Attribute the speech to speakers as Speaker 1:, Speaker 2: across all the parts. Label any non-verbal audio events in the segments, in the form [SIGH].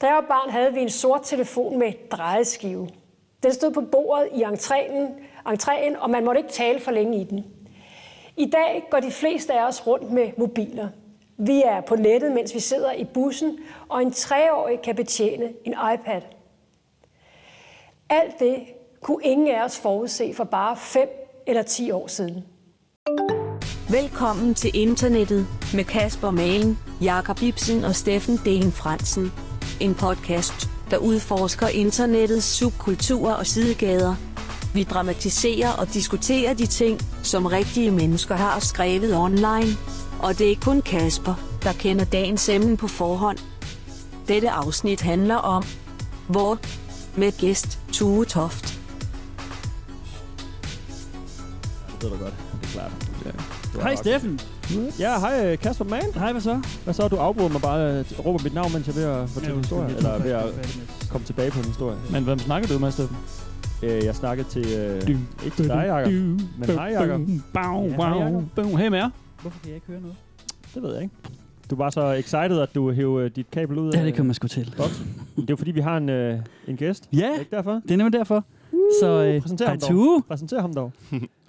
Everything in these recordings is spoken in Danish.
Speaker 1: Da jeg var barn, havde vi en sort telefon med drejeskive. Den stod på bordet i entréen, entréen, og man måtte ikke tale for længe i den. I dag går de fleste af os rundt med mobiler. Vi er på nettet, mens vi sidder i bussen, og en treårig kan betjene en iPad. Alt det kunne ingen af os forudse for bare 5 eller 10 år siden.
Speaker 2: Velkommen til internettet med Kasper Malen, Jakob Ibsen og Steffen Delen Fransen. En podcast, der udforsker internettets subkulturer og sidegader. Vi dramatiserer og diskuterer de ting, som rigtige mennesker har skrevet online. Og det er kun Kasper, der kender dagens emne på forhånd. Dette afsnit handler om, hvor med gæst Tue Toft.
Speaker 3: Det ved du godt, det er klart. Ja.
Speaker 4: Hej Steffen.
Speaker 3: Ja, hej øh, Kasper Mann.
Speaker 4: Hej, hvad så?
Speaker 3: Hvad så? Du afbryder mig bare øh, råber mit navn, mens jeg er ved at fortælle en historie. Eller er ved at
Speaker 4: at...
Speaker 3: komme tilbage på en historie.
Speaker 4: Men hvem snakker du med, Steffen?
Speaker 3: Øh, jeg snakkede til... Øh,
Speaker 4: Du.
Speaker 3: ikke til dig, Jacob. Men hej, Jacob.
Speaker 4: Bow,
Speaker 3: Ja, hej,
Speaker 4: bow,
Speaker 3: Jacob.
Speaker 4: bow. Hey med jer.
Speaker 5: Hvorfor kan jeg ikke høre noget?
Speaker 3: Det ved jeg ikke. Du var så excited, at du hævde øh, dit kabel ud
Speaker 4: Ja, det kommer man sgu til.
Speaker 3: Det er jo fordi, vi har en, øh, en gæst.
Speaker 4: Ja,
Speaker 3: Ikke derfor?
Speaker 4: det er nemlig derfor. Så øh,
Speaker 3: præsenter
Speaker 4: hej
Speaker 3: ham dog.
Speaker 4: Tue.
Speaker 3: Præsenter ham
Speaker 4: [LAUGHS]
Speaker 3: dog.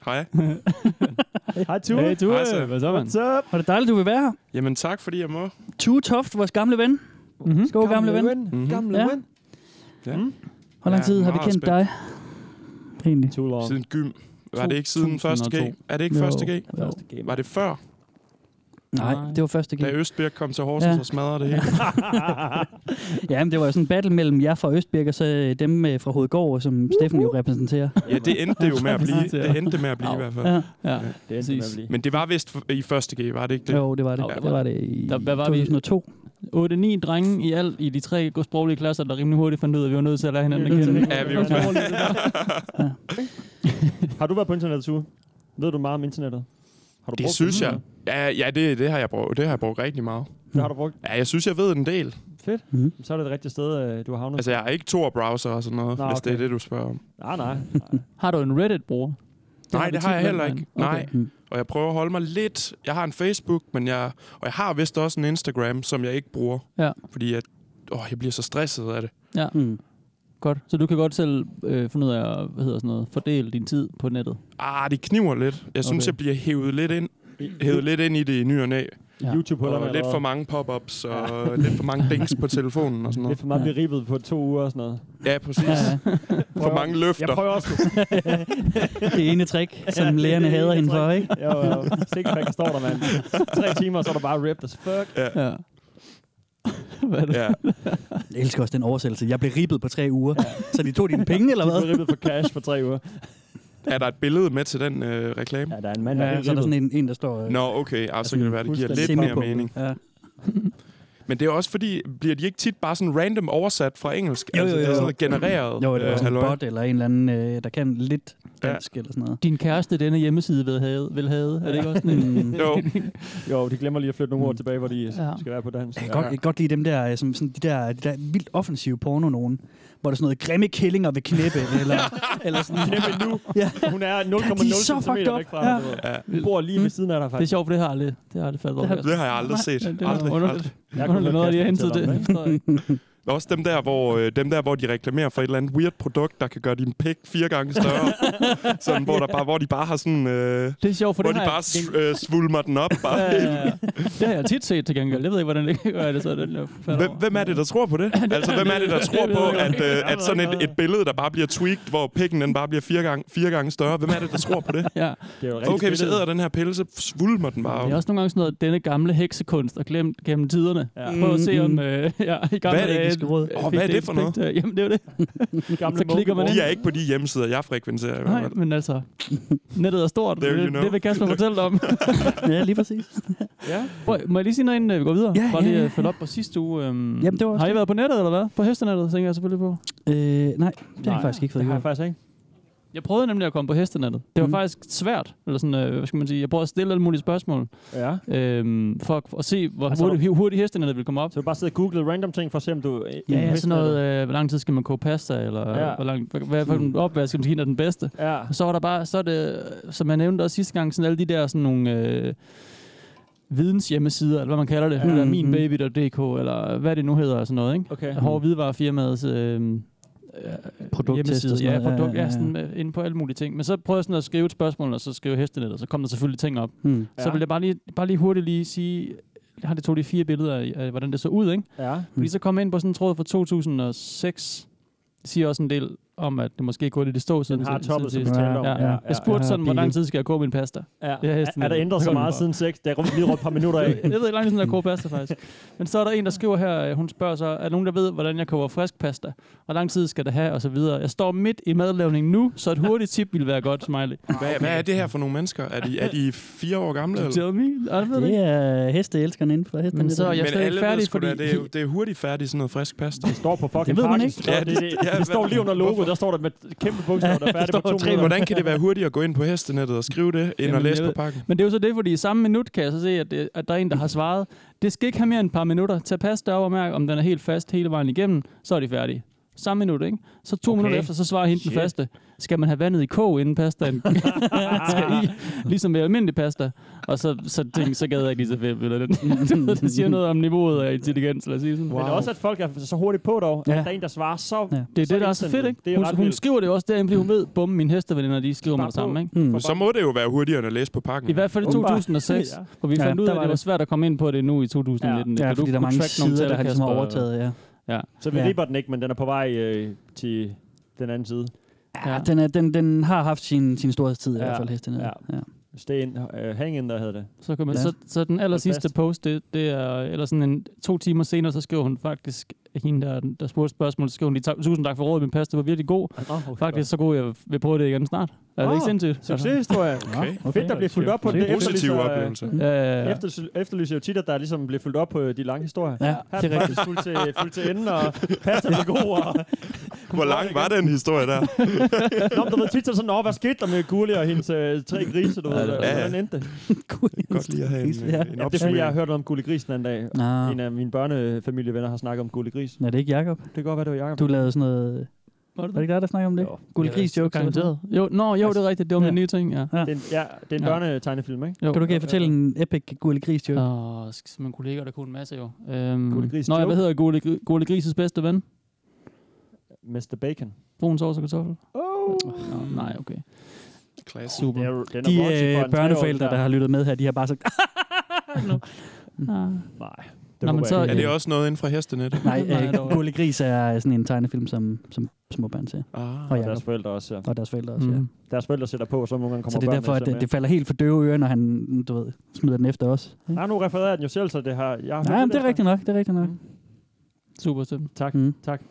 Speaker 6: Hej.
Speaker 3: [LAUGHS] Hej, Tue.
Speaker 4: Hey Tue,
Speaker 6: Hej, så.
Speaker 4: hvad så, mand?
Speaker 3: What's up?
Speaker 4: Var det dejligt, du vil være her.
Speaker 6: Jamen tak, fordi jeg må.
Speaker 4: Tue Toft, vores gamle ven.
Speaker 3: Mm-hmm.
Speaker 4: Skål, gamle ven.
Speaker 6: Mhm.
Speaker 3: Gamle
Speaker 4: Ja.
Speaker 3: ven. Mhm.
Speaker 4: Hvor lang
Speaker 6: Ja,
Speaker 4: tid har vi
Speaker 6: meget
Speaker 4: kendt dig? Egentlig.
Speaker 3: Too long.
Speaker 6: Siden gym. Var det ikke siden
Speaker 4: 2002?
Speaker 6: 1. G? Er det ikke
Speaker 4: Jo.
Speaker 6: 1. G?
Speaker 4: Jo.
Speaker 6: Var det før,
Speaker 4: Nej, det var første G.
Speaker 6: da Østbjerg kom til Horsens
Speaker 4: Ja.
Speaker 6: og smadrede
Speaker 4: [LAUGHS]
Speaker 6: det hele?
Speaker 4: Ja, men det var jo sådan en battle mellem jer fra Østbirk og så øh, dem øh, fra Hovedgård, som Steffen jo repræsenterer.
Speaker 6: Ja, det endte det jo med at blive.
Speaker 4: præcis, [LAUGHS] ja.
Speaker 6: Det endte det med at blive i hvert fald.
Speaker 4: Ja.
Speaker 7: Ja.
Speaker 3: Det endte med at
Speaker 7: Præcis.
Speaker 3: blive.
Speaker 6: Men det var vist f- i 1. G, var det ikke det?
Speaker 4: Jo, det var det.
Speaker 7: Ja,
Speaker 4: Det var det i
Speaker 7: Der- hvad var vi?
Speaker 4: 2002.
Speaker 7: 8-9 drenge i alt i de tre sproglige klasser, der rimelig hurtigt fandt ud af, at vi var nødt til at lære hinanden at kende.
Speaker 6: Ja, vi
Speaker 3: var
Speaker 6: var-
Speaker 3: Har du været på internettet, Tue? Ved du meget om internettet? Har du
Speaker 6: Det
Speaker 3: brugt
Speaker 6: synes jeg.
Speaker 3: eller?
Speaker 6: Ja, ja det, det, har jeg brugt, det har jeg brugt rigtig meget.
Speaker 3: Det har du brugt.
Speaker 6: Ja, jeg synes, jeg ved en del.
Speaker 3: Fedt.
Speaker 4: Mhm.
Speaker 3: Så er det det rigtige sted, øh, du har havnet.
Speaker 6: Altså, jeg har ikke to browser og sådan noget,
Speaker 3: Nå,
Speaker 6: hvis det er
Speaker 3: okay.
Speaker 6: det, du spørger om.
Speaker 3: Nej, nej.
Speaker 7: Har du en Reddit-bruger?
Speaker 6: Nej, det har jeg heller ikke. Nej,
Speaker 4: Mm.
Speaker 6: og jeg prøver at holde mig lidt. Jeg har en Facebook, men jeg, og jeg har vist også en Instagram, som jeg ikke bruger.
Speaker 7: Ja.
Speaker 6: Fordi jeg, åh, jeg bliver så stresset af det.
Speaker 4: Mm.
Speaker 7: Godt. Så du kan godt selv øh, finde ud af at hvad hedder sådan noget, fordele din tid på nettet.
Speaker 6: Ah, det kniver lidt. Jeg synes,
Speaker 7: Okay.
Speaker 6: jeg bliver hævet lidt ind, hævet lidt ind i det i ny og næ.
Speaker 7: Ja.
Speaker 3: YouTube-hullerne.
Speaker 6: Og lidt for mange pop-ups og lidt for mange dings på telefonen og sådan
Speaker 3: Lidt
Speaker 6: noget.
Speaker 3: for meget beribet på to uger og sådan noget.
Speaker 6: Ja, præcis. For mange
Speaker 3: Jeg
Speaker 6: løfter.
Speaker 3: prøver også.
Speaker 4: [LAUGHS] Det ene trick, som
Speaker 3: det
Speaker 4: lærerne
Speaker 3: ene
Speaker 4: hader hende
Speaker 3: trick.
Speaker 4: for, ikke?
Speaker 3: Jo, jo. Sixpack står der, mand. Tre timer, så er du bare ripped as fuck.
Speaker 4: [LAUGHS]
Speaker 7: Ja. hvad er det?
Speaker 6: Ja.
Speaker 4: Jeg elsker også den oversættelse. Jeg blev ribbet på tre uger. Så de tog dine penge, eller
Speaker 3: Du
Speaker 4: hvad?
Speaker 3: er rippet for cash for tre uger.
Speaker 6: Er der et billede med til den øh, reklame?
Speaker 3: Ja, der er en mand, der er
Speaker 4: Ja,
Speaker 3: helt Altså,
Speaker 4: så er der
Speaker 3: rippet.
Speaker 4: sådan en, en der står... øh,
Speaker 6: Nå, okay. Ah, så kan det være, det giver lidt
Speaker 4: semi
Speaker 6: mere
Speaker 4: på.
Speaker 6: mening.
Speaker 4: Ja.
Speaker 6: Men det er også fordi, bliver de ikke tit bare sådan random oversat fra engelsk?
Speaker 4: Jo,
Speaker 6: altså,
Speaker 4: jo,
Speaker 6: det er
Speaker 4: jo.
Speaker 6: sådan noget genereret.
Speaker 4: Jo, eller
Speaker 6: øh,
Speaker 4: sådan en
Speaker 6: halløj.
Speaker 4: bot, eller en eller anden, øh, der kan lidt
Speaker 6: Ja.
Speaker 4: dansk, eller sådan noget.
Speaker 7: Din kæreste denne hjemmeside vil have, vil have. Er det ikke også sådan en...
Speaker 4: Mm.
Speaker 6: Jo,
Speaker 3: Jo, de glemmer lige at flytte nogle ord
Speaker 4: Mm.
Speaker 3: tilbage, hvor de
Speaker 7: [LAUGHS] Ja.
Speaker 3: skal være på dansk.
Speaker 4: Jeg kan, godt, jeg kan godt lide dem der, øh, som, sådan de der, de der vildt offensive porno nogen, hvor der er sådan noget grimme kællinger ved knæppe,
Speaker 6: [LAUGHS]
Speaker 4: eller, eller sådan
Speaker 3: Knæppe nu.
Speaker 4: Ja.
Speaker 3: Hun er 0,0
Speaker 4: De er så
Speaker 3: cm
Speaker 4: fucked up.
Speaker 3: væk fra ham, du ved.
Speaker 6: Ja.
Speaker 3: Bor lige ved siden af dig,
Speaker 7: Det er
Speaker 3: faktisk.
Speaker 7: sjovt, for det har jeg aldrig, det har jeg aldrig faldet over.
Speaker 6: Det har jeg aldrig set.
Speaker 7: det var
Speaker 6: Aldrig,
Speaker 7: underligt.
Speaker 6: aldrig.
Speaker 3: Jeg kunne
Speaker 7: Underligt
Speaker 3: høre
Speaker 7: noget, at de har
Speaker 3: Kasper
Speaker 7: hentet
Speaker 3: fortælle
Speaker 7: det.
Speaker 3: om
Speaker 7: det forstår jeg ikke.
Speaker 6: [LAUGHS] Også dem der, hvor, øh, dem der, hvor de reklamerer for et eller andet weird produkt, der kan gøre din pik fire gange større. sådan, hvor, der bare, hvor de bare har sådan... Øh,
Speaker 7: Det er sjovt, for
Speaker 6: hvor
Speaker 7: det
Speaker 6: de
Speaker 7: har
Speaker 6: bare
Speaker 7: jeg...
Speaker 6: s- øh, svulmer den op. Bare.
Speaker 7: [LAUGHS] Ja, ja, ja. Det har jeg tit set til gengæld. Jeg ved ikke, hvordan det kan gøre det, så den er faldet
Speaker 6: Hvem,
Speaker 7: over.
Speaker 6: hvem er det, der tror på
Speaker 7: [LAUGHS]
Speaker 6: det? Altså, hvem er det, der tror
Speaker 7: ved
Speaker 6: på,
Speaker 7: jeg godt.
Speaker 6: at, øh, at sådan et, et billede, der bare bliver tweaked, hvor pikken den bare bliver fire gange, fire gange større? Hvem er det, der tror på det?
Speaker 7: Ja.
Speaker 3: Det er jo rigtig
Speaker 6: Okay, hvis jeg
Speaker 3: fedt.
Speaker 6: æder den her pille, så svulmer den bare.
Speaker 7: Det er også nogle gange sådan noget, denne gamle heksekunst og glemt gennem tiderne.
Speaker 3: Ja.
Speaker 7: Ja. Prøv at se
Speaker 6: Mm-hmm.
Speaker 7: om, øh, [LAUGHS] ja, i gamle
Speaker 6: Mm. Hvad er det
Speaker 4: etiske råd?
Speaker 7: dage, øh,
Speaker 6: Åh, hvad er
Speaker 7: fik
Speaker 6: det for
Speaker 7: ikke spændt, øh, Jamen, det er jo
Speaker 3: [LAUGHS]
Speaker 7: det.
Speaker 6: [LAUGHS]
Speaker 3: Gamle
Speaker 7: så klikker man
Speaker 3: munke-
Speaker 6: De er ikke på de hjemmesider, jeg frekventerer i hvert
Speaker 7: Nej,
Speaker 6: fald.
Speaker 7: men altså, nettet er stort.
Speaker 6: There
Speaker 7: det,
Speaker 6: you know.
Speaker 7: det
Speaker 6: [LAUGHS]
Speaker 7: vil Kasper fortælle dig om.
Speaker 4: [LAUGHS] Ja, lige
Speaker 7: [LAUGHS]
Speaker 4: præcis.
Speaker 3: Ja.
Speaker 7: Prøv, må jeg lige sige noget, inden øh, vi går videre?
Speaker 4: Ja,
Speaker 7: Bare
Speaker 4: ja,
Speaker 7: lige
Speaker 4: ja,
Speaker 7: at følge op på sidste uge.
Speaker 6: Mm.
Speaker 7: Øhm,
Speaker 4: Jamen, det var også
Speaker 7: har I været på nettet, eller hvad? På hestenettet, tænker jeg selvfølgelig på.
Speaker 4: Øh, nej, det har jeg faktisk ikke fået
Speaker 3: Det
Speaker 4: gjort.
Speaker 3: har jeg faktisk ikke.
Speaker 7: Jeg prøvede nemlig at komme på hestenettet. Det var
Speaker 4: Mm.
Speaker 7: mm. faktisk svært, eller sådan, øh, hvad skal man sige. Jeg prøvede at stille alle mulige spørgsmål,
Speaker 3: Ja.
Speaker 7: øhm, for, at- for at se, hvor
Speaker 3: Altså,
Speaker 7: hurtigt, hurtigt hestenettet ville komme op.
Speaker 3: Så du bare sidder og googler random ting for at se, om du...
Speaker 7: Ja, ja,
Speaker 3: vidste
Speaker 7: sådan noget, øh, hvor lang tid skal man koge pasta, eller
Speaker 3: Ja.
Speaker 7: ja. hvor lang, hvad, hvad for en opvask skal man give, er den bedste.
Speaker 3: Ja.
Speaker 7: Og så var der bare, så er det, som jeg nævnte også sidste gang, sådan alle de der sådan nogle, øh, videnshjemmesider, eller hvad man kalder det, mm, eller
Speaker 4: Mm,
Speaker 7: minbaby.dk, eller hvad det nu hedder og sådan noget, ikke?
Speaker 3: Mhm. Okay.
Speaker 7: Hårde Hvidevarefirmaets øh, øh,
Speaker 4: Produkttest
Speaker 7: hjemmeside.
Speaker 4: og sådan
Speaker 7: Ja,
Speaker 4: noget.
Speaker 7: produkt,
Speaker 4: Ja,
Speaker 7: ja,
Speaker 4: ja,
Speaker 7: sådan, øh, inde på alle mulige ting. Men så prøvede jeg sådan at skrive et spørgsmål, og så skrive hestenet, og så kom der selvfølgelig ting op.
Speaker 4: Mm.
Speaker 7: Ja. Så
Speaker 3: Ja.
Speaker 7: vil jeg bare lige, bare lige hurtigt lige sige, jeg har det to de fire billeder af, af, hvordan det så ud, ikke?
Speaker 3: Ja.
Speaker 7: Fordi så kom jeg ind på sådan en tråd fra 2006. Det siger også en del om, at det måske er gået lidt i stå siden.
Speaker 3: Den har
Speaker 7: siden-
Speaker 3: toppet, som
Speaker 7: siden
Speaker 3: vi
Speaker 7: sidst.
Speaker 3: talte om.
Speaker 7: Ja, ja, ja. Jeg spurgte
Speaker 4: Ja,
Speaker 7: sådan, hvor
Speaker 4: bil.
Speaker 7: lang tid skal jeg koge min pasta?
Speaker 3: Ja.
Speaker 7: Det er
Speaker 3: Er,
Speaker 7: hesten.
Speaker 3: er der ændret så
Speaker 7: Hører
Speaker 3: meget
Speaker 7: den
Speaker 3: siden 6? Det er rum- lige rundt et par
Speaker 7: [LAUGHS]
Speaker 3: minutter af.
Speaker 7: Jeg ved ikke lang tid, jeg koger pasta, faktisk. Men så er der en, der skriver her, øh, hun spørger så, er der nogen, der ved, hvordan jeg koger frisk pasta? Hvor lang tid skal det have? Og så videre. Jeg står midt i madlavningen nu, så et hurtigt tip ville være godt, smiley.
Speaker 6: Hvad, hvad er det her for nogle mennesker? Er de, er de fire år gamle? Eller?
Speaker 7: Tell me. Ej, jeg ved det
Speaker 4: Det
Speaker 7: ikke.
Speaker 4: er hesteelskeren inden for hesten.
Speaker 7: Men så er jeg
Speaker 6: Men
Speaker 7: stadig
Speaker 6: alle
Speaker 7: ikke
Speaker 6: ved
Speaker 7: færdig,
Speaker 6: sgu da,
Speaker 7: fordi...
Speaker 6: det, er, jo- det er hurtigt færdigt, sådan noget frisk pasta.
Speaker 3: Det står på fucking
Speaker 4: Det ved man
Speaker 3: pakken.
Speaker 4: ikke.
Speaker 3: Ja, det, det,
Speaker 6: Ja,
Speaker 3: det,
Speaker 6: hvad-
Speaker 3: står lige under logoet, der står der med kæmpe
Speaker 7: [LAUGHS]
Speaker 3: bogstaver, der er færdig
Speaker 4: Der
Speaker 3: på
Speaker 4: står
Speaker 3: to
Speaker 4: tre
Speaker 3: minutter.
Speaker 6: Hvordan kan det være hurtigt at gå ind på hestenettet og skrive det, end
Speaker 7: Jamen,
Speaker 6: at læse
Speaker 7: jeg
Speaker 6: på
Speaker 7: ved-
Speaker 6: pakken?
Speaker 7: Men det er jo så det, fordi i samme minut kan jeg så se, at, det, at der er en,
Speaker 3: Mm-hmm.
Speaker 7: der har svaret, det skal ikke have mere end et par minutter. Tag pasta op og mærk, om den er helt fast hele vejen igennem, så er de færdige. Samme minut, ikke? Så to okay.
Speaker 3: Okay.
Speaker 7: minutter efter, så svarer hende den
Speaker 3: Shit.
Speaker 7: faste. Skal man have vandet i kog, inden
Speaker 3: [LAUGHS]
Speaker 7: pastaen [LAUGHS] skal i? Ligesom med almindelig pasta. Og så, så tænkte jeg, så gad jeg ikke lige så fedt. Eller
Speaker 3: [LAUGHS]
Speaker 7: det, det siger noget om niveauet af intelligens, lad os sige sådan.
Speaker 3: Men også, at folk er så hurtigt på dog, at
Speaker 4: Ja.
Speaker 3: der er en, der svarer så...
Speaker 4: Ja.
Speaker 7: Det er
Speaker 3: så
Speaker 7: det, der er så
Speaker 3: indsendt.
Speaker 7: fedt, ikke?
Speaker 3: Det er
Speaker 7: hun,
Speaker 3: ret
Speaker 7: hun
Speaker 3: vildt.
Speaker 7: skriver det også derinde, fordi hun ved, bum, mine hesteveninder, de skriver mig
Speaker 3: Bare
Speaker 7: det samme,
Speaker 3: på.
Speaker 7: ikke?
Speaker 4: Mm.
Speaker 6: Så må det jo være hurtigere end at læse på pakken.
Speaker 7: I hvert fald i
Speaker 3: Åbenbart.
Speaker 7: 2006,
Speaker 3: Ja.
Speaker 7: hvor vi
Speaker 4: [LAUGHS] Ja,
Speaker 7: fandt ud
Speaker 4: der
Speaker 7: af, at
Speaker 4: var
Speaker 7: det var
Speaker 4: det.
Speaker 7: svært at komme ind på det nu i 2019.
Speaker 4: Ja,
Speaker 7: Kan du
Speaker 4: fordi der er
Speaker 7: kunne
Speaker 4: mange
Speaker 7: tracke nogle
Speaker 4: sider,
Speaker 7: tal,
Speaker 4: der har ligesom
Speaker 7: Kasper?
Speaker 4: overtaget, ja.
Speaker 3: Så vi
Speaker 4: Ja.
Speaker 3: ripper den ikke, men den er på vej øh, til den anden side.
Speaker 4: ja.
Speaker 7: Ja.
Speaker 4: Den, er, den, den har haft sin, sin storhedstid i
Speaker 3: Ja.
Speaker 4: hvert fald, hesten. Ja. ja.
Speaker 3: Stay in, øh, hang in, der hedder det.
Speaker 7: Så, kan man,
Speaker 4: Ja.
Speaker 7: så, så den aller sidste
Speaker 3: fast.
Speaker 7: post, det, det er, eller sådan en, to timer senere, så skriver hun faktisk, hende der, der spurgte spørgsmålet, så skriver hun lige, "Tak- tusind tak for rådet, min pasta var virkelig god.
Speaker 3: Oh,
Speaker 7: Faktisk så god, jeg vil prøve det igen snart. Er det
Speaker 3: Åh,
Speaker 7: ikke sindssygt? Altså.
Speaker 3: Succeshistorie.
Speaker 6: Okay.
Speaker 4: Okay.
Speaker 3: Fedt, der bliver fulgt op på
Speaker 4: Det
Speaker 3: det.
Speaker 4: er
Speaker 3: Det
Speaker 6: Positiv
Speaker 3: efterlyser, øh,
Speaker 6: oplevelse.
Speaker 7: Ja, ja, ja.
Speaker 3: Efter, efterlyser jo tit, at der ligesom bliver fulgt op på de lange historier.
Speaker 4: Ja,
Speaker 3: Her er
Speaker 4: det
Speaker 3: den
Speaker 4: er rigtigt.
Speaker 3: faktisk fuldt til, fuldt til enden, og pasta er god. Og,
Speaker 6: Hvor lang var den historie der?
Speaker 3: nå, men du ved tit så er det sådan, "Nå, hvad skete der med Gurli og hendes øh, tre grise, du ved,
Speaker 7: Ja,
Speaker 3: ja,
Speaker 6: ja.
Speaker 3: hvordan endte det?
Speaker 6: Godt lige at have en,
Speaker 4: Ja.
Speaker 6: øh, en
Speaker 3: Ja, det er fordi, jeg har
Speaker 6: opsummering.
Speaker 3: hørt noget om Gurli Gris den anden dag.
Speaker 4: Nå.
Speaker 3: En af mine børnefamilievenner har snakket om Gulli Gris.
Speaker 4: Er det ikke Jacob?
Speaker 3: Det kan godt være, det var Jacob.
Speaker 4: Du lavede sådan noget...
Speaker 7: Var det
Speaker 4: Var det
Speaker 7: det?
Speaker 4: ikke dig, der snakkede om det?
Speaker 3: Jo.
Speaker 4: Gulli
Speaker 7: Ja,
Speaker 4: gris joke.
Speaker 7: Garanteret. Jo, nå, jo, det er rigtigt. Det var min
Speaker 4: Ja.
Speaker 7: nye ting, ja.
Speaker 3: Det er en, ja, det er en
Speaker 7: Ja.
Speaker 3: ja. børnetegnefilm, ikke?
Speaker 7: Jo.
Speaker 4: Kan du ikke fortælle en epic gulli gris joke?
Speaker 7: Åh, sk- min kollega, der kunne en masse jo. Øhm,
Speaker 3: Gurli Gris
Speaker 7: Nå, jeg,
Speaker 3: joke.
Speaker 7: hvad hedder Gurli, Gri- Gurli Grises bedste ven?
Speaker 3: Mr. Bacon.
Speaker 7: Brun sovs og kartoffel?
Speaker 3: Oh.
Speaker 7: Nå, nej, okay.
Speaker 6: Klasse.
Speaker 7: Super.
Speaker 3: Det er, jo- den er
Speaker 4: De
Speaker 3: vokset for
Speaker 4: øh,
Speaker 3: en
Speaker 4: børneforældre,
Speaker 3: treårig,
Speaker 4: der har lyttet med her, de har bare sagt, [LAUGHS]
Speaker 7: Ah.
Speaker 3: Nej, det
Speaker 7: Nå, men
Speaker 3: håber jeg
Speaker 7: så-
Speaker 3: ikke.
Speaker 6: Er det også noget inden for hestenettet?
Speaker 4: nej,
Speaker 7: Nej,
Speaker 4: øh,
Speaker 7: dog.
Speaker 4: Gulli Gris er sådan en tegnefilm, som, som små børn ser.
Speaker 6: Ah.
Speaker 4: Og
Speaker 3: Og deres
Speaker 4: Jacob
Speaker 3: forældre også, ja.
Speaker 4: og deres forældre også, ja.
Speaker 7: Mm.
Speaker 3: Deres forældre sætter på, og så nogle gange
Speaker 4: Så
Speaker 3: kommer
Speaker 4: det er
Speaker 3: børnene
Speaker 4: derfor, at
Speaker 3: så
Speaker 4: det, det falder helt for døve ører, når han, du ved, smider den efter os.
Speaker 3: med. Nej, nu refererer jeg den jo selv, så det Mhm. har... Jeg har
Speaker 4: Nej,
Speaker 3: hørt
Speaker 4: men det er
Speaker 3: efter.
Speaker 4: rigtigt nok, det er rigtigt nok.
Speaker 7: Super simpelthen.
Speaker 3: Tak.
Speaker 4: Mm.
Speaker 3: Tak.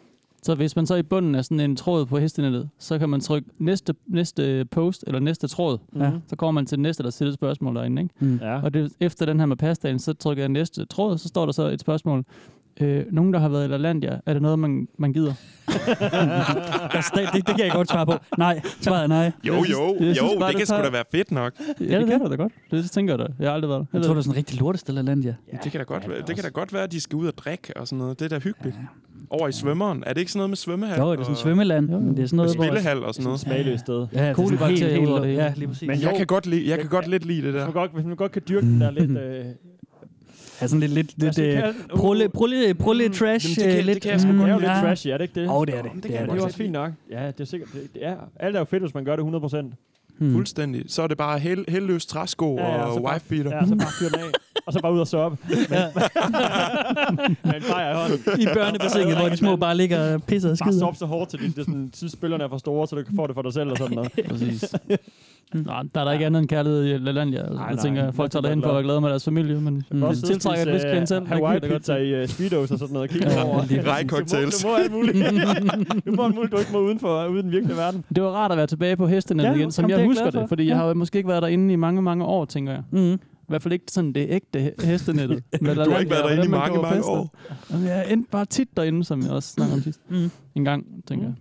Speaker 7: Så hvis man så i bunden af sådan en tråd på hestenettet, så kan man trykke næste, næste post, eller næste tråd,
Speaker 4: Ja.
Speaker 3: Mhm.
Speaker 7: så kommer man til næste, der stiller et spørgsmål derinde, ikke?
Speaker 4: Mm.
Speaker 3: Ja.
Speaker 7: Og det, efter den her med pastaen, så trykker jeg næste tråd, så står der så et spørgsmål. Øh, nogen, der har været i LaLandia, er det noget, man, man
Speaker 3: [LAUGHS]
Speaker 7: gider?
Speaker 4: Der er sta- det, det kan jeg godt svare på. Nej, svaret er nej.
Speaker 6: Jo,
Speaker 7: Jeg synes-
Speaker 6: jo,
Speaker 7: jeg synes
Speaker 6: jo, det
Speaker 7: bare, det
Speaker 6: kan sgu
Speaker 7: tager-
Speaker 6: da være fedt nok.
Speaker 7: Ja, det kan du da godt. Det, det tænker jeg da. Jeg har aldrig været der.
Speaker 4: Jeg tror, det er sådan en rigtig lortestil af land, ja.
Speaker 6: Det kan da godt,
Speaker 3: Ja,
Speaker 6: være,
Speaker 3: det
Speaker 6: det kan da godt være, at de skal ud og drikke og sådan noget. Det er da hyggeligt. Over i svømmeren. Er det ikke sådan noget med svømmehal?
Speaker 4: Jo, det er sådan
Speaker 6: og
Speaker 4: et svømmeland.
Speaker 7: Jo.
Speaker 4: men Det er sådan
Speaker 6: og
Speaker 4: noget, hvor...
Speaker 6: Spillehal og sådan
Speaker 3: Sådan et
Speaker 6: noget.
Speaker 3: smagløst sted.
Speaker 4: Ja, det er sådan helt,
Speaker 7: Kolibakterier
Speaker 4: helt,
Speaker 7: ud over det hele.
Speaker 4: Ja, lige præcis.
Speaker 3: Men
Speaker 4: Men
Speaker 6: Jeg kan godt lide, jeg kan godt lidt lide det
Speaker 3: Hvis
Speaker 6: der.
Speaker 3: man, godt, hvis man godt kan dyrke den der
Speaker 6: [LAUGHS]
Speaker 3: lidt... Øh,
Speaker 4: er sådan lidt, lidt, lidt
Speaker 3: altså,
Speaker 4: øh,
Speaker 3: det kan- uh,
Speaker 4: prulle, prulle, prulle
Speaker 6: Jamen,
Speaker 4: trash.
Speaker 6: det kan-
Speaker 4: øh,
Speaker 6: det
Speaker 4: lidt,
Speaker 6: kan jeg sgu
Speaker 4: mm,
Speaker 3: Det er jo lidt
Speaker 4: ja.
Speaker 3: trashy, er det ikke det?
Speaker 4: Åh, det er det.
Speaker 6: Jamen,
Speaker 4: Det
Speaker 6: det kan
Speaker 4: er
Speaker 6: jeg
Speaker 4: det.
Speaker 3: Det er
Speaker 6: godt
Speaker 3: jo også fint nok. Ja, det er sikkert. Det, det er, alt er jo fedt, hvis man gør det 100 procent.
Speaker 4: Mm.
Speaker 6: Fuldstændig. Så er det bare hel, helløs træsko
Speaker 3: Ja, ja,
Speaker 6: og
Speaker 3: så bare-
Speaker 6: wife-beater.
Speaker 3: Ja, så bare fyr den af. og så bare ud og sove op. Men, med en fejr i hånden.
Speaker 4: I børnebassinet, hvor de små bare ligger og pisser og
Speaker 3: Bare
Speaker 4: skider.
Speaker 3: sop så hårdt til det. det er sådan, [LAUGHS] synes, spillerne er for store, så du kan få det for dig selv og sådan
Speaker 4: [LAUGHS]
Speaker 3: noget.
Speaker 7: Præcis. Nå, der er der ikke andet end kærlighed i LaLandia. Altså.
Speaker 3: Nej,
Speaker 7: jeg
Speaker 3: nej.
Speaker 7: tænker, at folk tager derhen for at være glade med deres familie, men
Speaker 4: Mm.
Speaker 7: det tiltrækker et vist klientel. Jeg
Speaker 3: øh, Hawaii
Speaker 7: kan det godt
Speaker 3: pizza i uh, Speedos og sådan noget. Kig
Speaker 4: Ja,
Speaker 3: over.
Speaker 4: lige
Speaker 6: præcis. Rejcocktails.
Speaker 3: Du må, du må alt
Speaker 4: [LAUGHS]
Speaker 7: [LAUGHS]
Speaker 3: muligt. du må alt muligt, du ikke må uden for uden den virkelige verden.
Speaker 7: Det var rart at være tilbage på hesten
Speaker 4: Ja,
Speaker 7: ja, igen, som
Speaker 4: jamen, det er
Speaker 7: jeg
Speaker 4: jeg
Speaker 7: husker
Speaker 4: glad for.
Speaker 7: det, fordi
Speaker 4: Ja.
Speaker 7: jeg har jo måske ikke været derinde i mange, mange år, tænker jeg.
Speaker 4: Mm.
Speaker 7: I hvert fald ikke sådan det ægte he- hestenettet.
Speaker 6: Du har ikke været derinde i mange, mange år.
Speaker 7: Jeg endte bare tit derinde, som jeg også snakkede om sidst.
Speaker 4: Mm.
Speaker 7: En gang, tænker jeg.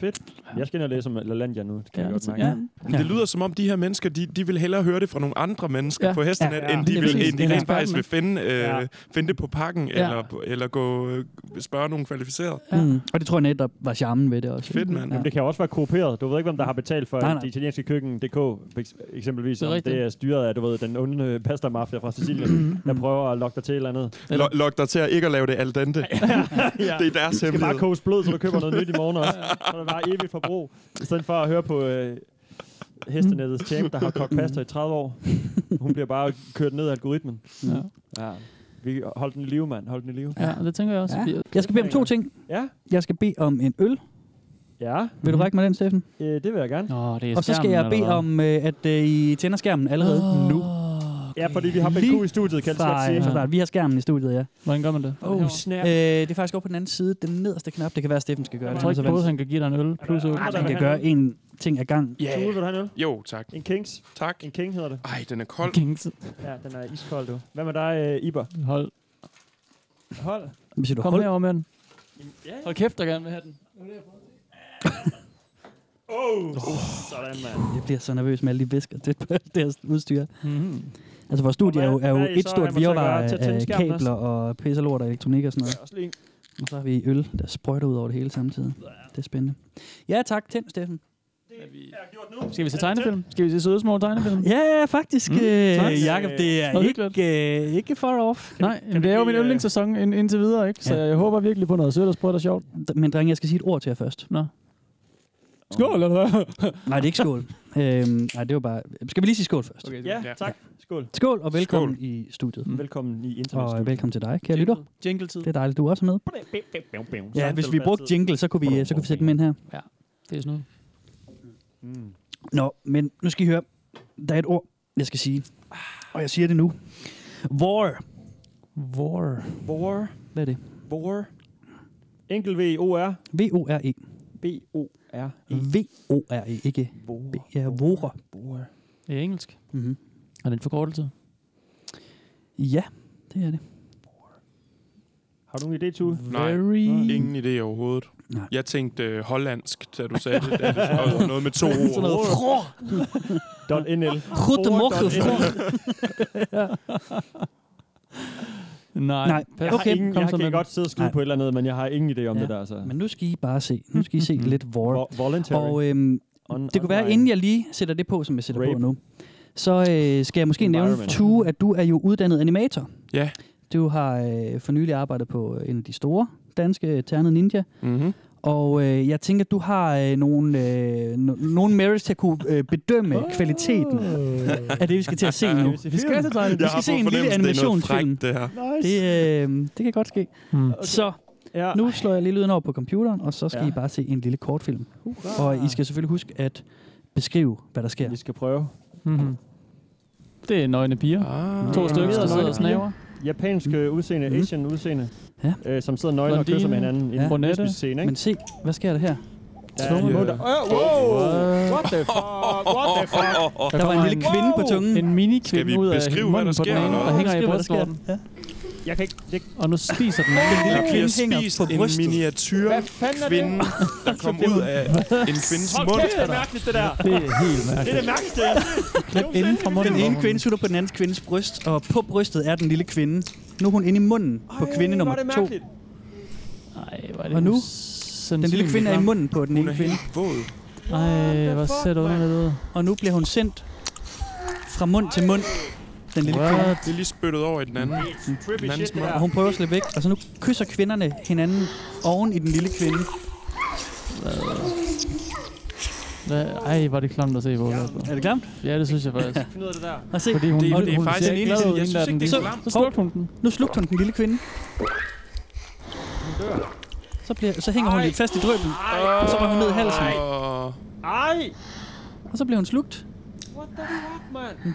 Speaker 3: Fedt. Jeg skal ind og læse om LaLandia nu. Det kan
Speaker 7: Ja,
Speaker 3: jeg godt
Speaker 7: det-
Speaker 3: mærke.
Speaker 7: ja.
Speaker 6: Ja. Det lyder som om, de her mennesker, de, de vil hellere høre det fra nogle andre mennesker
Speaker 7: Ja.
Speaker 6: ja. på hestenet,
Speaker 4: Ja,
Speaker 6: ja,
Speaker 4: ja.
Speaker 6: ja. end de,
Speaker 7: Det er
Speaker 6: vil,
Speaker 7: præcis.
Speaker 6: end
Speaker 7: Det
Speaker 6: de
Speaker 7: er
Speaker 6: rent faktisk
Speaker 7: eksperten.
Speaker 6: vil finde, øh,
Speaker 4: Ja.
Speaker 6: ja. finde det på pakken, ja. eller, eller gå, øh, spørge nogen kvalificeret.
Speaker 7: Ja.
Speaker 4: Mm. Og det tror jeg netop var charmen ved det også.
Speaker 6: Fedt, mand.
Speaker 4: Ja.
Speaker 3: Jamen, det kan jo også være kopieret. Du ved ikke, hvem der har betalt for
Speaker 4: Nej,
Speaker 3: nej,
Speaker 4: nej.
Speaker 3: nej. det italienske køkken.dk, eks- eksempelvis.
Speaker 7: Det er
Speaker 3: Det er,
Speaker 7: rigtigt.
Speaker 3: det er styret af, du ved, den onde øh, pasta-mafia fra
Speaker 6: Mhm.
Speaker 3: Sicilien, der prøver at lokke dig til et eller andet.
Speaker 7: Eller-
Speaker 6: Lo- Lok dig til at ikke at lave det al dente.
Speaker 3: ja.
Speaker 6: Det er deres
Speaker 3: Du skal bare
Speaker 6: hemmelighed.
Speaker 3: koges blod, så du køber noget nyt i morgen
Speaker 7: [LAUGHS]
Speaker 3: også. Så er det bare evigt forbrug. I stedet for at høre på øh, hestenettets champ, der har kogt pasta i 30 år. Hun bliver bare kørt ned af algoritmen.
Speaker 7: Ja.
Speaker 3: Ja. Vi hold den i live, mand. Hold den i live.
Speaker 7: ja, det tænker jeg også. Ja.
Speaker 4: Ja. Jeg skal bede om to ting.
Speaker 3: Ja.
Speaker 4: Jeg skal bede om en øl.
Speaker 3: Ja,
Speaker 4: Vil du række med den, Steffen?
Speaker 3: Mhm. øh, det vil jeg gerne.
Speaker 7: Nå, det er
Speaker 4: Og så skal
Speaker 7: Mm. skærmen,
Speaker 4: jeg bede
Speaker 7: eller hvad?
Speaker 4: om, øh, at øh, I tænder skærmen allerede
Speaker 7: Åh,
Speaker 4: nu.
Speaker 3: Ja, fordi vi har
Speaker 4: Lige
Speaker 3: BQ i studiet, kan jeg lige så
Speaker 4: Fra,
Speaker 3: godt sige.
Speaker 4: fra start. Vi har skærmen i studiet, ja.
Speaker 7: Hvordan gør man det?
Speaker 4: Oh, snap. Øh, det er faktisk over på den anden side. Den nederste knap. Det kan være, at Steffen skal gøre
Speaker 7: Jeg
Speaker 4: det.
Speaker 7: tror ikke,
Speaker 4: Han er så
Speaker 7: både han kan give dig en øl plus øl.
Speaker 4: vant- han kan gøre en ting ad gang.
Speaker 3: Yeah. Tue, vil du have en øl?
Speaker 6: Jo, tak.
Speaker 3: En Kings?
Speaker 6: Tak.
Speaker 3: En King hedder det.
Speaker 6: Ej, den er kold.
Speaker 7: Kings.
Speaker 3: Ja, den er iskold, du. Hvad med dig, øh, Iber?
Speaker 7: Hold.
Speaker 3: Hold.
Speaker 4: Hvad siger du?
Speaker 7: Kom
Speaker 4: Hold-
Speaker 7: herover med den.
Speaker 3: Ja.
Speaker 7: Hold kæft, jeg gerne vil have den. [LAUGHS]
Speaker 3: Sådan, mand.
Speaker 4: Jeg bliver så nervøs med alle de væsker tæt på alt det her udstyr.
Speaker 7: Mm-hmm.
Speaker 4: Altså, vores studie er jo, er jo
Speaker 3: hvad er I
Speaker 4: et
Speaker 3: så?
Speaker 4: stort
Speaker 3: Han må så
Speaker 4: virvar
Speaker 3: gøre til at tænde
Speaker 4: af
Speaker 3: skærmen
Speaker 4: kabler og pisselort og elektronik og sådan noget.
Speaker 3: Ja, også lige en.
Speaker 4: Og så har vi øl, der sprøjter ud over det hele samtidig. Det er spændende. Ja, tak. Tænd, Steffen.
Speaker 7: Skal vi se tegnefilm? Skal vi se søde små tegnefilm?
Speaker 4: Ja, ja, faktisk. Mm,
Speaker 7: tak.
Speaker 4: øh, Jakob, det er
Speaker 7: Nå, hyggeligt.
Speaker 4: ikke, øh, ikke far off.
Speaker 7: Nej, men det er jo min yndlingssæson ind, indtil videre, ikke? Så
Speaker 4: Ja.
Speaker 7: jeg håber virkelig på noget sødt og sprødt og sjovt.
Speaker 4: Men drenge, jeg skal sige et ord til jer først.
Speaker 7: Nå. Skål, eller hvad?
Speaker 4: [LAUGHS] Nej, det er ikke skål. øhm, nej, det var bare... Skal vi lige sige skål først? Okay.
Speaker 3: Ja, tak. Skål.
Speaker 4: Skål, og velkommen skål. i studiet.
Speaker 7: Mm.
Speaker 3: Velkommen i
Speaker 4: Og øh,
Speaker 3: internet.
Speaker 4: velkommen til dig, kære lytter.
Speaker 7: Jingle-tid.
Speaker 4: Det er dejligt, du også er med. Ja, hvis vi brugte jingle, så kunne vi, øh, så kunne vi sætte dem ind her.
Speaker 7: Det er sådan noget.
Speaker 3: Mm.
Speaker 4: Nå, men nu skal I høre. Der er et ord, jeg skal sige. Og jeg siger det nu. War.
Speaker 7: War.
Speaker 3: Vor.
Speaker 4: Hvad er det?
Speaker 3: Vor. Enkel V-O-R.
Speaker 4: V-O-R-E.
Speaker 3: B-O-R.
Speaker 4: V-O-R-E, E, ikke
Speaker 3: Vor.
Speaker 4: B. Ja, vore.
Speaker 3: Vor.
Speaker 7: Det er engelsk.
Speaker 4: Mm-hmm.
Speaker 7: Er det en forkortelse?
Speaker 4: Ja, det er det.
Speaker 3: Har du nogen idé, Tue?
Speaker 6: Nej.
Speaker 7: Very...
Speaker 6: Ingen idé overhovedet.
Speaker 4: Nej.
Speaker 6: Jeg tænkte øh, hollandsk, da du sagde det. Da det
Speaker 3: [LAUGHS]
Speaker 6: var noget med to
Speaker 4: Sådan noget.
Speaker 6: ord.
Speaker 4: Fror.
Speaker 3: Dot .nl.
Speaker 4: Goedemorgen, [LAUGHS]
Speaker 3: Vor.nl. [LAUGHS]
Speaker 4: fror.
Speaker 7: Nej.
Speaker 4: Nej,
Speaker 7: Pas.
Speaker 3: Jeg har
Speaker 4: Okay,
Speaker 3: ingen,
Speaker 7: kom
Speaker 3: jeg
Speaker 7: så
Speaker 3: kan
Speaker 7: med
Speaker 3: godt sidde og skrive
Speaker 4: Nej.
Speaker 3: på et eller andet, men jeg har ingen idé om
Speaker 4: Ja,
Speaker 3: det der. Så.
Speaker 4: Men nu skal I bare se. Nu skal I se lidt war.
Speaker 3: Vo- Voluntary.
Speaker 4: Og øhm,
Speaker 3: on-
Speaker 4: det kunne være,
Speaker 3: online.
Speaker 4: inden jeg lige sætter det på, som jeg sætter på
Speaker 3: Rape.
Speaker 4: nu, så øh, skal jeg måske nævne,
Speaker 3: Environment.
Speaker 4: Tue, at du er jo uddannet animator.
Speaker 6: Ja.
Speaker 4: Du har øh, for nylig arbejdet på øh, en af de store danske øh, Ternet Ninja,
Speaker 6: Mm-hmm.
Speaker 4: og øh, jeg tænker, at du har øh, nogle, øh, no- nogle merits til at kunne øh, bedømme
Speaker 3: Oh.
Speaker 4: kvaliteten af det, vi skal til at se nu.
Speaker 3: vi se
Speaker 4: Vi skal,
Speaker 3: film?
Speaker 4: altså tegne- vi
Speaker 6: Jeg
Speaker 4: skal
Speaker 6: har
Speaker 4: se
Speaker 6: på
Speaker 4: en lille
Speaker 6: fornemmelsen, det er noget
Speaker 4: animationsfilm.
Speaker 6: frækt, det her.
Speaker 3: Nice.
Speaker 4: Det, øh, det kan godt ske.
Speaker 7: Mm.
Speaker 4: Så
Speaker 3: ja.
Speaker 4: nu slår jeg lige lyden over på computeren, og så skal
Speaker 3: Ja.
Speaker 4: I bare se en lille kortfilm.
Speaker 3: Hurra.
Speaker 4: Og I skal selvfølgelig huske at beskrive, hvad der sker.
Speaker 3: Vi skal prøve.
Speaker 7: Mm-hmm. Det er nøgne piger.
Speaker 6: Ah.
Speaker 7: To stykker, der
Speaker 3: Nøgne
Speaker 7: sidder og
Speaker 3: piger.
Speaker 7: snaver.
Speaker 3: Mm. Japansk øh, udseende,
Speaker 4: Mhm.
Speaker 3: Asian udseende,
Speaker 4: Ja.
Speaker 3: øh, som sidder nøgne og
Speaker 7: Blondine.
Speaker 3: kysser med hinanden i
Speaker 4: Ja.
Speaker 3: en
Speaker 7: Brunette.
Speaker 3: lesbisk scene. Ikke?
Speaker 4: Men se, hvad sker der her?
Speaker 3: Der er
Speaker 7: Tvunget.
Speaker 3: en mund, der- Øh, wow! What the fuck? What the fuck?
Speaker 4: Der var en
Speaker 7: kommer
Speaker 4: lille
Speaker 7: en-
Speaker 4: kvinde på tungen.
Speaker 7: En mini
Speaker 6: Skal vi
Speaker 7: ud af
Speaker 6: beskrive,
Speaker 7: munden
Speaker 6: hvad der
Speaker 7: på den
Speaker 6: sker,
Speaker 7: ene,
Speaker 6: eller
Speaker 7: der
Speaker 6: hvad?
Speaker 7: hænger i
Speaker 4: Beskriv, hvad der sker.
Speaker 7: brystlorten.
Speaker 4: Ja.
Speaker 3: Jeg kan ikke... Det,
Speaker 7: Og nu spiser den.
Speaker 6: Der bliver
Speaker 4: kvinde hænger
Speaker 6: spist
Speaker 4: på
Speaker 6: en
Speaker 4: brystet.
Speaker 6: miniatyr
Speaker 3: hvad fanden er
Speaker 6: kvinde, der kom ud af en kvindes
Speaker 3: Hold
Speaker 6: mund.
Speaker 3: kæft, det er mærkeligt, det der.
Speaker 7: Det er helt
Speaker 3: Det
Speaker 7: mærkeligt.
Speaker 3: er det mærkeligste. jeg har set.
Speaker 7: Klip inden fra munden.
Speaker 4: Den ene kvinde sutter på den anden kvindes bryst, og på brystet er den lille kvinde. Nu er hun inde i munden på
Speaker 3: Ej,
Speaker 4: kvinde nummer
Speaker 3: hvor er det
Speaker 4: to.
Speaker 3: mærkeligt.
Speaker 7: Nej, hvor er det
Speaker 4: Og nu?
Speaker 7: usandsynligt
Speaker 4: Den lille kvinde er i
Speaker 7: klamt.
Speaker 4: munden på den
Speaker 6: Hun
Speaker 4: ene
Speaker 6: er
Speaker 4: kvinde,
Speaker 6: helt våd.
Speaker 7: Ej, hvor ser det underligt ud.
Speaker 4: og nu bliver hun sendt fra mund til mund, den lille kvinde.
Speaker 6: Det er lige spyttet over i den anden.
Speaker 3: Trippy
Speaker 6: Den anden
Speaker 3: shit, det
Speaker 6: smag.
Speaker 4: Og
Speaker 3: der.
Speaker 4: hun prøver at slippe væk, og så nu kysser kvinderne hinanden oven i den lille kvinde.
Speaker 7: Hvad? Ej, var det klamt at se på. altså.
Speaker 4: Er det klamt?
Speaker 7: Ja, det synes jeg faktisk.
Speaker 8: [LAUGHS]
Speaker 3: Find ud af det der.
Speaker 4: Og se,
Speaker 7: Fordi hun,
Speaker 6: Det,
Speaker 7: hun,
Speaker 6: det er
Speaker 7: hun
Speaker 6: faktisk
Speaker 7: ser
Speaker 6: en
Speaker 7: ikke glad ud,
Speaker 6: eneste. Jeg
Speaker 7: hende der,
Speaker 6: synes ikke, det
Speaker 7: den
Speaker 6: er
Speaker 7: lille.
Speaker 6: klamt.
Speaker 7: Så slugte hun den.
Speaker 4: nu slugte hun den lille kvinde. Så, bliver, så hænger hun
Speaker 3: Ej.
Speaker 4: lidt fast i drøben, og så var hun ned i halsen,
Speaker 6: Åh.
Speaker 3: Ej!
Speaker 4: og så bliver hun slugt.
Speaker 3: What the fuck, mand?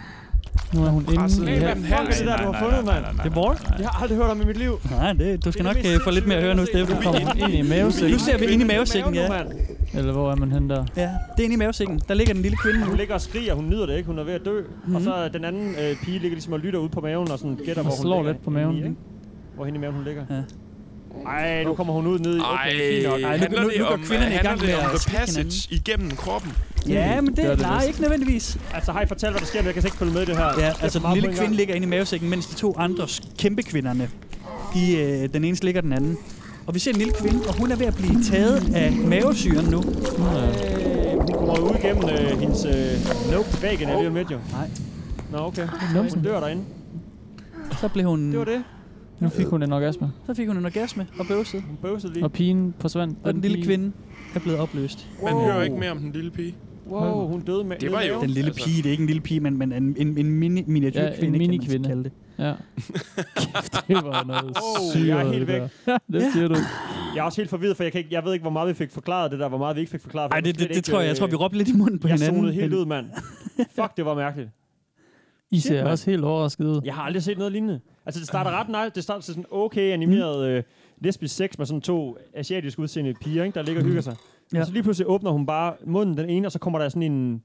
Speaker 7: Nu er hun
Speaker 6: Presset
Speaker 7: inde i
Speaker 6: ind
Speaker 7: her.
Speaker 6: med den
Speaker 3: Fuck er det der, du har fundet, mand?
Speaker 4: Det er War.
Speaker 3: Jeg har aldrig hørt om i mit liv.
Speaker 4: Nej, det, du skal
Speaker 3: Det er
Speaker 4: nok
Speaker 3: det mest
Speaker 4: øh, få lidt mere at høre nu,
Speaker 3: sindssyge,
Speaker 4: Steffen.
Speaker 3: jeg
Speaker 7: Kommer hun ind i mavesækken?
Speaker 4: Nu ser vi ind i mavesækken, ja.
Speaker 3: Mave nu, mand.
Speaker 7: Eller hvor er man henne der?
Speaker 4: Ja, det er inde i mavesækken. Der ligger den lille kvinde nu. Mhm.
Speaker 3: Hun ligger og skriger, hun nyder det ikke, hun er ved at dø. Mm-hmm. Og så er den anden øh, pige ligger ligesom og lytter ud på maven og sådan gætter,
Speaker 7: Og
Speaker 3: hvor hun
Speaker 7: slår
Speaker 3: ligger.
Speaker 7: lidt på maven,
Speaker 3: henne i,
Speaker 7: ikke?
Speaker 3: Hvor hende i maven hun ligger.
Speaker 4: Ja.
Speaker 3: Ej, nu kommer hun ud ned i...
Speaker 6: Ej,
Speaker 3: Okay, fint nok.
Speaker 4: Ej, nu-
Speaker 6: handler
Speaker 4: nu-
Speaker 6: det
Speaker 4: nu går
Speaker 6: om,
Speaker 4: kvinderne i
Speaker 6: handler
Speaker 4: gang
Speaker 6: det
Speaker 4: med
Speaker 6: om
Speaker 4: at
Speaker 6: the
Speaker 4: slikke
Speaker 6: passage igennem kroppen?
Speaker 4: Ja, men det,
Speaker 7: det
Speaker 4: det
Speaker 7: er
Speaker 4: nej,
Speaker 7: næsten.
Speaker 4: ikke nødvendigvis.
Speaker 3: Altså, hej, fortæl, hvad der sker, men jeg kan slet ikke følge med i det her.
Speaker 4: Ja,
Speaker 3: Jeg
Speaker 4: altså
Speaker 3: får
Speaker 4: den
Speaker 3: meget
Speaker 4: lille
Speaker 3: på en
Speaker 4: kvinde
Speaker 3: gang.
Speaker 4: ligger inde i mavesækken, mens de to andre s- kæmpe kvinderne, de, øh, den ene slikker den anden. Og vi ser en lille kvinde, og hun er ved at blive taget af mavesyren nu.
Speaker 3: Hun kommer ud gennem øh, hendes... Øh, nope, væggen er lige om lidt, jo.
Speaker 4: Nej.
Speaker 3: Nå, okay.
Speaker 7: numsen.
Speaker 3: Hun dør derinde.
Speaker 4: Så blev hun...
Speaker 3: Det var det.
Speaker 7: Nu fik hun en orgasme,
Speaker 4: Så fik hun en orgasme og bøvsede.
Speaker 3: Hun bøvsede lige.
Speaker 7: og pigen forsvandt.
Speaker 4: Og den lille
Speaker 7: pige-
Speaker 4: kvinde er blevet opløst.
Speaker 6: Man hører ikke mere om den lille pige.
Speaker 3: Wow, hun døde med...
Speaker 6: Det var jo-
Speaker 4: Den lille
Speaker 6: Altså-
Speaker 4: pige, det er ikke en lille pige, men, men en, en, en mini, miniatyrkvinde,
Speaker 7: Ja, en
Speaker 4: kan man
Speaker 7: minikvinde.
Speaker 4: kalde det. [LAUGHS]
Speaker 7: Ja. Kæft, det var
Speaker 3: [LAUGHS]
Speaker 7: noget
Speaker 3: Wow,
Speaker 7: syret,
Speaker 3: jeg er helt
Speaker 7: det der. [LAUGHS]
Speaker 3: væk.
Speaker 7: det siger du.
Speaker 3: Jeg er også helt forvirret, for jeg, kan ikke, jeg ved ikke, hvor meget vi fik forklaret det der, hvor meget vi ikke fik forklaret. for
Speaker 4: Ej,
Speaker 3: jeg
Speaker 4: det,
Speaker 3: ved
Speaker 4: det,
Speaker 3: slet
Speaker 4: det
Speaker 3: ikke, øh,
Speaker 4: tror jeg. Jeg tror, vi råbte lidt i munden på
Speaker 3: Jeg
Speaker 4: hinanden.
Speaker 3: zonede helt
Speaker 4: men-
Speaker 3: ud, mand. Fuck, det var mærkeligt.
Speaker 7: I ser
Speaker 3: mand.
Speaker 7: også helt overrasket ud.
Speaker 3: Jeg har aldrig set noget lignende. Altså, det starter ret nej. Det starter sådan okay animeret øh, lesbisk sex med sådan to asiatisk udseende piger, ikke, der ligger og hygger sig. Ja.
Speaker 4: Ja.
Speaker 3: Og så lige pludselig åbner hun bare munden den ene, og så kommer der sådan en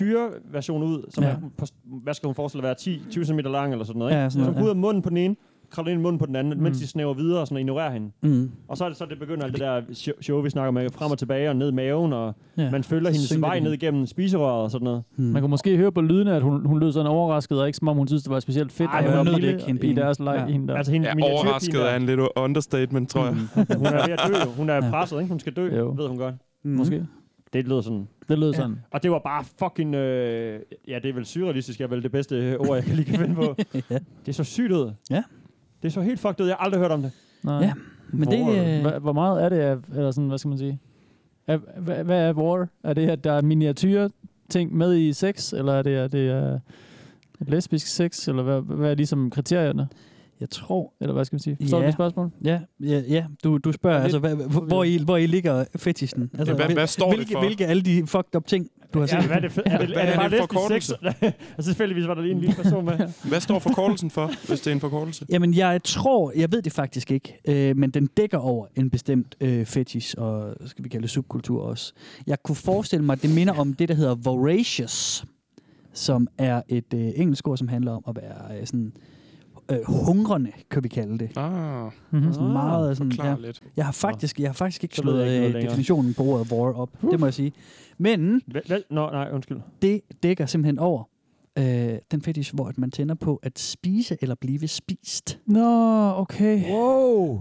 Speaker 3: miniatyrversion ud, som
Speaker 4: Ja.
Speaker 3: ja. er, på, hvad skal hun forestille at være, 10-20 cm lang eller sådan noget. Ikke?
Speaker 4: Ja, sådan noget,
Speaker 3: Ja, sådan så hun går ud af munden på den ene, kravler ind i munden på den anden, mm. mens
Speaker 7: Mm.
Speaker 3: de snæver videre og sådan og ignorerer hende.
Speaker 4: Mm.
Speaker 3: Og så er det så, det begynder alt det der sho- show, vi snakker med, frem og tilbage og ned i maven, og
Speaker 4: Ja.
Speaker 3: ja. man følger
Speaker 4: Så
Speaker 3: hendes
Speaker 4: synker
Speaker 3: vej
Speaker 4: det.
Speaker 3: ned igennem spiserøret og sådan noget.
Speaker 4: Mm.
Speaker 7: Hmm. Man kunne måske høre på lydene, at hun, hun lød sådan overrasket, og ikke som om hun synes, det var specielt fedt.
Speaker 4: Ej,
Speaker 7: at
Speaker 4: hun
Speaker 7: var
Speaker 4: nød det
Speaker 7: lille
Speaker 4: ikke, hende
Speaker 7: I
Speaker 4: pigen.
Speaker 7: deres leg.
Speaker 4: Ja.
Speaker 7: Ja. Hende der.
Speaker 3: Altså hende
Speaker 6: Ja,
Speaker 3: miniatyrpigen
Speaker 6: overrasket
Speaker 3: der.
Speaker 6: er en lidt understatement, tror jeg.
Speaker 3: Hun er ved at dø, jo. hun er presset, ikke? Hun skal dø,
Speaker 7: Jo.
Speaker 3: jo. ved hun godt.
Speaker 4: Mm.
Speaker 7: Måske.
Speaker 3: Det lyder sådan.
Speaker 7: Det lød sådan.
Speaker 3: Og det var bare fucking... Øh, ja, det er vel surrealistisk, er vel det bedste øh, ord, jeg kan lige kan finde
Speaker 7: [LAUGHS]
Speaker 3: på.
Speaker 4: Ja.
Speaker 3: Det så sygt ud.
Speaker 4: Ja.
Speaker 3: Det så helt fucked ud. Jeg har aldrig hørt om det.
Speaker 7: Nej.
Speaker 4: Ja, Men det, øh,
Speaker 7: Hvor, hvor meget er det af, eller sådan, hvad skal man sige? Er, hvad, hvad er war? Er det, at der er miniatyr ting med i sex, eller er det, at det er lesbisk sex, eller hvad, hvad er ligesom kriterierne?
Speaker 4: jeg tror,
Speaker 7: Eller hvad skal man sige? Forstår
Speaker 4: Ja.
Speaker 7: du mit spørgsmål?
Speaker 4: Ja, ja, ja. Du, du spørger,
Speaker 7: Jeg er
Speaker 4: altså,
Speaker 7: lidt
Speaker 4: hvad, hvor, hvor, I, hvor I ligger fetisen. Altså,
Speaker 6: Ja, hvad-
Speaker 4: hvil-
Speaker 6: hvad står det
Speaker 4: hvilke,
Speaker 6: for?
Speaker 4: Hvilke alle de fucked up ting, du har set?
Speaker 3: Ja, hvad er det, fe- er det,
Speaker 6: Hvad
Speaker 3: er det
Speaker 6: er
Speaker 3: bare
Speaker 6: det
Speaker 3: lidt sex?
Speaker 6: forkortelse?
Speaker 3: [LAUGHS] og selvfølgelig var der lige en lille person med.
Speaker 6: [LAUGHS] Hvad står forkortelsen for, hvis det er en forkortelse?
Speaker 4: Jamen, jeg tror, jeg ved det faktisk ikke, øh, men den dækker over en bestemt øh, fetish, og skal vi kalde det subkultur også. Jeg kunne forestille mig, at det minder om det, der hedder voracious, som er et øh, engelsk ord, som handler om at være øh, sådan øh, hungrende, kan vi kalde det.
Speaker 6: Ah,
Speaker 7: Mm-hmm.
Speaker 4: Sådan
Speaker 3: Ah,
Speaker 4: meget sådan,
Speaker 6: forklar lidt.
Speaker 4: Jeg har faktisk, jeg har faktisk ikke
Speaker 3: Så ved jeg
Speaker 4: slået
Speaker 3: ikke noget
Speaker 4: øh,
Speaker 3: længere.
Speaker 4: definitionen på ordet war op, det må jeg sige. Men
Speaker 3: Vel, vel, nå, nej, undskyld.
Speaker 4: det dækker simpelthen over øh, den fetish, hvor at man tænder på at spise eller blive spist.
Speaker 7: Nå, okay.
Speaker 3: Wow!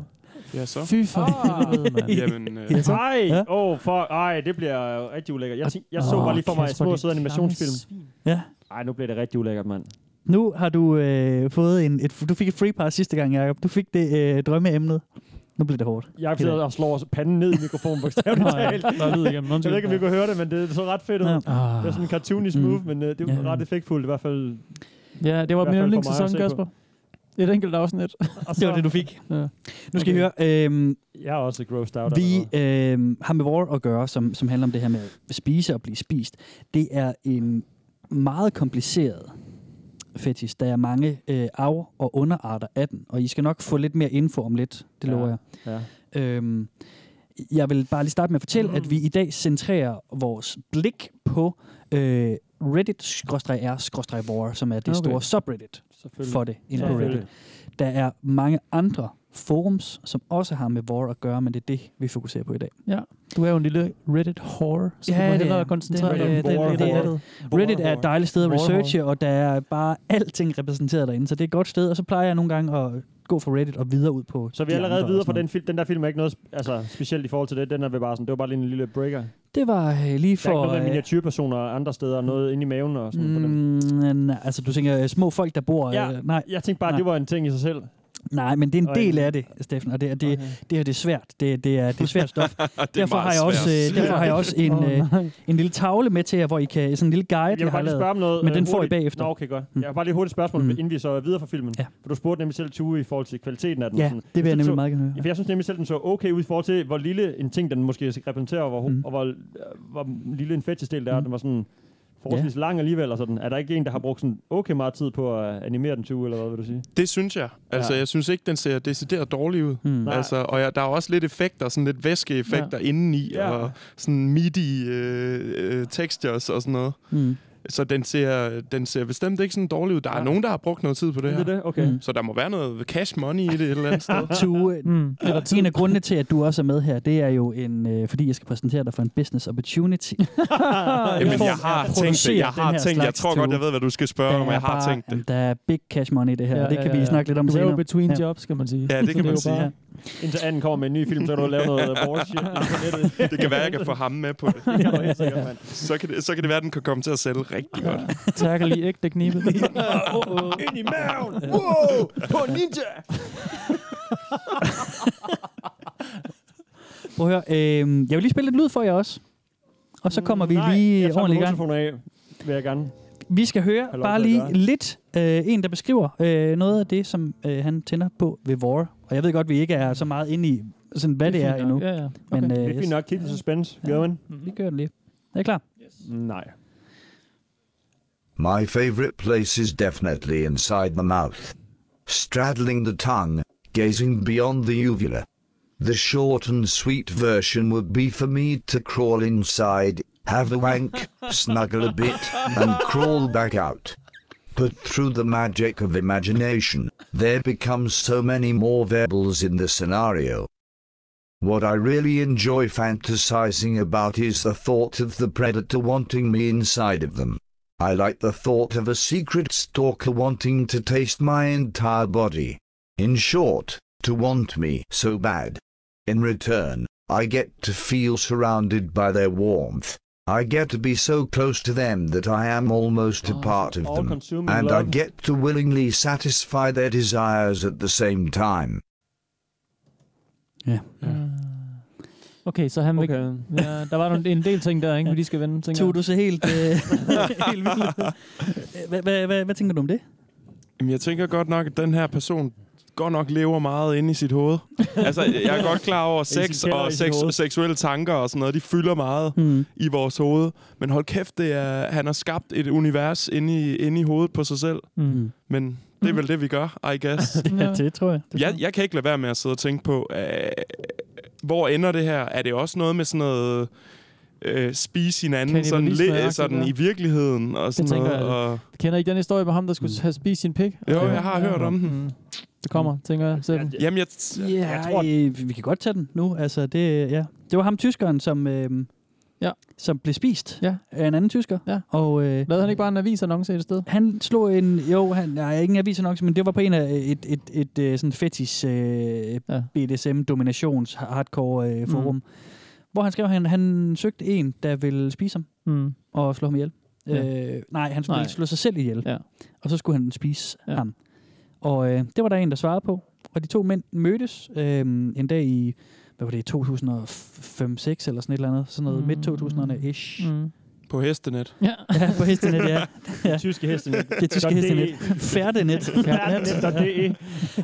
Speaker 6: Ja, så.
Speaker 7: Fy for helvede, mand.
Speaker 6: [LAUGHS] Jamen, øh,
Speaker 4: Ja, så.
Speaker 3: Ej,
Speaker 4: Ja.
Speaker 3: Ah. ja. oh, fuck, ej, det bliver rigtig ulækkert. Jeg, tænkte, jeg så
Speaker 7: Åh,
Speaker 3: bare lige for mig
Speaker 7: Kasper,
Speaker 3: små
Speaker 7: det
Speaker 3: søde
Speaker 7: klamme
Speaker 3: animationsfilm.
Speaker 7: svin.
Speaker 4: Ja.
Speaker 3: Ej, nu bliver det rigtig ulækkert, mand.
Speaker 4: Nu har du øh, fået en, et, du fik et free pass sidste gang, Jacob. Du fik det øh, drømmeemnet. Nu bliver det hårdt.
Speaker 3: Jeg sidder og slår panden ned i
Speaker 7: [LAUGHS]
Speaker 3: mikrofonen, bogstaveligt
Speaker 7: Nej,
Speaker 3: talt.
Speaker 7: der er lyd igennem.
Speaker 3: Jeg ved ikke, om vi
Speaker 7: Undskyld.
Speaker 3: kunne høre det, men det så ret fedt ud.
Speaker 4: Ja.
Speaker 7: Ah.
Speaker 3: Det var sådan en cartoonish move,
Speaker 4: Mm.
Speaker 3: men øh, det var
Speaker 4: Ja.
Speaker 3: ret effektfuldt i hvert fald.
Speaker 7: Ja, det var
Speaker 3: I hvert fald
Speaker 7: min
Speaker 3: for mig at
Speaker 7: yndlingssæson,
Speaker 3: se
Speaker 7: Kasper. Et enkelt afsnit.
Speaker 4: [LAUGHS]
Speaker 3: Og
Speaker 4: Det var det, du fik.
Speaker 7: Ja.
Speaker 4: Nu skal okay. I høre, øh,
Speaker 3: Jeg er også grossed out.
Speaker 4: vi
Speaker 3: allerede.
Speaker 4: øh, har med War at gøre, som, som handler om det her med at spise og blive spist. Det er en meget kompliceret fetish. Der er mange øh, af- og underarter af den, og I skal nok få lidt mere info om lidt, det
Speaker 3: Ja.
Speaker 4: lover jeg.
Speaker 3: Ja.
Speaker 4: Øhm, jeg vil bare lige starte med at fortælle, mm. at vi i dag centrerer vores blik på øh, reddit-r-war, som er det okay.
Speaker 7: Okay.
Speaker 4: store subreddit
Speaker 3: Selvfølgelig.
Speaker 4: for det inde på
Speaker 3: Selvfølgelig.
Speaker 4: Reddit. Der er mange andre forums, som også har med war at gøre, men det er det, vi fokuserer på i dag.
Speaker 7: Du er jo en lille Reddit whore, så
Speaker 4: Ja,
Speaker 7: ja, du må
Speaker 4: det
Speaker 7: hellere
Speaker 4: er-
Speaker 7: koncentrere
Speaker 4: det er-
Speaker 7: dig om
Speaker 4: det er-
Speaker 7: whore-
Speaker 4: det er-
Speaker 7: nettet.
Speaker 4: Reddit er et dejligt sted at
Speaker 7: War hall.
Speaker 4: researche, og der er bare alting repræsenteret derinde, så det er et godt sted, og så plejer jeg nogle gange at gå fra Reddit og videre ud på
Speaker 3: Så er vi
Speaker 4: de
Speaker 3: er allerede
Speaker 4: andre og
Speaker 3: videre
Speaker 4: sådan
Speaker 3: fra
Speaker 4: noget.
Speaker 3: den film. Den der film er ikke noget sp- altså, specielt i forhold til det. Den er ved bare sådan, det var bare lige en lille breaker. Der
Speaker 4: Det var øh, lige
Speaker 3: er ikke
Speaker 4: for...
Speaker 3: noget med
Speaker 4: øh,
Speaker 3: miniatyrpersoner og andre steder og noget inde i maven og sådan mm. på den.
Speaker 4: Mm, nej, altså du tænker øh, små folk, der bor... Øh,
Speaker 3: Ja.
Speaker 4: Nej,
Speaker 3: Jeg tænkte bare,
Speaker 4: Nej.
Speaker 3: at det var en ting i sig
Speaker 6: [LAUGHS]
Speaker 3: selv.
Speaker 4: nej, men det er en
Speaker 3: Og
Speaker 4: del
Speaker 3: en-
Speaker 4: af det, Steffen, og det, er- det, det her det er svært. Det, det, er, det er svært
Speaker 3: [LAUGHS]
Speaker 4: stof.
Speaker 6: det er
Speaker 4: derfor, har
Speaker 6: meget
Speaker 4: jeg også,
Speaker 6: svært.
Speaker 4: øh, derfor har jeg også en,
Speaker 7: Åh,
Speaker 4: øh,
Speaker 7: nej.
Speaker 4: en lille tavle med til jer, hvor I kan... Sådan en lille guide,
Speaker 3: Jeg
Speaker 4: jeg
Speaker 3: vil
Speaker 4: har
Speaker 3: bare lige
Speaker 4: lavet.
Speaker 3: spørge om noget.
Speaker 4: Men
Speaker 3: øh,
Speaker 4: den får I
Speaker 3: hurtigt.
Speaker 4: bagefter.
Speaker 3: Nå, okay, godt.
Speaker 4: Mm.
Speaker 3: Jeg har bare lige hurtigt spørgsmål,
Speaker 4: Mm.
Speaker 3: inden vi så er videre fra filmen.
Speaker 4: Ja.
Speaker 3: For du spurgte nemlig selv Tue i forhold til kvaliteten af den.
Speaker 4: Ja,
Speaker 3: Sådan,
Speaker 4: det vil jeg
Speaker 3: synes,
Speaker 4: nemlig
Speaker 3: så-
Speaker 4: meget gerne
Speaker 3: Ja,
Speaker 4: høre.
Speaker 3: for jeg synes nemlig selv, den så okay ud i forhold til, hvor lille en ting den måske repræsenterer, og hvor,
Speaker 4: Mm.
Speaker 3: mm. og hvor, øh, hvor lille en fetchisdel der er.
Speaker 4: Mm.
Speaker 3: Den var sådan forholdsvis lang alligevel, og sådan. Er der ikke en, der har brugt sådan okay meget tid på at animere den til uge, eller hvad vil du sige?
Speaker 6: Det synes jeg. Altså,
Speaker 3: Ja. Hmm.
Speaker 6: jeg synes ikke, den ser decideret dårlig ud.
Speaker 4: Mm.
Speaker 3: Nej.
Speaker 6: Altså, og jeg, der er også lidt effekter, sådan lidt væskeeffekter ja. indeni,
Speaker 3: Ja.
Speaker 6: og sådan midi øh, øh, textures og sådan noget.
Speaker 4: Mm.
Speaker 6: Så den ser, den ser bestemt ikke sådan dårlig ud. Der er
Speaker 3: Ja.
Speaker 6: nogen, der har brugt noget tid på det
Speaker 3: Det
Speaker 6: her.
Speaker 3: er det, okay.
Speaker 4: Mm.
Speaker 3: Mm.
Speaker 6: Så der må være noget cash money i det et eller
Speaker 4: [LAUGHS]
Speaker 6: andet sted.
Speaker 3: [LAUGHS]
Speaker 4: Tue,
Speaker 7: Mm. Eller tid.
Speaker 4: en af grundene til, at du også er med her, det er jo en, øh, fordi jeg skal præsentere dig for en business opportunity.
Speaker 6: Jamen,
Speaker 4: form
Speaker 6: jeg har
Speaker 4: af at
Speaker 6: tænkt det.
Speaker 4: producere
Speaker 6: Jeg har
Speaker 4: den her
Speaker 6: tænkt, jeg
Speaker 4: slags
Speaker 6: tror godt,
Speaker 4: tue.
Speaker 6: jeg ved, hvad du skal spørge om,
Speaker 4: Der
Speaker 6: og
Speaker 4: er
Speaker 6: jeg har
Speaker 4: bare-
Speaker 6: tænkt det.
Speaker 4: jamen, Der er big cash money i det her, ja, og det kan ja, vi snakke lidt om senere.
Speaker 7: Row between
Speaker 4: Ja.
Speaker 7: ja. jobs, kan man sige.
Speaker 6: Ja, det kan
Speaker 7: Så
Speaker 6: man
Speaker 7: er jo
Speaker 6: sige.
Speaker 7: bare-
Speaker 3: Indtil anden kommer med en ny film, så kan du lave
Speaker 4: [LAUGHS]
Speaker 3: noget bullshit.
Speaker 6: Det kan være, jeg kan få ham med på
Speaker 3: [LAUGHS]
Speaker 6: det.
Speaker 3: Det kan du helt sikkert, mand.
Speaker 6: Så kan det, så kan det være, at den kan komme til at sælge rigtig godt.
Speaker 7: Tackle lige ægte [LAUGHS] knibe.
Speaker 6: Ind i maven! Wow! På ninja!
Speaker 4: Prøv at høre, øh, jeg vil lige spille lidt lyd for jer også. Og så kommer vi
Speaker 3: Nej,
Speaker 4: lige
Speaker 3: jeg tager min
Speaker 4: ordentligt i gang.
Speaker 3: motorfon af, vil jeg gerne.
Speaker 4: Vi skal høre
Speaker 3: Har lov
Speaker 4: bare
Speaker 3: til at
Speaker 4: lige
Speaker 3: gøre.
Speaker 4: lidt øh, en, der beskriver øh, noget af det, som øh, han tænder på ved Vore. Og jeg ved godt, vi ikke er så meget inde i, sådan, hvad det, er
Speaker 7: fint nok.
Speaker 4: endnu.
Speaker 7: Ja, ja.
Speaker 4: Men
Speaker 7: Okay.
Speaker 4: øh,
Speaker 3: Det er
Speaker 4: yes,
Speaker 3: fint nok. Keep the suspense. Gør man?
Speaker 4: vi kører den lige. Er I klar?
Speaker 3: Nej.
Speaker 5: My favorite place is definitely inside the mouth. Straddling the tongue, gazing beyond the uvula. The short and sweet version would be for me to crawl inside, have a wank, snuggle a bit, and crawl back out. But through the magic of imagination, there become so many more variables in the scenario. What I really enjoy fantasizing about is the thought of the predator wanting me inside of them. I like the thought of a secret stalker wanting to taste my entire body. In short, to want me so bad. In return, I get to feel surrounded by their warmth. I get to be so close to them that I am almost a part of them.
Speaker 3: all-consuming
Speaker 5: And I
Speaker 3: love.
Speaker 5: get to willingly satisfy their desires at the same time.
Speaker 4: Ja.
Speaker 7: Okay, så han okay.
Speaker 3: Okay.
Speaker 7: Ja, der var nogle- en del ting der, ikke? Vi lige skal vende, tænker
Speaker 4: Tog
Speaker 7: jeg.
Speaker 4: du så helt, øh, [LAUGHS] helt vildt ud? Hvad- hvad- hvad- Hvad tænker du om det?
Speaker 6: Jamen, jeg tænker godt nok, at den her person godt nok lever meget inde i sit
Speaker 4: [LAUGHS]
Speaker 6: hoved. Altså, jeg er godt klar over, at
Speaker 3: sin
Speaker 6: sex
Speaker 3: kælder
Speaker 6: og
Speaker 3: i sit
Speaker 6: sex,
Speaker 3: hoved.
Speaker 6: seksuelle tanker og sådan noget, de fylder meget
Speaker 4: Mm.
Speaker 6: i vores hoved. Men hold kæft, det er, han har skabt et univers inde i, inde i hovedet på sig selv.
Speaker 7: Mm.
Speaker 6: Men det er vel det, vi gør, I guess.
Speaker 4: [LAUGHS]
Speaker 7: Ja.
Speaker 4: det tror jeg.
Speaker 6: jeg, jeg kan ikke lade være med at sidde og tænke på, øh, hvor ender det her? Er det også noget med sådan noget øh, spise hinanden sådan,
Speaker 7: Kannibalisme,
Speaker 6: lidt,
Speaker 7: agtigt
Speaker 6: sådan
Speaker 7: der?
Speaker 6: i virkeligheden og sådan
Speaker 7: tænker
Speaker 6: noget?
Speaker 7: jeg, det-
Speaker 6: Og, Mm.
Speaker 7: Kender I ikke den historie med ham, der skulle have spist sin pik?
Speaker 6: jo, jeg har hørt om den. Mm.
Speaker 7: Det kommer, tænker jeg. Selv.
Speaker 6: Jamen, jeg,
Speaker 4: Ja, jeg tror, øh, vi kan godt tage den nu. Altså, det, ja. det var ham tyskeren, som, øh,
Speaker 7: Ja.
Speaker 4: som blev spist
Speaker 7: Ja.
Speaker 4: af en anden tysker.
Speaker 7: Ja.
Speaker 4: Og øh,
Speaker 7: Lavede han ikke bare en avisannonce et sted?
Speaker 4: han slog en... Jo, han, nej, ikke en avisannonce, men det var på en af et, et, et, et sådan fetis øh,
Speaker 7: Ja.
Speaker 4: BDSM-dominations-hardcore øh, forum, mm. hvor han skrev, at han, han søgte en, der ville spise ham
Speaker 7: Mm.
Speaker 4: og slå ham ihjel.
Speaker 7: Ja.
Speaker 4: Øh, nej, han skulle
Speaker 7: Nej.
Speaker 4: slå sig selv ihjel.
Speaker 7: Ja.
Speaker 4: Og så skulle han spise ja.
Speaker 7: Ja.
Speaker 4: ham. Og øh, det var der en, der svarede på. Og de to mænd mødtes øh, en dag i, hvad var det, 2005 6 eller sådan et eller andet. Sådan noget mm.
Speaker 7: Mm.
Speaker 4: midt-2000'erne-ish. Mm.
Speaker 7: Mm.
Speaker 6: på hestenet.
Speaker 7: Ja.
Speaker 4: [LAUGHS] Ja, på hestenet, ja.
Speaker 3: Det tyske hesten.
Speaker 4: Det tyske
Speaker 3: Dot
Speaker 4: hestenet.
Speaker 3: DE.
Speaker 4: Færdenet.
Speaker 3: Færdenet.de.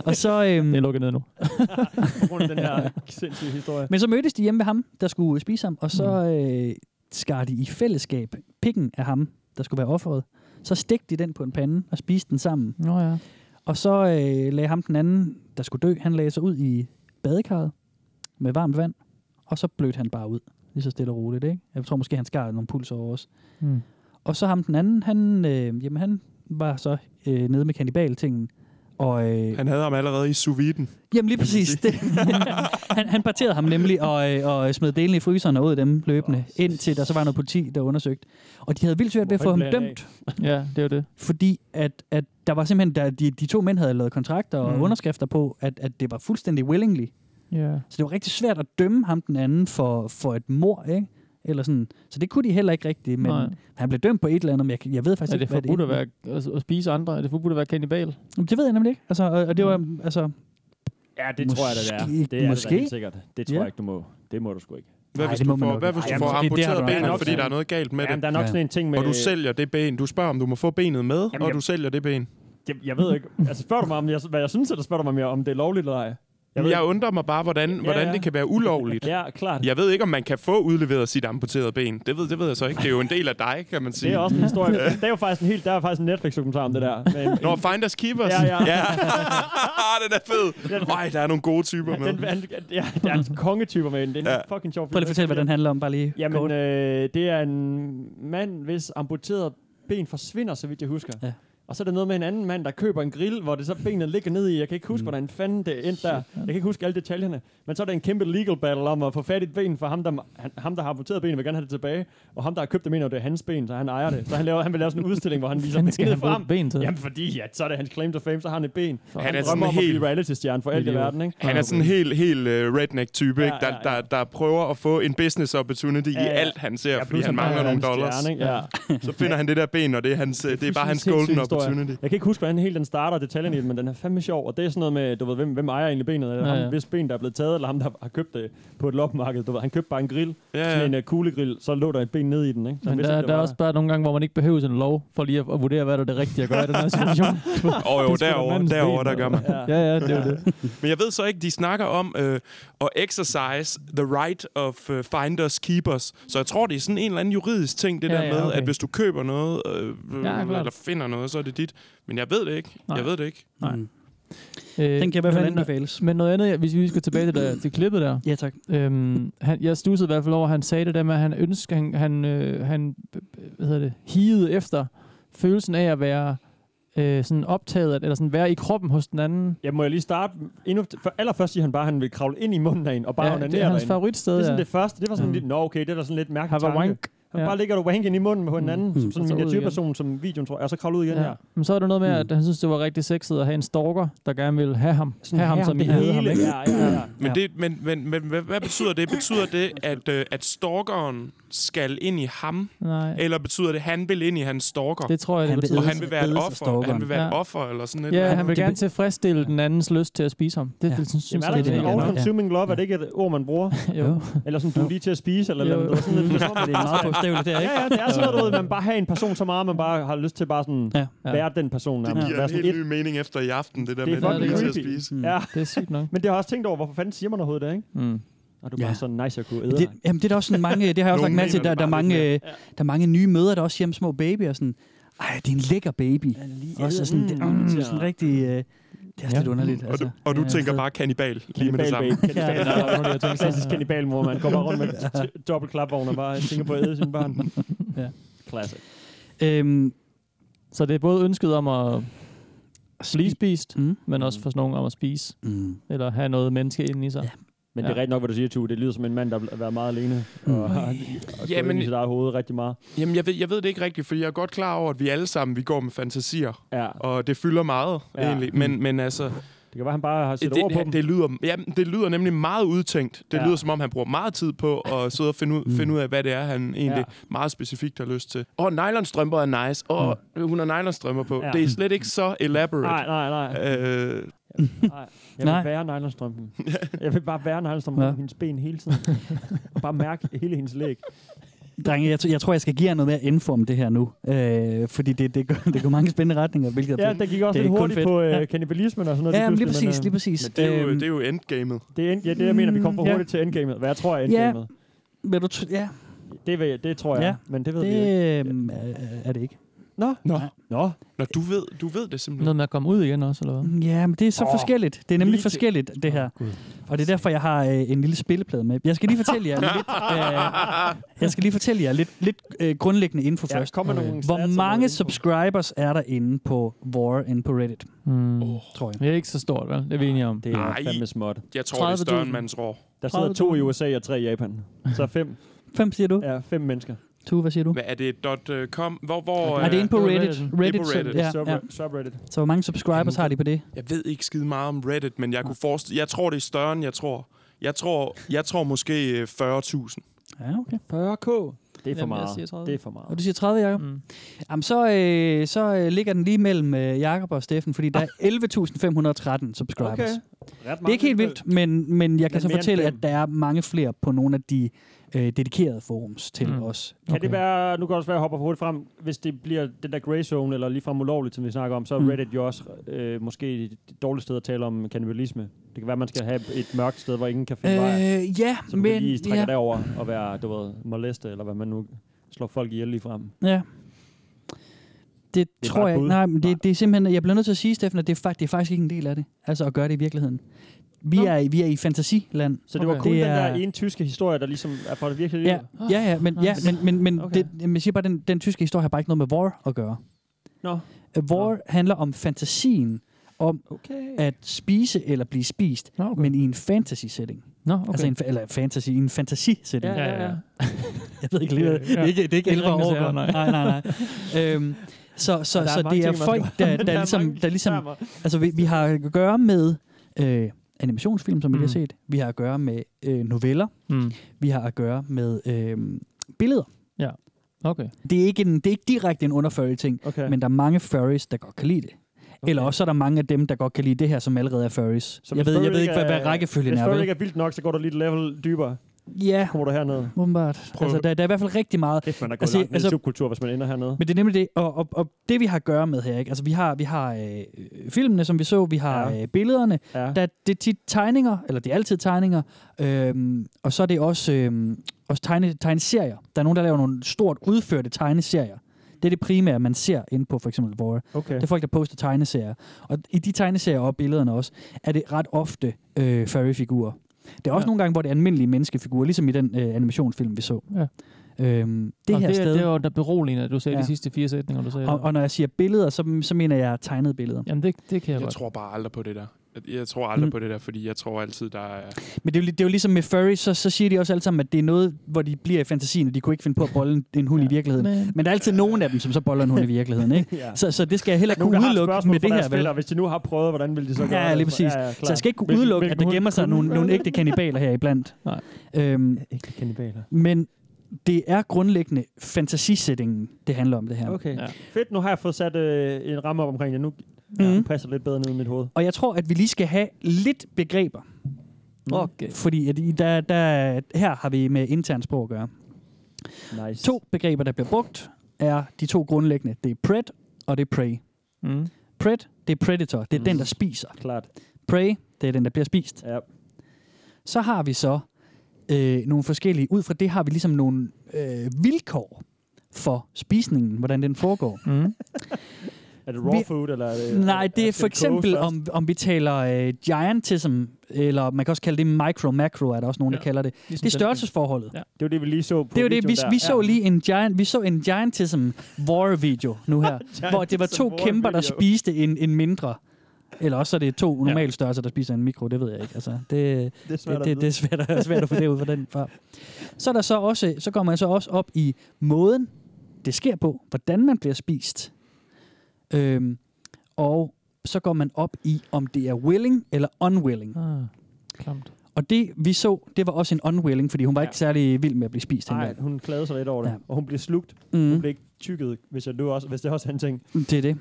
Speaker 4: og så, øhm,
Speaker 7: Det er lukket
Speaker 4: [LAUGHS]
Speaker 7: ned nu. [LAUGHS]
Speaker 3: På grund af den her sindssyge historie.
Speaker 4: men så mødtes de hjemme ved ham, der skulle spise ham. Og så øh, skar de i fællesskab pikken af ham, der skulle være offeret. Så stegte de den på en pande og spiste den sammen.
Speaker 7: Nå ja.
Speaker 4: Og så øh, lagde ham den anden, der skulle dø, han lagde sig ud i badekarret med varmt vand, og så blødte han bare ud, lige så stille og roligt. Ikke? Jeg tror måske, han skar nogle pulser over os.
Speaker 3: Hmm.
Speaker 7: Mm.
Speaker 4: Og så ham den anden, han, øh, jamen, han var så øh, nede med kannibaltingen, og øh,
Speaker 6: Han havde ham allerede i sous viden.
Speaker 4: jamen lige præcis,
Speaker 3: [LAUGHS]
Speaker 4: det, han, han parterede ham nemlig og, øh, og smed delene i fryseren og ud af dem løbende, indtil der så var noget politi, der undersøgte. Og de havde vildt svært ved at få ham
Speaker 3: Hvorfor ikke
Speaker 4: dømt,
Speaker 3: lade
Speaker 7: Ja, det er jo det.
Speaker 4: fordi at, at der var simpelthen, der, de, de to mænd havde lavet kontrakter og mm.
Speaker 7: Mm.
Speaker 4: underskrifter på, at, at det var fuldstændig willingly.
Speaker 7: [LAUGHS] Ja.
Speaker 4: Så det var rigtig svært at dømme ham den anden for, for et mor, ikke? Eller sådan. Så det kunne de heller ikke rigtigt, men
Speaker 7: Nej.
Speaker 4: Nej. han blev dømt på et eller andet, men jeg, kan- jeg ved faktisk
Speaker 7: Er det
Speaker 4: ikke, hvad
Speaker 7: forbudt
Speaker 4: det
Speaker 7: at, være, at- at spise andre? Er det forbudt at være kanibal?
Speaker 4: Jamen, Det ved jeg nemlig ikke. Altså, og, og det var,
Speaker 7: Mm.
Speaker 4: altså,
Speaker 3: Ja, det tror jeg, det er.
Speaker 4: Måske ikke.
Speaker 3: Det er det
Speaker 4: Måske.
Speaker 3: da helt sikkert. Det tror
Speaker 4: Ja.
Speaker 3: jeg ikke, du må. Det må du sgu ikke.
Speaker 6: Hvad
Speaker 4: Nej,
Speaker 6: hvis
Speaker 4: det må
Speaker 6: du
Speaker 4: man
Speaker 6: får,
Speaker 4: nok
Speaker 6: hvad
Speaker 4: ikke.
Speaker 6: hvis du
Speaker 4: Ej,
Speaker 6: får
Speaker 4: jamen, det- det har
Speaker 6: amputeret
Speaker 4: du
Speaker 3: nok
Speaker 6: benet,
Speaker 3: ret
Speaker 6: fordi
Speaker 3: i.
Speaker 6: der er noget galt med
Speaker 3: Jamen,
Speaker 6: det?
Speaker 3: der er nok
Speaker 4: Ja.
Speaker 3: sådan en ting med...
Speaker 6: Og du sælger det ben. Du spørger, om du må få benet med,
Speaker 3: Jamen,
Speaker 6: og
Speaker 3: jeg-
Speaker 6: du sælger det ben.
Speaker 3: Jeg, jeg ved ikke... Altså, spørger du mig, om jeg, hvad jeg synes, eller spørger du mig, om det er lovligt eller ej? Jeg ved
Speaker 6: Jeg undrer mig bare, hvordan, hvordan
Speaker 3: ja.
Speaker 6: det kan være ulovligt.
Speaker 3: ikke. Ja, klart.
Speaker 6: Jeg ved ikke, om man kan få udleveret sit amputerede ben. Det ved, det ved jeg så ikke. Det er jo en del af dig, kan man
Speaker 3: Det
Speaker 6: sige.
Speaker 3: er også en
Speaker 6: [LAUGHS]
Speaker 3: historie. Det er jo faktisk en helt... Der er faktisk en Netflix-dokumentar om det der. Men,
Speaker 6: Nå, Finders Keepers.
Speaker 3: Ja, ja.
Speaker 6: ja. [LAUGHS] Ah, den er fed. Nej, der er nogle gode typer med.
Speaker 3: den, han, ja, der er en kongetyper med den. Det er en ja. fucking sjov film. øh,
Speaker 4: prøv lige at fortælle, hvad den handler om, bare lige
Speaker 3: Jamen,
Speaker 4: kort.
Speaker 3: øh, det er en mand, hvis amputeret ben forsvinder, så vidt jeg husker.
Speaker 4: Ja.
Speaker 3: Og så er der noget med en anden mand, der køber en grill, hvor det så benet ligger ned i. Jeg kan ikke huske, hvordan fanden det endte der. Jeg kan ikke huske alle detaljerne. Men så er der en kæmpe legal battle om at få fat i et ben, for ham der, han, ham, der har amputeret benet, vil gerne have det tilbage. Og ham, der har købt det, mener, det er hans ben, så han ejer det. Så han, laver, han vil lave sådan en udstilling, hvor han viser
Speaker 7: Fanden skal
Speaker 3: benet
Speaker 7: han bruge
Speaker 3: frem.
Speaker 7: et ben til?
Speaker 3: Jamen fordi, ja, så er det hans claim to fame, så har han et ben.
Speaker 7: Han
Speaker 3: han
Speaker 6: er sådan
Speaker 3: drømmer om at
Speaker 6: helt-
Speaker 3: blive reality-stjerne for alt i
Speaker 7: Idiot.
Speaker 3: verden, ikke?
Speaker 6: Han er sådan en helt, helt øh, redneck-type,
Speaker 3: Ja,
Speaker 6: ikke? Der,
Speaker 3: ja,
Speaker 6: der,
Speaker 3: ja.
Speaker 6: der prøver at få en business opportunity
Speaker 3: Ja,
Speaker 6: i
Speaker 3: ja.
Speaker 6: alt, han ser, fordi
Speaker 3: plus
Speaker 6: han mangler
Speaker 3: bare er
Speaker 6: nogle
Speaker 3: en
Speaker 6: dollars.
Speaker 3: stjerne, ikke? Ja.
Speaker 6: Så finder han det der ben, og det er, hans, det er bare hans
Speaker 3: fuldstændig
Speaker 6: golden
Speaker 3: sindssyg historie. [LAUGHS]
Speaker 6: opportunity.
Speaker 3: Jeg kan ikke huske, hvordan hele den starter detaljen i den, men den er fandme sjov. Og det er sådan noget med, du ved, hvem, hvem ejer egentlig benet? Er det
Speaker 7: Ja,
Speaker 3: ham,
Speaker 7: ja.
Speaker 3: hvis ben, der er blevet taget, eller ham, der har købt det på et loppemarked? Du ved, han købte bare en grill,
Speaker 6: Ja,
Speaker 3: ja,
Speaker 6: ja.
Speaker 3: ja. sådan en uh, kuglegrill, så lå der et ben ned i den, ikke? Så han
Speaker 7: Men
Speaker 3: vidste
Speaker 7: der,
Speaker 3: ikke,
Speaker 7: der er
Speaker 3: var
Speaker 7: også bare nogle gange, hvor man ikke behøver en lov for lige at, at vurdere, hvad der er det rigtige at gøre i
Speaker 6: [LAUGHS]
Speaker 7: den her situation.
Speaker 6: Åh oh, jo,
Speaker 7: Det er sgu da
Speaker 6: derovre,
Speaker 7: mandens
Speaker 6: derovre,
Speaker 7: ben,
Speaker 6: der gør man.
Speaker 7: altså. Ja, ja, det er [LAUGHS] jo det.
Speaker 6: Men jeg ved så ikke, de snakker om øh, at exercise the right of uh, finders keepers. Så jeg tror, det er sådan en eller anden juridisk ting, det
Speaker 7: Ja,
Speaker 6: der
Speaker 7: ja,
Speaker 6: med,
Speaker 7: okay.
Speaker 6: at hvis du køber noget, øh,
Speaker 7: klart.
Speaker 6: eller finder noget, så er det dit. Men jeg ved det ikke.
Speaker 7: Nej.
Speaker 6: Jeg ved det ikke.
Speaker 7: Nej.
Speaker 4: Mm.
Speaker 7: Øh,
Speaker 4: Den kan i hvert fald
Speaker 7: men-
Speaker 4: anbefales.
Speaker 7: Men noget andet, hvis vi lige skal tilbage til, der, til klippet der.
Speaker 4: Ja, tak.
Speaker 7: Øhm, han, jeg stussede i hvert fald over, at han sagde det der med, at han ønsker, han, han, øh, han hvad hedder det, higede efter følelsen af at være øh, sådan optaget, af- eller sådan være i kroppen hos den anden.
Speaker 3: Ja, må jeg lige starte? Endnu, for allerførst siger han bare, at han vil kravle ind i munden af en, og bare ja, onanere
Speaker 7: det er hans
Speaker 3: derinde.
Speaker 7: favoritsted.
Speaker 3: Det er sådan
Speaker 7: ja.
Speaker 3: det første. Det var sådan
Speaker 7: Mm.
Speaker 3: lidt, nå okay, det er da sådan lidt mærkeligt
Speaker 7: Han var wank.
Speaker 3: Han
Speaker 7: Ja.
Speaker 3: bare ligger du wank ind i munden på hinanden,
Speaker 4: Mm.
Speaker 3: som sådan
Speaker 7: Så
Speaker 3: en
Speaker 7: ud igen.
Speaker 3: miniatyrperson, som videoen tror, jeg, og så kravle ud igen
Speaker 7: Ja.
Speaker 3: her.
Speaker 7: Men så er der noget med, at
Speaker 4: Mm.
Speaker 7: han synes, det var rigtig sexet at have en stalker, der gerne ville have ham.
Speaker 3: Sådan
Speaker 7: have ham,
Speaker 3: her,
Speaker 7: som i
Speaker 3: det
Speaker 7: havde ham,
Speaker 3: hele.
Speaker 7: ikke?
Speaker 3: Ja, ja, ja.
Speaker 6: Men, det, men, men, men hvad, hvad betyder det? Betyder det, at, øh, at stalkeren skal ind i ham?
Speaker 7: Nej,
Speaker 6: Eller betyder det, at han vil ind i hans stalker?
Speaker 7: det tror jeg, det
Speaker 4: Han vil
Speaker 7: betyder.
Speaker 6: og han vil være et
Speaker 4: Ledes af
Speaker 6: offer. Han vil være et
Speaker 7: Ja.
Speaker 6: offer, eller sådan et eller
Speaker 7: Ja,
Speaker 6: andet.
Speaker 7: han vil
Speaker 4: Det
Speaker 7: gerne
Speaker 4: be-
Speaker 7: tilfredsstille den andens lyst til at spise ham. Det,
Speaker 4: Ja.
Speaker 7: ja. det synes
Speaker 3: Jamen, er
Speaker 7: jeg,
Speaker 3: der ikke
Speaker 7: det
Speaker 3: sådan
Speaker 4: ikke
Speaker 3: en
Speaker 4: nok.
Speaker 7: er
Speaker 3: all-consuming love? Er det ikke et ord, man bruger?
Speaker 7: ja. Jo.
Speaker 3: Eller sådan, du er lige til at spise, eller,
Speaker 7: Jo.
Speaker 3: eller det var sådan lidt, det er som om,
Speaker 4: Det er meget bogstaveligt der, ikke?
Speaker 3: Ja, ja, det er sådan noget, du ved, man bare har en person så meget, man bare har lyst til bare sådan,
Speaker 4: Ja.
Speaker 3: ja. være den person.
Speaker 6: Det
Speaker 3: nærmest.
Speaker 6: giver
Speaker 3: Være
Speaker 6: en
Speaker 3: sådan
Speaker 6: helt ny mening efter i aften, det der
Speaker 3: Det er
Speaker 6: med, at
Speaker 7: fucking
Speaker 6: man er til at
Speaker 3: creepy.
Speaker 6: spise.
Speaker 3: Ja,
Speaker 7: Det er sygt nok.
Speaker 3: men det har jeg også tænkt over, hvorfor fanden siger man overhovedet det, ikke?
Speaker 7: Mm.
Speaker 3: Og du er bare
Speaker 4: Ja.
Speaker 3: sådan, nice, jeg kunne æde
Speaker 4: Det,
Speaker 3: dig.
Speaker 4: jamen, det er der også sådan mange, det har jeg også
Speaker 6: Nogle
Speaker 4: lagt mærke til,
Speaker 6: mener
Speaker 4: der,
Speaker 6: det
Speaker 4: der, er
Speaker 6: bare lidt
Speaker 4: mange, øh, der er mange nye mødre, der også hjemme små babyer, sådan, ej, det er en lækker baby. Også sådan, det,
Speaker 3: Mm.
Speaker 4: mm, sådan rigtig, øh, det er også
Speaker 7: Ja.
Speaker 4: lidt underligt.
Speaker 6: Og du,
Speaker 4: Altså.
Speaker 6: og du
Speaker 4: Ja,
Speaker 6: tænker
Speaker 4: så-
Speaker 6: bare kannibal lige med det samme.
Speaker 3: Kannibal, babe.
Speaker 7: Ja, ja, der er nogen, der tænker
Speaker 3: Klassisk kannibal, hvor man går bare
Speaker 6: [LAUGHS]
Speaker 3: rundt med t- dobbelt klapvogn og bare tænker på at æde sine barn.
Speaker 4: Ja.
Speaker 3: Classic.
Speaker 4: Øhm,
Speaker 7: Så det er både ønsket om at blive spist,
Speaker 4: Mm.
Speaker 7: men også for sådan nogen om at spise,
Speaker 4: Mm.
Speaker 7: eller have noget menneske inde i sig.
Speaker 4: Ja.
Speaker 7: Ja.
Speaker 3: Men det er
Speaker 7: Ja.
Speaker 3: rigtigt nok, hvad du siger, Tue. Det lyder som en mand, der har været meget alene og har og
Speaker 6: Ja,
Speaker 3: gået ind
Speaker 6: men-
Speaker 3: i sit eget hoved rigtig meget.
Speaker 6: Jamen, jeg ved, jeg ved det ikke rigtigt, fordi jeg er godt klar over, at vi alle sammen vi går med fantasier.
Speaker 3: Ja,
Speaker 6: Og det fylder meget,
Speaker 3: Ja.
Speaker 6: ja. egentlig. Men, men altså,
Speaker 3: det kan være, han bare har
Speaker 6: det,
Speaker 3: sat ord på dem.
Speaker 6: det, det, lyder, jamen, det lyder nemlig meget udtænkt. Det
Speaker 3: Ja.
Speaker 6: ja. lyder, som om han bruger meget tid på at sidde og finde ud, finde ud af, hvad det er, han egentlig
Speaker 3: Ja.
Speaker 6: ja. meget specifikt har lyst til. Åh, oh, nylonstrømper er nice. Åh, oh, hun har nylonstrømper på.
Speaker 3: Ja.
Speaker 6: Ja. Det er slet ikke så
Speaker 3: Nej,
Speaker 6: elaborate.
Speaker 3: nej, nej.
Speaker 6: Øh,
Speaker 3: Nej, jeg vil
Speaker 4: Nej. [LAUGHS]
Speaker 3: være nejlonstrømpen. jeg vil bare være nejlonstrømpen
Speaker 4: Ja.
Speaker 3: ja. hendes ben hele
Speaker 4: [LAUGHS]
Speaker 3: tiden. og bare mærke hele hendes læg.
Speaker 4: Drenge, jeg, t- jeg tror, jeg skal give jer noget mere info om det her nu. Øh, fordi det, det, går, det går mange spændende retninger, hvilket er
Speaker 3: Ja,
Speaker 4: fedt.
Speaker 3: den gik også
Speaker 4: Det er
Speaker 3: lidt
Speaker 4: kun
Speaker 3: hurtigt
Speaker 4: fedt.
Speaker 3: på
Speaker 4: Ja.
Speaker 3: øh, kannibalismen og sådan noget.
Speaker 4: Ja, men lige
Speaker 3: pludselig,
Speaker 4: præcis, lige præcis.
Speaker 6: men det er, jo,
Speaker 4: Øhm,
Speaker 6: det er jo endgamet.
Speaker 3: øh, det er end, ja, det, jeg mener, vi kom for
Speaker 4: Mm, ja.
Speaker 3: hurtigt til endgamet. Hvad jeg tror er
Speaker 4: Ja.
Speaker 3: endgamet.
Speaker 4: Øhm, Vil du tr- ja,
Speaker 3: Det, ved, det tror jeg,
Speaker 4: Ja.
Speaker 3: men det ved
Speaker 4: det
Speaker 3: vi ikke.
Speaker 4: øhm, er, er det ikke.
Speaker 3: Nå.
Speaker 6: Nå.
Speaker 3: Nå.
Speaker 6: Nå, du ved, du ved det simpelthen.
Speaker 7: Noget med at komme ud igen også, eller hvad?
Speaker 4: Mm. Ja, men det er så
Speaker 3: Åh,
Speaker 4: oh, forskelligt. Det er nemlig
Speaker 3: lige til-
Speaker 4: forskelligt, det her. Og det er derfor, jeg har øh, en lille spilleplade med. Jeg skal lige fortælle
Speaker 3: [LAUGHS]
Speaker 4: jer lidt,
Speaker 9: Eh,
Speaker 4: øh, jeg skal lige fortælle jer lidt, lidt øh, grundlæggende info
Speaker 3: Ja,
Speaker 4: først. Øh,
Speaker 3: kom med nogle stats
Speaker 4: Hvor
Speaker 3: og
Speaker 4: mange
Speaker 3: noget info.
Speaker 4: subscribers er der inde på War inde på Reddit,
Speaker 7: Mm.
Speaker 4: tror jeg?
Speaker 7: Det er ikke så stort, vel? Det er vi enige om.
Speaker 3: Det er
Speaker 6: Nej.
Speaker 3: fandme småt.
Speaker 6: Jeg tror, det er større
Speaker 7: 30.000.
Speaker 6: end mands rår.
Speaker 3: Der sidder to i USA og tre i Japan. Så fem,
Speaker 4: Fem siger du? Ja.
Speaker 3: ja, fem mennesker.
Speaker 4: Tu, hvad siger du?
Speaker 6: Hvad er det? Dot, øh, .com? Hvor, hvor, øh,
Speaker 4: Nej, det er inde på
Speaker 7: Det var
Speaker 4: Reddit.
Speaker 7: Reddit.
Speaker 4: Reddit,
Speaker 6: er
Speaker 7: Det
Speaker 4: Reddit,
Speaker 6: på
Speaker 4: så-
Speaker 6: Reddit.
Speaker 4: Ja,
Speaker 3: Subred-
Speaker 4: ja.
Speaker 3: Subreddit.
Speaker 4: Så hvor mange subscribers har de på det?
Speaker 6: Jeg ved ikke skide meget om Reddit, men jeg kunne forestille... Jeg tror, det er større, end jeg tror. Jeg tror, jeg tror måske øh, 40.000.
Speaker 4: Ja, okay.
Speaker 7: 40k.
Speaker 3: Det er for
Speaker 7: Jamen, jeg
Speaker 3: meget.
Speaker 7: siger 30.
Speaker 3: Det er for
Speaker 4: Og
Speaker 3: meget.
Speaker 4: du siger 30, Jacob?
Speaker 7: Mm.
Speaker 4: Jamen, så, øh, så øh, ligger den lige mellem øh, Jakob og Steffen, fordi
Speaker 3: [LAUGHS]
Speaker 4: der er 11.513 subscribers. Okay.
Speaker 3: Ret
Speaker 4: Det er ikke helt vildt, men, men jeg kan
Speaker 3: Men
Speaker 4: så
Speaker 3: mere end
Speaker 4: fortælle, at
Speaker 3: fem.
Speaker 4: der er mange flere på nogle af de øh, dedikerede forums til
Speaker 7: Mm.
Speaker 4: mm. os.
Speaker 3: Kan okay. det
Speaker 7: Okay.
Speaker 3: være, nu kan det også være, at jeg hopper for hurtigt frem, hvis det bliver den der gray zone, eller ligefrem ulovligt, som vi snakker om, så er
Speaker 4: Mm.
Speaker 3: Reddit jo også øh, måske et dårligt sted at tale om kannibalisme. Det kan være, at man skal have et mørkt sted, hvor ingen kan finde øh, vej.
Speaker 4: Øh, ja,
Speaker 3: Så du men, kan
Speaker 4: men...
Speaker 3: lige strække
Speaker 4: ja,
Speaker 3: ja. derover og være, du ved, moleste, eller hvad man nu slår folk ihjel lige frem.
Speaker 4: ja. Det,
Speaker 3: er
Speaker 4: det
Speaker 3: bare
Speaker 4: tror
Speaker 3: et
Speaker 4: jeg
Speaker 3: bud.
Speaker 4: nej, men
Speaker 3: Nej.
Speaker 4: det, det er simpelthen, jeg bliver nødt til at sige, Steffen, at det er, fakt, det er faktisk ikke en del af det, altså at gøre det i virkeligheden. Vi,
Speaker 3: Nå.
Speaker 4: er, i- vi er i fantasiland.
Speaker 3: Så det var
Speaker 7: Okay.
Speaker 3: kun
Speaker 4: Det
Speaker 3: den der
Speaker 4: er-
Speaker 3: ene tyske historie, der ligesom er fra det virkelige
Speaker 4: Ja,
Speaker 3: liv.
Speaker 4: ja, ja, men,
Speaker 3: Ah.
Speaker 4: ja, men, men, men
Speaker 7: Okay.
Speaker 4: okay. det, jamen, jeg siger bare, den, den tyske historie har bare ikke noget med war at gøre.
Speaker 3: Nå,
Speaker 4: Øh, War ja. handler om fantasien om
Speaker 3: okay.
Speaker 4: at spise eller blive spist,
Speaker 7: Nå,
Speaker 4: okay. men i en fantasy-setting. Okay.
Speaker 7: Nå, okay.
Speaker 4: Altså en, fa- eller fantasy, i en fantasi-setting.
Speaker 7: Ja, ja, ja.
Speaker 4: [LAUGHS] Jeg ved ikke lige, hvad- det er ikke, det er ikke
Speaker 7: Det er
Speaker 4: 11 år.
Speaker 7: Ringenes Herre,
Speaker 4: nej,
Speaker 7: nej.
Speaker 4: nej, nej. [LAUGHS] øhm, så så,
Speaker 3: Og der er
Speaker 4: så
Speaker 3: mange
Speaker 4: det er
Speaker 3: ting, man
Speaker 4: folk,
Speaker 3: skal-
Speaker 4: der, der, der, ligesom,
Speaker 3: mange
Speaker 4: der ligesom
Speaker 3: termer.
Speaker 4: Altså, vi, vi har at gøre med øh, animationsfilm, som mm. vi har set. Vi har at gøre med øh, noveller.
Speaker 7: Mm.
Speaker 4: Vi har at gøre med øh, billeder.
Speaker 7: Okay.
Speaker 4: Det er, ikke en, det er ikke direkte en underfurry ting,
Speaker 3: Okay.
Speaker 4: ja. men der er mange furries, der godt kan lide det. Okay. Eller også er der mange af dem, der godt kan lide det her, som allerede er furries.
Speaker 3: Så
Speaker 4: jeg, ved,
Speaker 3: hvis
Speaker 4: jeg
Speaker 3: furry
Speaker 4: ved ikke, hvad, hvad rækkefølgen
Speaker 3: hvis
Speaker 4: er.
Speaker 3: Hvis
Speaker 4: Vel?
Speaker 3: du ikke er vildt nok, så går du lige et level dybere.
Speaker 4: Ja,
Speaker 3: Kommer du herned.
Speaker 4: åbenbart. Altså, der, der er i hvert fald rigtig meget.
Speaker 3: Kæft, man er gået
Speaker 4: Altså,
Speaker 3: altså, langt altså,
Speaker 4: altså-
Speaker 3: subkultur, hvis man ender hernede.
Speaker 4: Men det er nemlig det, og, og, og det vi har at gøre med her, ikke? Altså, vi har, vi har øh, filmene, som vi så, vi har
Speaker 3: Ja.
Speaker 4: ja. øh, billederne,
Speaker 3: Ja.
Speaker 4: Der, det er tit tegninger, eller det er altid tegninger, øhm, og så er det også, øhm, også tegne, tegneserier. Der er nogen, der laver nogle stort udførte tegneserier. Det er det primære, man ser inde på for eksempel Vore.
Speaker 3: Okay.
Speaker 4: Det er folk, der poster tegneserier. Og i de tegneserier og billederne også, er det ret ofte øh, furry-figurer. Det er også ja.
Speaker 7: Ja.
Speaker 4: nogle gange, hvor det er almindelige menneskefigurer, ligesom i den øh, animationsfilm, vi så.
Speaker 7: Ja.
Speaker 4: Øhm, det
Speaker 7: Nå,
Speaker 4: her
Speaker 7: det,
Speaker 4: sted,
Speaker 7: Det var da beroligende, at du sagde ja.
Speaker 4: Ja.
Speaker 7: de sidste fire sætninger, du sagde.
Speaker 4: og, og når jeg siger billeder, så, så mener jeg tegnede billeder.
Speaker 7: Jamen, det, det kan jeg,
Speaker 6: Jeg
Speaker 7: godt.
Speaker 6: tror bare aldrig på det der. Jeg tror aldrig
Speaker 4: Mm.
Speaker 6: mm. på det der, fordi jeg tror altid, der er...
Speaker 4: Men det er, jo, li- det er jo ligesom med furry, så, så siger de også alle sammen, at det er noget, hvor de bliver i fantasien, og de kunne ikke finde på at bolle en- en hund ja. i virkeligheden.
Speaker 7: Men,
Speaker 4: Men der er altid nogen af dem, som så boller en hund i virkeligheden, ikke?
Speaker 3: [LAUGHS] Ja.
Speaker 4: Så, så det skal jeg heller ikke
Speaker 3: Nogen,
Speaker 4: kunne
Speaker 3: der har et
Speaker 4: udelukke
Speaker 3: spørgsmål
Speaker 4: med det her,
Speaker 3: spiller,
Speaker 4: vel?
Speaker 3: hvis de nu har prøvet, hvordan vil de så gøre
Speaker 4: Ja,
Speaker 3: det?
Speaker 4: lige præcis.
Speaker 3: Ja, ja,
Speaker 4: Så jeg skal ikke kunne
Speaker 3: Hvilken-
Speaker 4: udelukke, at
Speaker 3: hvilken
Speaker 4: der gemmer
Speaker 3: hund
Speaker 4: sig
Speaker 3: kunne
Speaker 4: nogle,
Speaker 3: være
Speaker 4: nogle
Speaker 3: det?
Speaker 4: ægte kannibaler her iblandt.
Speaker 7: Nej.
Speaker 4: Øhm,
Speaker 3: Ikke kannibaler.
Speaker 4: men det er grundlæggende fantasisætningen, det handler om det her.
Speaker 3: Okay. Ja.
Speaker 7: Ja.
Speaker 3: Fedt, nu har jeg fået sat øh, en ramme op omkring det. Nu
Speaker 4: Mhm.
Speaker 3: ja. passer det lidt bedre ned i mit hoved.
Speaker 4: Og jeg tror, at vi lige skal have lidt begreber,
Speaker 7: okay.
Speaker 4: fordi at i- der, der, her har vi med intern sprog at gøre.
Speaker 3: Nice.
Speaker 4: To begreber, der bliver brugt, er de to grundlæggende. Det er pred og det er prey.
Speaker 7: Mm.
Speaker 4: Pred, det er predator. Det er mm. den,
Speaker 3: Mhm.
Speaker 4: der spiser.
Speaker 3: Klart.
Speaker 4: Prey, det er den, der bliver spist.
Speaker 3: Ja.
Speaker 4: Så har vi så øh, nogle forskellige, ud fra det har vi ligesom nogle øh, vilkår for spisningen, hvordan den foregår.
Speaker 7: Mm.
Speaker 3: Er det raw
Speaker 4: Vi-
Speaker 3: food, eller er det,
Speaker 4: Nej, det er for
Speaker 3: skal koges
Speaker 4: eksempel,
Speaker 3: først?
Speaker 4: om, om vi taler øh, giantism, eller man kan også kalde det micro-macro, er der også nogen, der
Speaker 7: Ja.
Speaker 4: kalder det. Det
Speaker 7: Ligesom
Speaker 4: er størrelsesforholdet.
Speaker 7: Ja.
Speaker 3: Det var det, vi lige så på
Speaker 4: Det er jo det, vi,
Speaker 3: videoen der.
Speaker 4: vi så lige en giant, vi så en giantism war-video nu
Speaker 3: [LAUGHS]
Speaker 4: her, hvor det var to
Speaker 3: Giantism
Speaker 4: kæmper, der
Speaker 3: war-video.
Speaker 4: spiste en, en mindre. Eller også er det to
Speaker 7: Ja.
Speaker 4: normale størrelser, der spiser en mikro, det ved jeg ikke. Altså, det,
Speaker 3: Det er svært
Speaker 4: det, det,
Speaker 3: at
Speaker 4: det er
Speaker 3: vide.
Speaker 4: svært, at- svært at få det ud fra den fra. Så, er der så, også, så går man så også op i måden, det sker på, hvordan man bliver spist. Øhm, og så går man op i, om det er willing eller unwilling.
Speaker 7: Ah, klamt.
Speaker 4: Og det, vi så, det var også en unwilling, fordi hun var
Speaker 3: Ja.
Speaker 4: ikke særlig vild med at blive spist. tænker
Speaker 3: Nej, hun klagede sig lidt over det.
Speaker 4: Ja.
Speaker 3: Og hun blev slugt.
Speaker 4: jeg. Mm,
Speaker 3: Hun blev ikke tykket, hvis, jeg, det, var også, hvis det også er en ting.
Speaker 4: det er det.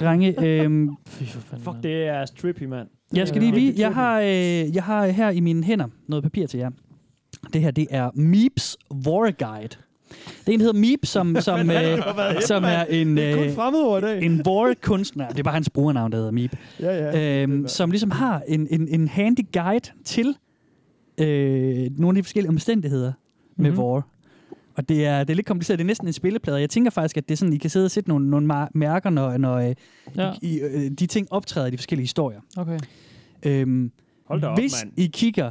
Speaker 4: Drenge, øhm,
Speaker 7: Fy for fanden.
Speaker 3: Fuck, det er trippy, mand.
Speaker 4: Jeg skal
Speaker 7: Ja.
Speaker 4: lige vide,
Speaker 3: Virkelig
Speaker 4: jeg har, øh, jeg har her i mine hænder noget papir til jer. Det her, det er Meeps War Guide. Det er en, der hedder Meep,
Speaker 3: [LAUGHS]
Speaker 4: som, som, øh, som er en,
Speaker 3: Det er kun
Speaker 4: øh,
Speaker 3: fremmedord i dag.
Speaker 4: en war-kunstner. Det er bare hans brugernavn, der hedder Meep.
Speaker 3: Ja, ja.
Speaker 4: Øhm, som ligesom har en, en, en handy guide til øh, nogle af de forskellige omstændigheder med
Speaker 7: Mhm.
Speaker 4: mm-hmm. war. Og det er, det er lidt kompliceret. Det er næsten en spilleplade. Jeg tænker faktisk, at det er sådan, I kan sidde og sætte nogle, nogle mar- mærker, når, når øh,
Speaker 7: Ja,
Speaker 4: I, øh, de ting optræder i de forskellige historier.
Speaker 7: okay.
Speaker 4: Øhm,
Speaker 3: Hold da op,
Speaker 4: Hvis
Speaker 3: mand.
Speaker 4: I kigger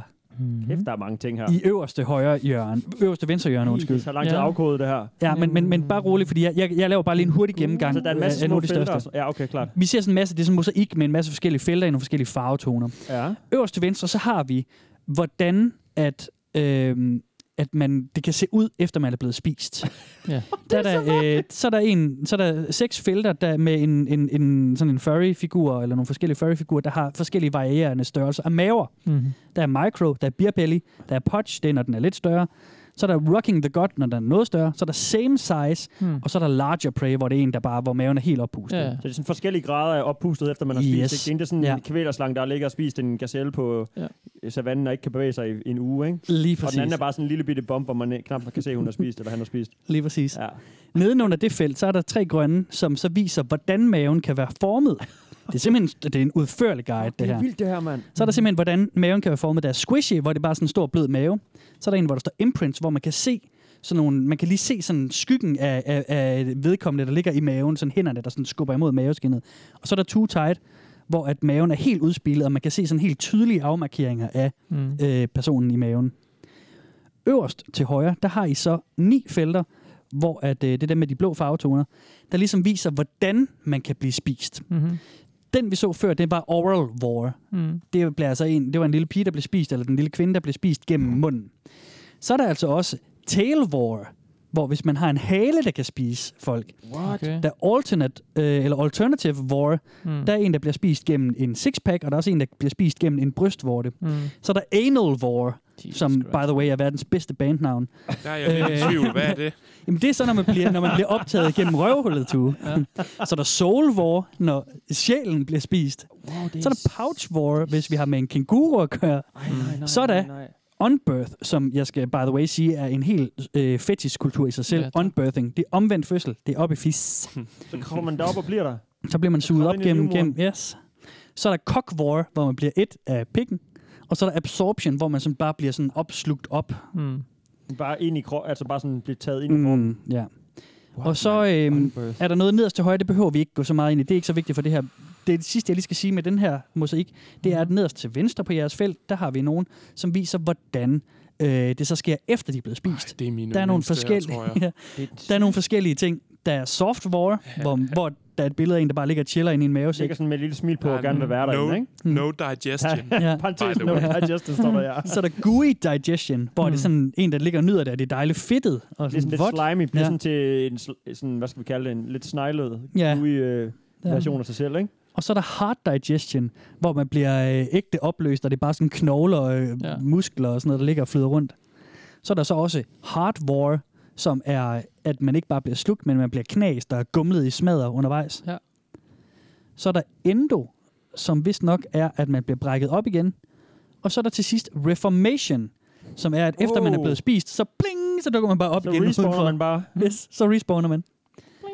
Speaker 3: Kæft, der er mange ting her.
Speaker 4: i øverste højre hjørne, øverste venstre hjørne,
Speaker 3: Det
Speaker 4: undskyld.
Speaker 3: tager lang tid at
Speaker 7: Ja.
Speaker 3: afkode det her. Mm.
Speaker 4: Ja, men, men, men bare rolig, fordi jeg, jeg, jeg laver bare lige en hurtig gennemgang
Speaker 3: Så der er en masse
Speaker 4: af
Speaker 3: små
Speaker 4: nogle af de
Speaker 3: felter. og
Speaker 4: største.
Speaker 3: sådan- Ja, okay, klart.
Speaker 4: Vi ser sådan en masse, det er sådan en mosaik med en masse forskellige felter i nogle forskellige farvetoner.
Speaker 3: Ja.
Speaker 4: Øverst til venstre, så har vi, hvordan at, øhm, at man, det kan se ud, efter man er blevet
Speaker 3: [LAUGHS]
Speaker 4: spist.
Speaker 7: Ja.
Speaker 4: Der er der, øh, så, er der en, så er der seks felter der med en, en, en, sådan en furry-figur, eller nogle forskellige furry-figurer, der har forskellige varierende størrelser af maver.
Speaker 7: Mm.
Speaker 4: Der er micro, der er beer belly, der er podge, det er, når den er lidt større. Så er der rocking the god, når den er noget større. Så er der same size,
Speaker 7: Mm.
Speaker 4: og så er der larger prey, hvor det er en, der bare, hvor maven er helt oppustet.
Speaker 7: Ja, ja.
Speaker 3: Så det er sådan forskellige grader af oppustet, efter man har
Speaker 4: Yes.
Speaker 3: spist. Ikke? Det er sådan
Speaker 4: Ja.
Speaker 3: en kvælerslang, der ligger og spist en gazelle på
Speaker 7: Ja.
Speaker 3: ja. savannen og ikke kan bevæge sig i, i en uge. Ikke?
Speaker 4: Lige
Speaker 3: Og
Speaker 4: præcis.
Speaker 3: den anden er bare sådan en lille bitte bombe, hvor man ikke- knap kan se, hun har spist, eller han har spist.
Speaker 4: [LAUGHS] Lige præcis. Ja.
Speaker 3: Ja.
Speaker 4: Nedenunder det felt, så er der tre grønne, som så viser, hvordan maven kan være formet. Det er simpelthen det er en udførlig guide, det her.
Speaker 3: vildt, det her, mand.
Speaker 4: Så er der simpelthen, hvordan maven kan være formet. Der er squishy, hvor det bare er sådan en stor blød mave. Så er der en, hvor der står imprints, hvor man kan se sådan nogle, man kan lige se sådan skyggen af, af, af vedkommende, der ligger i maven, sådan hænderne, der sådan skubber imod maveskinnet. Og så er der too tight, hvor at maven er helt udspillet, og man kan se sådan helt tydelige afmarkeringer af
Speaker 7: Mm.
Speaker 4: øh, personen i maven. Øverst til højre, der har I så ni felter, hvor at, øh, det der med de blå farvetoner, der ligesom viser, hvordan man kan blive spist.
Speaker 7: Mm-hmm.
Speaker 4: Den vi så før, det var oral war.
Speaker 7: Mm.
Speaker 4: Det, blev altså en, det var en lille pige, der blev spist, eller den lille kvinde, der blev spist gennem munden. Så er der altså også tail war, hvor hvis man har en hale, der kan spise folk.
Speaker 7: Okay.
Speaker 4: Der er alternate, øh, eller alternative war,
Speaker 7: Mm.
Speaker 4: der er en, der bliver spist gennem en sixpack, og der er også en, der bliver spist gennem en brystvorte.
Speaker 7: Mm.
Speaker 4: Så er der anal war,
Speaker 7: Jesus
Speaker 4: som,
Speaker 7: Christ.
Speaker 4: by the way, er verdens bedste bandnavn.
Speaker 6: Der er jeg lidt i
Speaker 4: Øh.
Speaker 6: tvivl. Hvad er det?
Speaker 4: Jamen, det er så, når man bliver, når man bliver optaget gennem røvhullet, Tue. Ja. så er der soul war, når sjælen bliver spist.
Speaker 7: Wow, det
Speaker 4: Så er der pouch war, hvis vi har med en kænguru at gøre. Så er der unbirth, som jeg skal, by the way, sige, er en helt øh, fetishkultur i sig selv.
Speaker 7: Ja,
Speaker 4: Ja,
Speaker 7: tak.
Speaker 4: unbirthing, det er omvendt fødsel. Det er op i fis.
Speaker 3: [LAUGHS] Så kommer man derop og bliver der.
Speaker 4: Så bliver man suget
Speaker 3: Kom
Speaker 4: op
Speaker 3: ind i
Speaker 4: gennem,
Speaker 3: livmoderen.
Speaker 4: gennem, yes. Så er der cock war, hvor man bliver et af pikken. Og så er der absorption, hvor man sådan bare bliver sådan opslugt op.
Speaker 7: Mm.
Speaker 3: Bare ind i kroppen, altså bare sådan blive taget ind i kroppen.
Speaker 4: Mm, ja. Og så øhm, er der noget nederst til højre, det behøver vi ikke gå så meget ind i. Det er ikke så vigtigt for det her. Det, er det sidste, jeg lige skal sige med den her mosaik,
Speaker 6: Mm.
Speaker 4: det er, at nederst til venstre på jeres felt, der har vi nogen, som viser, hvordan øh, det så sker, efter de er blevet spist.
Speaker 6: Det er mine
Speaker 4: der, er nogle
Speaker 6: yndlingssteder,
Speaker 4: forskellige,
Speaker 6: tror jeg.
Speaker 4: [LAUGHS] ja, der er nogle forskellige ting. Der er soft war, hvor, hvor der er et billede af en, der bare ligger og chiller inde i en mavesæk.
Speaker 3: Ligger sådan med et lille smil på
Speaker 6: Der er
Speaker 3: og gerne vil være
Speaker 6: no, [LAUGHS]
Speaker 3: derinde, ikke?
Speaker 6: No digestion.
Speaker 4: Mm. Ja.
Speaker 3: Parenthes,
Speaker 6: By the
Speaker 3: no
Speaker 6: way.
Speaker 3: digestion, står der, [LAUGHS] ja.
Speaker 4: [LAUGHS] Så er der gooey digestion, hvor
Speaker 6: Mm.
Speaker 4: det er sådan en, der ligger og nyder det, og det er dejligt fedtet. Og
Speaker 3: Lidt,
Speaker 4: sådan,
Speaker 3: lidt
Speaker 4: vådt.
Speaker 3: slimy, bliver
Speaker 4: Ja.
Speaker 3: sådan til en, sl- sådan, hvad skal vi kalde det, en lidt sneglet,
Speaker 4: Ja.
Speaker 3: ja. ude øh,
Speaker 4: Ja.
Speaker 3: version af sig selv, ikke?
Speaker 4: Og så er der hard digestion, hvor man bliver øh, ægte opløst, og det er bare sådan knogler og øh,
Speaker 7: Ja.
Speaker 4: ja. muskler og sådan noget, der ligger og flyder rundt. Så er der så også hard war, som er, at man ikke bare bliver slugt, men man bliver knast og gumlet i smadder undervejs.
Speaker 7: Ja.
Speaker 4: Så er der endo, som vist nok er, at man bliver brækket op igen. Og så er der til sidst reformation, som er, at efter man er
Speaker 3: Wow.
Speaker 4: blevet spist, så bling, så dukker man bare op
Speaker 3: Oh. Så
Speaker 4: igen.
Speaker 3: respawner
Speaker 4: udenfor.
Speaker 3: man bare.
Speaker 4: Yes, så respawner man.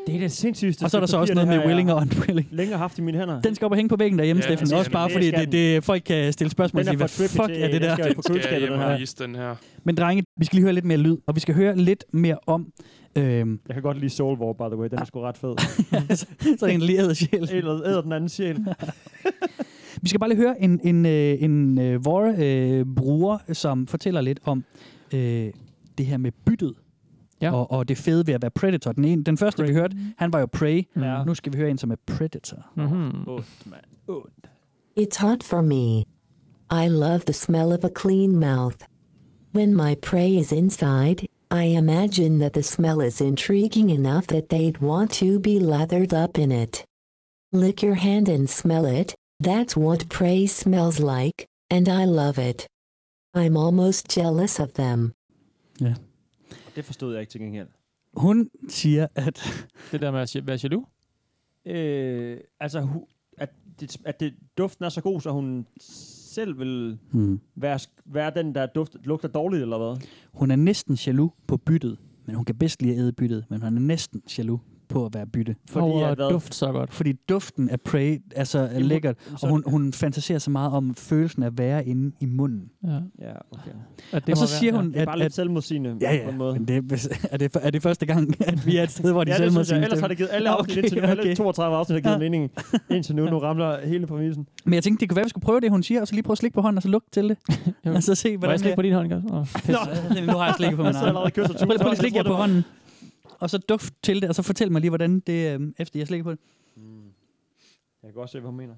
Speaker 3: Det er det sindssygeste.
Speaker 4: Og så er der så
Speaker 3: stykke
Speaker 4: også
Speaker 3: papir,
Speaker 4: noget
Speaker 3: det
Speaker 4: med
Speaker 3: her,
Speaker 4: willing
Speaker 3: jeg
Speaker 4: og unwilling.
Speaker 3: Længe har haft i mine hænder.
Speaker 4: Den skal op og hænge på væggen derhjemme,
Speaker 6: Ja,
Speaker 4: ja, Steffen.
Speaker 6: det
Speaker 4: Også
Speaker 6: skal
Speaker 4: bare
Speaker 3: den.
Speaker 4: fordi,
Speaker 3: Det
Speaker 4: det,
Speaker 3: skal
Speaker 4: det, folk kan stille spørgsmål og
Speaker 3: Den
Speaker 4: sige,
Speaker 3: er
Speaker 4: hvad
Speaker 3: for trippy
Speaker 4: fuck
Speaker 3: til-
Speaker 4: er det
Speaker 3: den
Speaker 4: der?
Speaker 3: skal-
Speaker 6: Den skal jeg
Speaker 3: Køleskabet,
Speaker 6: hjem
Speaker 3: den
Speaker 6: og
Speaker 3: her.
Speaker 6: vise den her.
Speaker 4: Men drenge, vi skal lige høre lidt mere lyd, og vi skal høre lidt mere om... Øhm,
Speaker 3: Jeg kan godt lide Soul War, by the way. Den er sgu ret fed.
Speaker 4: [LAUGHS] så er det en leret sjæl.
Speaker 3: Æder, æder den anden
Speaker 4: [LAUGHS]
Speaker 3: sjæl.
Speaker 4: [LAUGHS] Vi skal bare lige høre en, en, øh, en øh, vor øh, bruger, som fortæller lidt om øh, det her med byttet.
Speaker 7: Ja.
Speaker 4: Og, og det fede ved at være Predator. Den, ene, den første, vi hørte, han var jo Prey.
Speaker 7: Ja.
Speaker 4: Nu skal vi høre en, som er Predator.
Speaker 3: Mhm.
Speaker 7: Mm-hmm.
Speaker 10: It's hot for me. I love the smell of a clean mouth. When my prey is inside, I imagine that the smell is intriguing enough that they'd want to be lathered up in it. Lick your hand and smell it, that's what prey smells like, and I love it. I'm almost jealous of them.
Speaker 3: Det forstod jeg ikke til gengæld.
Speaker 4: Hun siger, at
Speaker 7: Det der med at være jaloux.
Speaker 3: Øh, altså, hu- at, det, at det, duften er så god, så hun selv vil
Speaker 4: hmm,
Speaker 3: være, sk- være den, der duft, lugter dårligt, eller hvad?
Speaker 4: hun er næsten jaloux på byttet, men hun kan bedst lide at æde byttet, men hun er næsten jaloux på at være bytte.
Speaker 7: Fordi
Speaker 3: at
Speaker 7: Over
Speaker 3: hvad?
Speaker 7: duft så godt.
Speaker 4: Fordi duften af Prey altså, er
Speaker 3: hun-
Speaker 4: lækkert,
Speaker 3: så-
Speaker 4: og hun, hun fantaserer så meget om følelsen af at være inde i munden.
Speaker 7: Ja.
Speaker 3: Ja, okay.
Speaker 7: At
Speaker 4: Det og
Speaker 7: må
Speaker 4: så
Speaker 7: være-
Speaker 4: siger hun,
Speaker 3: Det er
Speaker 4: at...
Speaker 3: bare lidt
Speaker 4: at
Speaker 3: selvmodsigende
Speaker 4: ja,
Speaker 3: på
Speaker 4: ja,
Speaker 3: en måde.
Speaker 4: men det, er, det, er det første gang, at vi er et sted, hvor de
Speaker 3: Ja,
Speaker 4: selv
Speaker 3: det
Speaker 4: må
Speaker 3: synes
Speaker 4: sige
Speaker 3: jeg. Ellers har
Speaker 4: stemme?
Speaker 3: det givet alle
Speaker 4: Ja,
Speaker 3: afsnit
Speaker 4: okay,
Speaker 3: indtil nu. Alle
Speaker 4: okay.
Speaker 3: 32 afsnit har givet
Speaker 4: Ja.
Speaker 3: mening indtil nu. Nu ramler hele præmissen.
Speaker 4: Men jeg tænkte, det kunne være, at vi skulle prøve det, hun siger, og så lige prøve at slikke på hånden, og så lukke til det.
Speaker 7: [LAUGHS] Jo.
Speaker 4: og så se,
Speaker 7: Må jeg
Speaker 4: hvordan det
Speaker 7: slikke på din hånd, Gas? Åh, pis.
Speaker 4: er. Nå, nu har jeg
Speaker 3: [LAUGHS]
Speaker 4: slikket på min
Speaker 3: Så er jeg allerede
Speaker 4: hånd.
Speaker 3: kysset
Speaker 4: Prøv, prøv lige at
Speaker 3: Jeg
Speaker 4: slikke
Speaker 3: tror,
Speaker 4: jer
Speaker 3: det
Speaker 4: på
Speaker 3: var-
Speaker 4: hånden, og så duft til det, og så fortæl mig lige, hvordan det, øh, efter jeg slikker på det.
Speaker 3: Jeg kan godt se, hvad hun mener.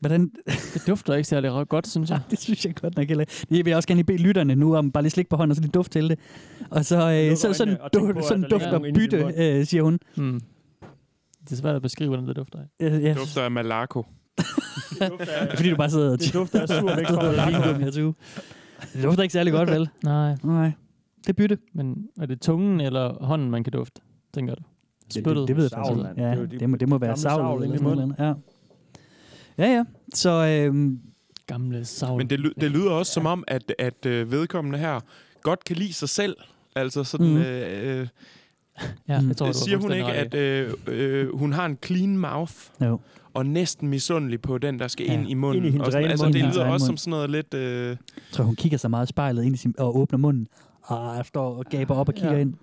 Speaker 4: Hvordan,
Speaker 7: Det dufter ikke særlig ro- godt, synes jeg.
Speaker 4: [LAUGHS] det synes jeg godt nok heller ikke. Det vil jeg også gerne lige bede lytterne nu om, bare lige slik på hånden, og så lige duft til det. Og så øh, så, sådan,
Speaker 3: øjnene og tænk på,
Speaker 4: du,
Speaker 3: at
Speaker 4: sådan
Speaker 3: der ligger
Speaker 4: duft og
Speaker 3: nogen inde i din
Speaker 4: bytte, øh, siger hun.
Speaker 7: Mm. Det er svært at beskrive, hvordan det dufter. af.
Speaker 4: Øh, ja,
Speaker 6: Det dufter af
Speaker 3: [LAUGHS]
Speaker 6: Malaco.
Speaker 3: Det dufter
Speaker 4: [LAUGHS]
Speaker 3: af-
Speaker 4: fordi du bare sidder og
Speaker 3: Det dufter af sur væk fra
Speaker 4: sidder og vingummi
Speaker 3: Malaco.
Speaker 4: og tuge. Det dufter ikke særlig godt, vel?
Speaker 7: Nej,
Speaker 4: Nej. Det er bytte.
Speaker 7: men er det tungen eller hånden, man kan dufte? Tænker du? Spyttet.
Speaker 4: det, det ved jeg
Speaker 3: Savl,
Speaker 4: faktisk
Speaker 3: mand.
Speaker 4: ikke.
Speaker 3: Det
Speaker 4: Ja,
Speaker 3: er jo de
Speaker 4: det, må, det må være
Speaker 3: gamle
Speaker 4: savl
Speaker 3: savl
Speaker 4: eller
Speaker 3: inde i
Speaker 4: sådan noget. Ja. [LAUGHS] ja, ja. Så øhm,
Speaker 7: Gamle savl.
Speaker 6: Men det, ly- det lyder også som om, at, at øh, vedkommende her godt kan lide sig selv. Altså sådan...
Speaker 4: Mhm.
Speaker 6: Mm. Øh, øh,
Speaker 7: ja,
Speaker 3: Mm.
Speaker 7: jeg tror, du har
Speaker 6: siger hun ikke,
Speaker 7: fuldstændig
Speaker 6: at
Speaker 7: ret i.
Speaker 6: øh, øh, hun har en clean mouth?
Speaker 4: jo.
Speaker 6: og næsten misundelig på den, der skal
Speaker 4: Ja.
Speaker 6: ja. ind i munden.
Speaker 3: Ind i hendes
Speaker 6: og sådan,
Speaker 3: rene
Speaker 6: altså,
Speaker 3: mund.
Speaker 6: det
Speaker 4: Hendes
Speaker 6: lyder
Speaker 4: egen
Speaker 6: også
Speaker 4: mund.
Speaker 6: som sådan noget lidt...
Speaker 7: Mm.
Speaker 6: Øh,
Speaker 4: Jeg tror, hun kigger sig meget i spejlet ind i sin, og åbner munden. Og står og gaber op og kigger
Speaker 7: Ja.
Speaker 4: ind.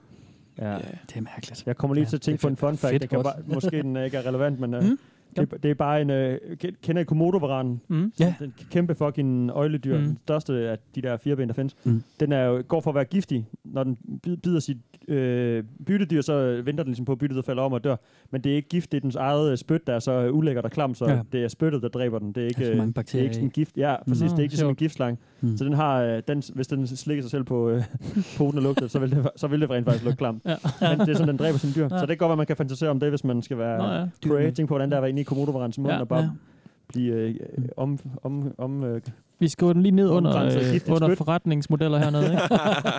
Speaker 3: Ja.
Speaker 6: ja.
Speaker 4: Det er mærkeligt.
Speaker 3: Jeg kommer lige til at
Speaker 4: Ja,
Speaker 3: tænke på
Speaker 4: det
Speaker 3: en
Speaker 4: er
Speaker 3: fun fact.
Speaker 4: fedt
Speaker 3: Det kan
Speaker 4: godt.
Speaker 3: bare, måske den ikke er relevant, men øh,
Speaker 4: Mm.
Speaker 3: Det, det er bare en... Øh, ke- kender I komodo
Speaker 7: Mm.
Speaker 4: Ja.
Speaker 3: Den kæmpe fucking øjledyr,
Speaker 7: Mm.
Speaker 3: mm. den største af de der fireben, der findes.
Speaker 4: Mm.
Speaker 3: Mm. Den er jo, går for at være giftig. Når den bid- bider sit øh, byttedyr, så venter den ligesom på, at byttedyret falder om og dør. Men det er ikke gift, det er dens eget øh, spyt, der er så ulækkert og klam, så
Speaker 4: Ja.
Speaker 3: ja. det er spyttet, der dræber den. Det er ikke,
Speaker 4: Der er så
Speaker 3: øh,
Speaker 4: mange
Speaker 3: det er
Speaker 4: bakterier
Speaker 3: ikke sådan
Speaker 4: i.
Speaker 3: en gift. Ja, præcis.
Speaker 7: Nå,
Speaker 3: det er ikke sådan en
Speaker 7: sjovt.
Speaker 3: giftslange.
Speaker 4: Mm.
Speaker 3: Så den har, øh, den, hvis den slikker sig selv på øh, [LAUGHS] poten og lugter, så vil det, så vil det rent faktisk lugte klamt.
Speaker 7: Ja.
Speaker 3: ja. Men det er sådan, den dræber sine dyr. Ja. Så det kan godt være, man kan fantasere om det, hvis man skal være
Speaker 7: Nå, ja.
Speaker 3: prey. Tænk på, hvordan der var inde i komodovarens mund,
Speaker 7: Ja,
Speaker 3: ja. og bare
Speaker 4: ja.
Speaker 3: ja. blive øh, øh, om, om, om, øh,
Speaker 7: Vi skriver den lige ned under,
Speaker 3: Omkranset af
Speaker 7: øh,
Speaker 3: giftigt
Speaker 7: under
Speaker 3: spyt.
Speaker 7: forretningsmodeller hernede. Ikke?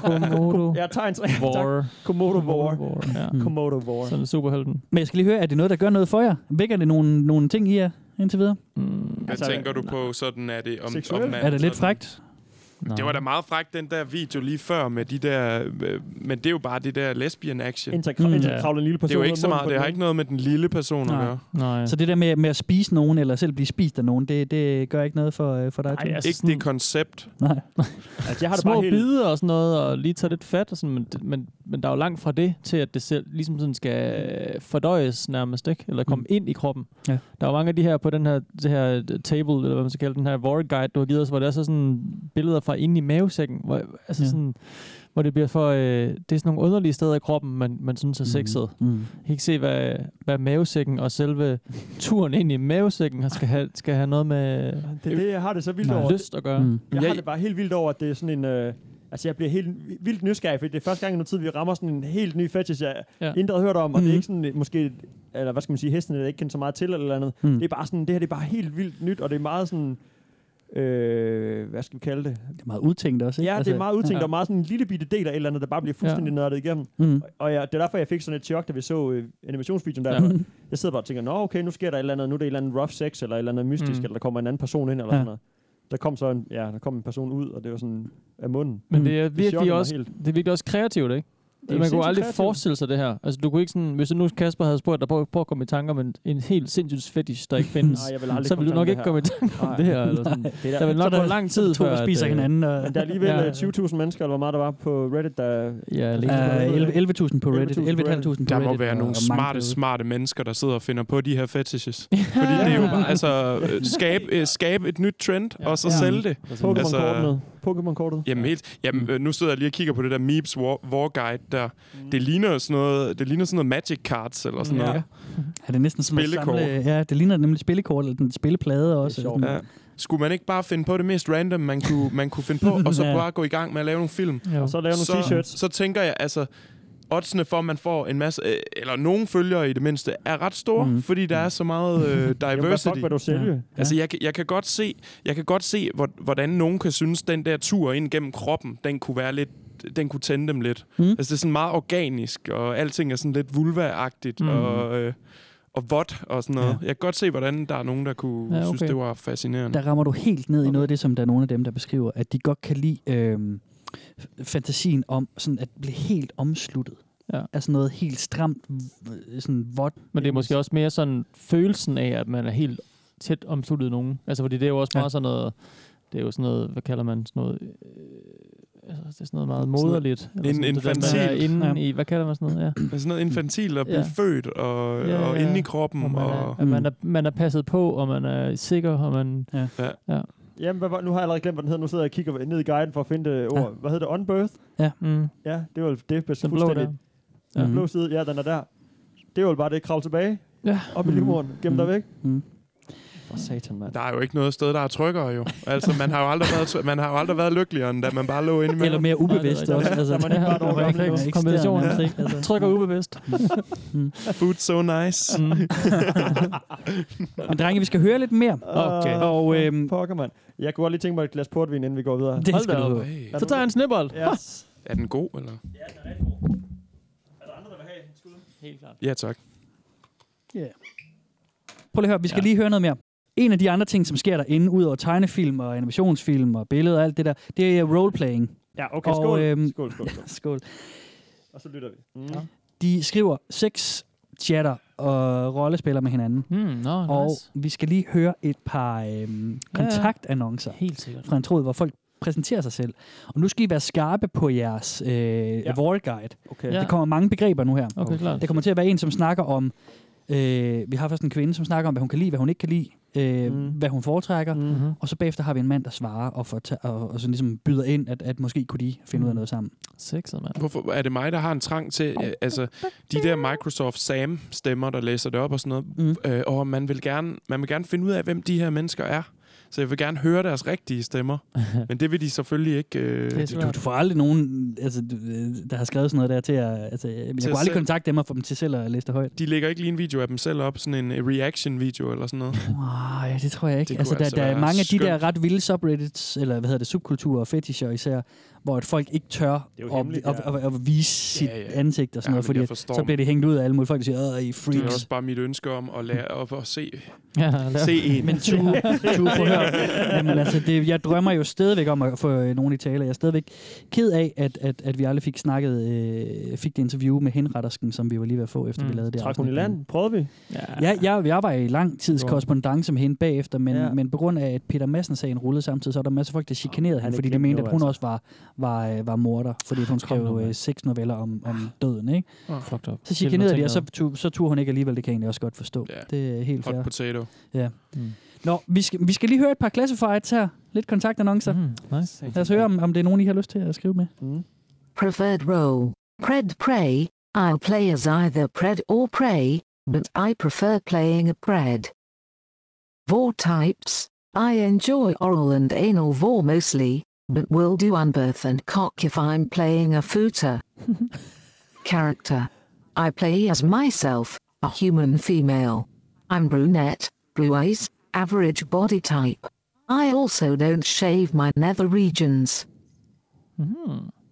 Speaker 7: Komodo.
Speaker 3: Ja, tegn tre.
Speaker 7: War.
Speaker 3: Tak. Komodo War.
Speaker 7: War. Ja.
Speaker 4: Mm.
Speaker 3: Komodo War.
Speaker 7: Sådan superhelten.
Speaker 4: Men jeg skal lige høre, er det noget, der gør noget for jer? Vækker det nogle, nogle ting i jer indtil videre?
Speaker 7: Mm.
Speaker 6: Hvad
Speaker 3: Altså,
Speaker 6: tænker du
Speaker 3: nej.
Speaker 6: på sådan, er det om, om
Speaker 3: Seksuelt?
Speaker 6: mand-
Speaker 4: Er det lidt
Speaker 6: sådan-
Speaker 4: frægt?
Speaker 7: Nå.
Speaker 6: Det var da meget frækt, den der video lige før med de der... øh, Men det er jo bare det der lesbian action.
Speaker 3: Indtil
Speaker 4: Mm.
Speaker 3: mm,
Speaker 7: Ja.
Speaker 3: ja. kravler en lille person.
Speaker 6: Det er jo ikke
Speaker 3: ud af
Speaker 6: så
Speaker 3: munden
Speaker 6: meget.
Speaker 3: på
Speaker 6: Det
Speaker 3: den
Speaker 6: har
Speaker 3: ene.
Speaker 6: ikke noget med den lille person at
Speaker 4: Nej.
Speaker 6: gøre.
Speaker 7: Nej.
Speaker 4: Så det der med, med at spise nogen, eller selv blive spist af nogen, det, det gør ikke noget for, øh, for dig?
Speaker 7: Nej,
Speaker 4: Tim?
Speaker 7: altså
Speaker 6: Ikke
Speaker 7: sådan-
Speaker 6: det koncept.
Speaker 4: Nej. [LAUGHS]
Speaker 3: Altså, jeg har det
Speaker 7: små
Speaker 3: bare helt...
Speaker 7: bidder og sådan noget, og lige tage lidt fat og sådan, men, men, men der er jo langt fra det til, at det selv ligesom sådan skal fordøjes nærmest, ikke? Eller komme mm. ind i kroppen.
Speaker 4: Ja.
Speaker 7: Der er jo mange af de her på den her, det her øh, table, eller hvad man skal kalde den her war guide, du har givet os, hvor der er så sådan billeder fra inde i mavesækken, hvor, altså
Speaker 4: Ja.
Speaker 7: ja. sådan, hvor det bliver for, øh, det er sådan nogle underlige steder i kroppen, man, man synes er sexet.
Speaker 3: Mm-hmm.
Speaker 4: Mm.
Speaker 7: Jeg kan ikke se, hvad, hvad mavesækken og selve turen ind i mavesækken har- skal have, skal have noget med
Speaker 3: Det, er det, jeg har det så vildt
Speaker 4: Nej.
Speaker 3: over.
Speaker 7: lyst at gøre.
Speaker 4: Mm.
Speaker 3: Jeg
Speaker 6: Jeg-
Speaker 3: har det bare helt vildt over, at det er sådan en... Øh, altså, jeg bliver helt vildt nysgerrig, fordi det er første gang i noget tid, vi rammer sådan en helt ny fetish, jeg
Speaker 7: Ja.
Speaker 3: ja. intet har hørt om, og det
Speaker 4: Mhm.
Speaker 3: er ikke sådan, øh, måske, eller hvad skal man sige, hesten er ikke kendt så meget til, eller andet.
Speaker 4: Mm.
Speaker 3: Mm. Det er bare sådan, det her det er bare helt vildt nyt, og det er meget sådan, øh, hvad skal vi kalde det?
Speaker 4: Det er meget udtænkt også, ikke? Altså,
Speaker 3: Ja, det er meget udtænkt,
Speaker 7: ja.
Speaker 3: ja. og meget sådan en lille bitte del af et eller andet, der bare bliver fuldstændig ja. nørdet igennem.
Speaker 4: Mm.
Speaker 3: Og jeg, det er derfor, jeg fik sådan et chok, da vi så øh, animationsvideoen der.
Speaker 7: Ja.
Speaker 3: Ja. Jeg sidder bare og tænker, nå okay, nu sker der et eller andet, nu er det et eller andet rough sex, eller et eller andet mystisk,
Speaker 7: Mm.
Speaker 3: mm. eller der kommer en anden person ind, eller
Speaker 4: Ja.
Speaker 3: ja. sådan noget. Der kom så en, ja, der kom en person ud, og det var sådan af munden.
Speaker 7: Men
Speaker 4: Mm.
Speaker 7: det er
Speaker 3: chokker
Speaker 7: virkelig
Speaker 3: mig
Speaker 7: også,
Speaker 3: helt.
Speaker 7: det er virkelig også kreativt, ikke?
Speaker 3: er
Speaker 7: man kunne
Speaker 3: sindssygt
Speaker 7: aldrig
Speaker 3: kreativt.
Speaker 7: forestille sig det her. Altså, du kunne ikke sådan, hvis nu Kasper havde spurgt dig, prøv, prøv at komme i tanker om en, en helt sindssygt fetish, der ikke findes,
Speaker 3: Nej, jeg vil aldrig
Speaker 7: så ville du nok
Speaker 3: komme
Speaker 7: ikke komme i tanker om
Speaker 3: Nej.
Speaker 7: det her. Eller
Speaker 3: [LAUGHS]
Speaker 7: sådan.
Speaker 3: Det
Speaker 7: Der vil nok
Speaker 4: Så er
Speaker 7: gå lang
Speaker 4: Så er der
Speaker 7: tid
Speaker 4: to,
Speaker 7: før,
Speaker 4: der spiser
Speaker 7: at, øh,
Speaker 4: hinanden. Og,
Speaker 3: Men der er alligevel
Speaker 7: Ja.
Speaker 3: ja. 20.000 mennesker, eller hvor meget der var på Reddit, der...
Speaker 7: Ja, lige.
Speaker 4: Uh,
Speaker 3: Øh,
Speaker 4: 11 11.000 på Reddit. 11.500
Speaker 3: 11.000 på
Speaker 4: på Reddit.
Speaker 6: Der må være
Speaker 4: og-
Speaker 6: nogle
Speaker 4: og mange
Speaker 6: smarte,
Speaker 4: derude.
Speaker 6: smarte mennesker, der sidder og finder på de her fetishes. Fordi det er jo bare, altså, øh, skabe, øh, skabe et nyt trend, og så
Speaker 4: Ja.
Speaker 6: sælge det. Altså-
Speaker 3: Pokémon-kortet. med. Pokémon-kortet.
Speaker 6: Jamen helt. Jamen, øh, nu sidder jeg lige og kigger på det der Meeps War, War Guide der. Det ligner jo sådan noget, det ligner sådan noget Magic Cards eller sådan
Speaker 3: Ja.
Speaker 6: noget.
Speaker 4: Ja, det er næsten som at
Speaker 6: Spillekort.
Speaker 4: samle... Ja, det ligner nemlig spillekort, eller den spilleplade også.
Speaker 3: sjovt.
Speaker 4: Sådan-
Speaker 6: Ja. Skulle man ikke bare finde på det mest random, man kunne, man kunne finde på,
Speaker 3: [LAUGHS]
Speaker 6: og så
Speaker 4: Ja.
Speaker 6: bare gå i gang med at lave nogle film?
Speaker 7: Jo.
Speaker 3: Og så lave nogle t-shirts.
Speaker 6: så tænker jeg, altså, oddsene for, at man får en masse, øh, eller nogen følgere i det mindste, er ret store,
Speaker 4: Mhm.
Speaker 6: mm. fordi der er så meget øh,
Speaker 3: [LAUGHS] Jamen, hvad fuck,
Speaker 6: diversity.
Speaker 3: hvad du sælger?
Speaker 6: Ja. Altså, jeg, kan- jeg, kan godt se, jeg kan godt se, hvor- hvordan nogen kan synes, den der tur ind gennem kroppen, den kunne være lidt den kunne tænde dem lidt.
Speaker 4: Mm.
Speaker 3: Mhm.
Speaker 6: Mm. Altså, det er sådan meget organisk, og alting er sådan lidt vulva-agtigt,
Speaker 3: Mhm.
Speaker 7: Mm.
Speaker 6: mm. og, øh, og vådt og sådan noget. Jeg kan godt se, hvordan der er nogen, der kunne ja, okay.
Speaker 7: Ja, okay.
Speaker 6: Uh, synes, det var fascinerende.
Speaker 4: Der rammer du helt ned i noget af det, som der er nogle af dem, der beskriver, at de godt kan lide øhm, f- fantasien om sådan at blive helt omsluttet.
Speaker 7: Ja.
Speaker 4: Altså noget helt stramt, v- sådan vådt.
Speaker 7: Men det er måske også mere sådan følelsen af, at man er helt tæt omsluttet af nogen. Altså, fordi det er jo også
Speaker 4: Ja.
Speaker 7: meget sådan noget, det er jo sådan noget, hvad kalder man sådan noget, øh, altså, det er sådan noget meget
Speaker 6: noget
Speaker 7: moderligt. eller
Speaker 6: in-
Speaker 7: sådan det der, man er
Speaker 6: infantilt.
Speaker 7: Inde
Speaker 4: Ja.
Speaker 7: i, hvad kalder man
Speaker 6: [CLEARS THROAT]
Speaker 7: sådan noget? Ja.
Speaker 6: Der er Altså, sådan noget infantil at blive
Speaker 7: Ja.
Speaker 6: ja. født og,
Speaker 7: Ja,
Speaker 6: ja, og
Speaker 7: ja,
Speaker 6: inde i
Speaker 7: ja. Og
Speaker 6: kroppen.
Speaker 7: man, er,
Speaker 6: Og,
Speaker 7: at man, er,
Speaker 4: Mm.
Speaker 7: man er passet på, og man er sikker, og man...
Speaker 3: Jamen, hvad, var- nu har jeg allerede glemt, hvad den hedder. Nu sidder jeg og kigger ned i guiden for at finde det ord. Hvad hedder det? Unbirth?
Speaker 7: Mm,
Speaker 3: Ja, det var det
Speaker 7: den
Speaker 3: bestemt
Speaker 7: blå der.
Speaker 3: fuldstændig. Den
Speaker 4: Mm.
Speaker 3: blå side, ja, den er der. Det er jo bare det, kravle tilbage.
Speaker 7: Ja.
Speaker 3: Op i livmoderen, gem dig
Speaker 4: Mm.
Speaker 3: væk.
Speaker 4: Mm.
Speaker 3: For satan, mand.
Speaker 6: der er jo ikke noget sted, der er tryggere jo. Altså, man har jo aldrig været, try- man har jo aldrig været lykkeligere, end da man bare lå inde i
Speaker 4: Eller mere ubevidst
Speaker 7: Nej, det er
Speaker 4: også.
Speaker 7: rigtigt.
Speaker 4: Altså,
Speaker 3: Der må
Speaker 7: [LAUGHS]
Speaker 3: det være et år gammel
Speaker 4: Ja,
Speaker 7: Perfekt
Speaker 4: ekstern,
Speaker 7: kombination.
Speaker 4: ja.
Speaker 7: Ja.
Speaker 4: Altså.
Speaker 7: Trykker
Speaker 4: [LAUGHS]
Speaker 7: ubevidst.
Speaker 6: Food so nice.
Speaker 3: [LAUGHS]
Speaker 7: Mm.
Speaker 4: Men drenge, vi skal høre lidt mere.
Speaker 7: Okay.
Speaker 4: Og øhm,
Speaker 3: Ah, Pokker, mand. Jeg kunne godt lige tænke mig et glas portvin, inden vi går videre.
Speaker 4: det
Speaker 7: Hold
Speaker 4: skal
Speaker 7: da
Speaker 4: du
Speaker 7: op.
Speaker 4: høre.
Speaker 6: Hey.
Speaker 7: Så tager jeg en snibbold.
Speaker 3: Yes.
Speaker 6: Er den god, eller?
Speaker 7: Helt klart.
Speaker 6: Ja, tak.
Speaker 4: Prøv lige at høre, vi skal ja. lige høre noget mere. En af de andre ting, som sker derinde, ud over tegnefilm og animationsfilm og billeder og alt det der, det er roleplaying.
Speaker 3: Ja, okay,
Speaker 4: Og,
Speaker 3: skål.
Speaker 4: øhm,
Speaker 3: skål, skål, skål.
Speaker 4: [LAUGHS] Skål.
Speaker 3: Og så lytter vi. Mm.
Speaker 4: De skriver seks chatter og rollespiller med hinanden.
Speaker 7: Mm, no,
Speaker 4: Og
Speaker 7: nice.
Speaker 4: vi skal lige høre et par øhm,
Speaker 7: Ja, ja.
Speaker 4: kontaktannoncer
Speaker 7: Helt sikkert.
Speaker 4: fra en tråd, hvor folk præsenterer sig selv. Og nu skal I være skarpe på jeres øh, ja.
Speaker 3: Ja.
Speaker 4: wall guide.
Speaker 3: Okay.
Speaker 7: Ja.
Speaker 4: Der kommer mange begreber nu her.
Speaker 7: Okay, klart.
Speaker 4: Der kommer til at være en, som snakker om Øh, vi har først en kvinde, som snakker om, hvad hun kan lide, hvad hun ikke kan lide, øh, mm.
Speaker 7: Mm.
Speaker 4: hvad hun foretrækker.
Speaker 7: Mm-hmm.
Speaker 4: Og så bagefter har vi en mand, der svarer og, får ta- og, og sådan ligesom byder ind, at, at måske kunne de finde ud af noget sammen.
Speaker 7: Mm. Sexet, mand.
Speaker 6: Hvorfor, er det mig, der har en trang til, øh, altså, de der Microsoft Sam-stemmer, der læser det op og sådan noget,
Speaker 4: Mm.
Speaker 6: øh, og man vil, gerne, man vil gerne finde ud af, hvem de her mennesker er. Så jeg vil gerne høre deres rigtige stemmer. Men det vil de selvfølgelig ikke. Øh,
Speaker 7: Det er
Speaker 6: det,
Speaker 7: svært.
Speaker 4: Du, du får aldrig nogen, altså, du, øh, der har skrevet sådan noget der til at... Altså, jeg jeg
Speaker 6: Til
Speaker 4: kunne
Speaker 6: at
Speaker 4: aldrig
Speaker 6: selv-
Speaker 4: kontakte dem og få dem til selv at læse det højt.
Speaker 6: de lægger ikke lige en video af dem selv op, sådan en øh, reaction-video eller sådan noget.
Speaker 4: Nej, det tror jeg ikke.
Speaker 6: Det kunne
Speaker 4: Altså, der,
Speaker 6: altså
Speaker 4: der er
Speaker 6: være
Speaker 4: mange af de der
Speaker 6: skønt.
Speaker 4: ret vilde subreddits, eller hvad hedder det, subkulturer og fetisher især, hvor at folk ikke tør
Speaker 3: Det er
Speaker 4: at,
Speaker 3: jo hemmeligt,
Speaker 4: at,
Speaker 3: ja.
Speaker 4: at, at vise sit
Speaker 6: Ja,
Speaker 4: ja,
Speaker 6: ja.
Speaker 4: ja. ansigt og sådan
Speaker 6: Ja,
Speaker 4: ja, noget,
Speaker 6: men
Speaker 4: fordi
Speaker 6: jeg
Speaker 4: at
Speaker 6: forstår
Speaker 4: så bliver det hængt ud af alle mulige folk, der siger, åh, I er
Speaker 6: Det er også
Speaker 4: freaks.
Speaker 6: bare mit ønske om at lære op og se,
Speaker 7: Ja,
Speaker 6: se en.
Speaker 4: Men Tue, Tue, prøv at høre. [LAUGHS] Jamen, altså, det, jeg drømmer jo stadigvæk om at få øh, nogen i tale, og jeg er stadigvæk ked af, at, at, at vi aldrig fik snakket, øh, fik det interview med henrettersken, som vi var lige ved at få, efter mm, vi
Speaker 7: Mm,
Speaker 4: lavede det
Speaker 3: Træk hun i
Speaker 4: afsnit.
Speaker 3: land. Prøvede vi?
Speaker 4: Ja, jeg, jeg var i lang tids
Speaker 7: Godt.
Speaker 4: korrespondence med hende bagefter, men, ja.
Speaker 3: Ja.
Speaker 4: men på grund af, at Peter Madsen-sagen rullede samtidig, så er der masser af folk, der chikanerede
Speaker 3: Han
Speaker 4: hende,
Speaker 3: er
Speaker 4: fordi de
Speaker 3: glemt
Speaker 4: mente,
Speaker 3: nu,
Speaker 4: at hun
Speaker 3: altså.
Speaker 4: også var, var, øh, var morder, fordi at hun
Speaker 7: Kom nu,
Speaker 4: skrev øh,
Speaker 7: mand.
Speaker 4: seks noveller om, om døden. Ikke?
Speaker 7: Fucked up.
Speaker 4: Så chikanerede de, og så, tu, så turde hun ikke alligevel, det kan jeg egentlig også godt forstå.
Speaker 6: Ja.
Speaker 4: Det er helt fair.
Speaker 6: Hot potato.
Speaker 7: Mm.
Speaker 4: Nå, vi skal, vi skal lige høre et par classifieds her. Lidt kontaktannoncer. Mm.
Speaker 7: Mm, nice.
Speaker 4: Lad os høre, om, om det er nogen, I har lyst til at skrive med.
Speaker 3: Mm.
Speaker 10: Preferred role. Pred prey. I'll play as either pred or prey, but I prefer playing a pred. Vor types. I enjoy oral and anal vor mostly, but will do unbirth and cock if I'm playing a footer. Character. I play as myself, a human female. I'm brunette, blue eyes, average body type. I also don't shave my nether regions.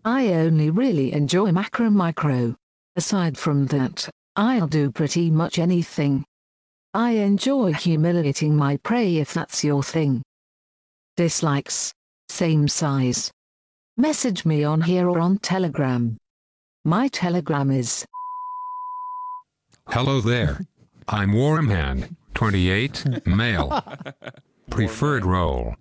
Speaker 10: I only really enjoy macro micro. Aside from that, I'll do pretty much anything. I enjoy humiliating my prey if that's your thing. Dislikes. Same size. Message me on here or on Telegram. My Telegram is
Speaker 8: Hello there. I'm Warmhand, 28, male. Preferred role.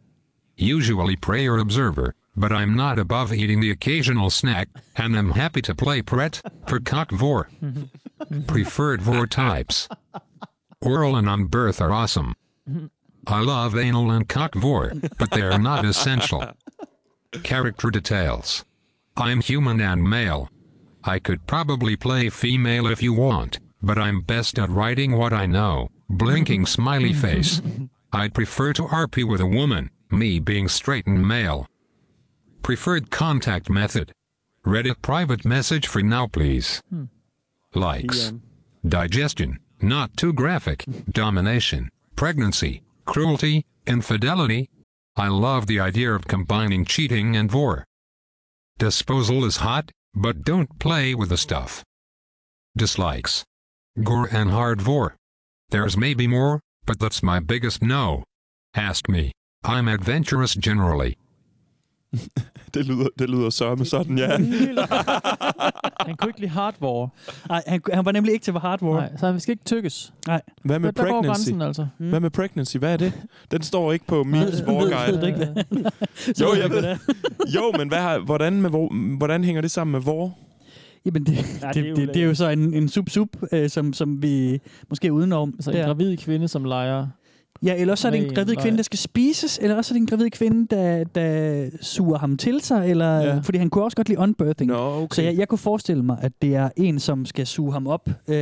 Speaker 8: Usually prayer observer, but I'm not above eating the occasional snack, and I'm happy to play Pret, for cock vor. Preferred vor types. Oral and on birth are awesome. I love anal and cock vor, but they are not essential. Character details. I'm human and male. I could probably play female if you want, but I'm best at writing what I know. Blinking smiley face. I'd prefer to RP with a woman, me being straight and male. Preferred contact method. Reddit private message for now, please. Likes.
Speaker 3: PM.
Speaker 8: Digestion, not too graphic, domination, pregnancy, cruelty, infidelity. I love the idea of combining cheating and vor. Disposal is hot, but don't play with the stuff. Dislikes. Gore and hard vor. There's maybe more, but that's my biggest no. Ask me. I'm adventurous generally.
Speaker 6: [LAUGHS] Det lyder, det lyder sørme sådan, ja.
Speaker 7: Han kunne ikke lide hardware.
Speaker 4: Nej, han, han var nemlig ikke til hardware.
Speaker 7: Nej, så vi skal ikke tykkes.
Speaker 6: Hvad med
Speaker 7: der går
Speaker 6: pregnancy?
Speaker 7: grænsen, altså.
Speaker 6: Hvad med pregnancy? Hvad er det? Den står ikke på min
Speaker 4: Ved du
Speaker 6: sporguide.
Speaker 4: ikke, hvad?
Speaker 6: Jo,
Speaker 4: ved
Speaker 6: jeg
Speaker 4: du,
Speaker 6: ved
Speaker 4: hvad det.
Speaker 6: Jo, men hvad har, hvordan, med, hvor, hvordan hænger det sammen med vor?
Speaker 4: Jamen, det, ja, det, det, det, det er jo så en, en sub-sub, øh, som, som vi måske er udenom.
Speaker 7: Altså en
Speaker 4: der.
Speaker 7: gravid kvinde, som leger.
Speaker 4: Ja, eller også er det
Speaker 7: med
Speaker 4: en
Speaker 7: en
Speaker 4: gravid
Speaker 7: leg.
Speaker 4: kvinde, der skal spises, eller også er det en gravid kvinde, der, der suger ham til sig, eller, ja.
Speaker 6: Ja.
Speaker 4: fordi han kunne også godt lide unbirthing.
Speaker 6: Nå, okay.
Speaker 4: Så jeg, jeg kunne forestille mig, at det er en, som skal suge ham op øh,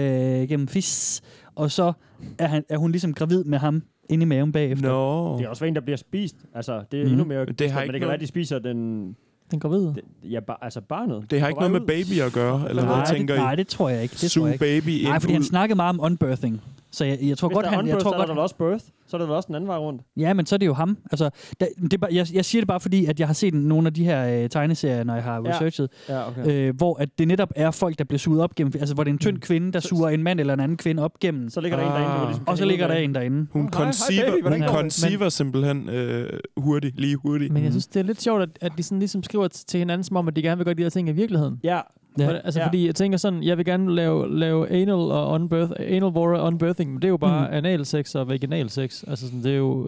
Speaker 4: gennem fis, og så er, han, er hun ligesom gravid med ham inde i maven bagefter.
Speaker 6: Nå.
Speaker 3: Det er også en, der bliver spist. Altså, det er
Speaker 4: Mhm.
Speaker 3: endnu mere...
Speaker 6: Men det har
Speaker 3: men
Speaker 6: ikke
Speaker 3: det kan være,
Speaker 6: noget-
Speaker 3: de spiser den...
Speaker 7: Den gravide.
Speaker 3: den ja, bar, altså barnet.
Speaker 6: Det har
Speaker 3: På
Speaker 6: ikke
Speaker 3: vej
Speaker 6: noget med
Speaker 3: ud.
Speaker 6: baby at gøre, eller
Speaker 4: nej,
Speaker 6: hvad tænker
Speaker 4: det, nej,
Speaker 6: I?
Speaker 4: det tror jeg ikke. Det tror jeg
Speaker 6: Suge
Speaker 4: ikke.
Speaker 6: baby ind
Speaker 4: Nej, fordi han
Speaker 6: ud.
Speaker 4: snakkede meget om unbirthing. Så jeg, jeg tror
Speaker 3: Hvis
Speaker 4: godt,
Speaker 3: der er
Speaker 4: han... Jeg
Speaker 3: unbirth,
Speaker 4: tror
Speaker 3: så er
Speaker 4: godt,
Speaker 3: der vel også birth. Så er der vel også den anden vej rundt.
Speaker 4: Ja, men så er det jo ham. Altså, der, det, er bare- jeg, jeg siger det bare fordi, at jeg har set nogle af de her øh, tegneserier, når jeg har
Speaker 3: Ja.
Speaker 4: researchet,
Speaker 3: Ja, okay. Mm.
Speaker 4: ja. øh, hvor at det netop er folk, der bliver suget op gennem... Altså, hvor det er en tynd kvinde, der
Speaker 3: Så-
Speaker 4: suger en mand eller en anden kvinde op gennem. Ah.
Speaker 3: Så ligger der en derinde, hvor ligesom
Speaker 4: Og så
Speaker 3: kan
Speaker 4: ligger der
Speaker 3: hænge ud
Speaker 4: en derinde.
Speaker 6: Hun
Speaker 3: Hej, hej
Speaker 6: conceiver,
Speaker 3: baby, hvordan
Speaker 6: hun
Speaker 3: går det?
Speaker 6: conceiver simpelthen øh, hurtigt, lige hurtigt.
Speaker 4: Mhm.
Speaker 7: Men jeg synes, det er lidt sjovt, at, at de sådan ligesom skriver t- til hinanden, som om, at de gerne vil gøre de her ting i virkeligheden.
Speaker 3: af. Ja,
Speaker 4: Ja.
Speaker 7: Ja. Altså,
Speaker 3: Ja.
Speaker 7: ja. fordi jeg tænker sådan, jeg vil gerne lave, lave anal og unbirth, anal war og unbirthing, men det er jo bare
Speaker 4: Mm.
Speaker 7: mm. analsex og vaginal sex. Altså, sådan, det, er jo,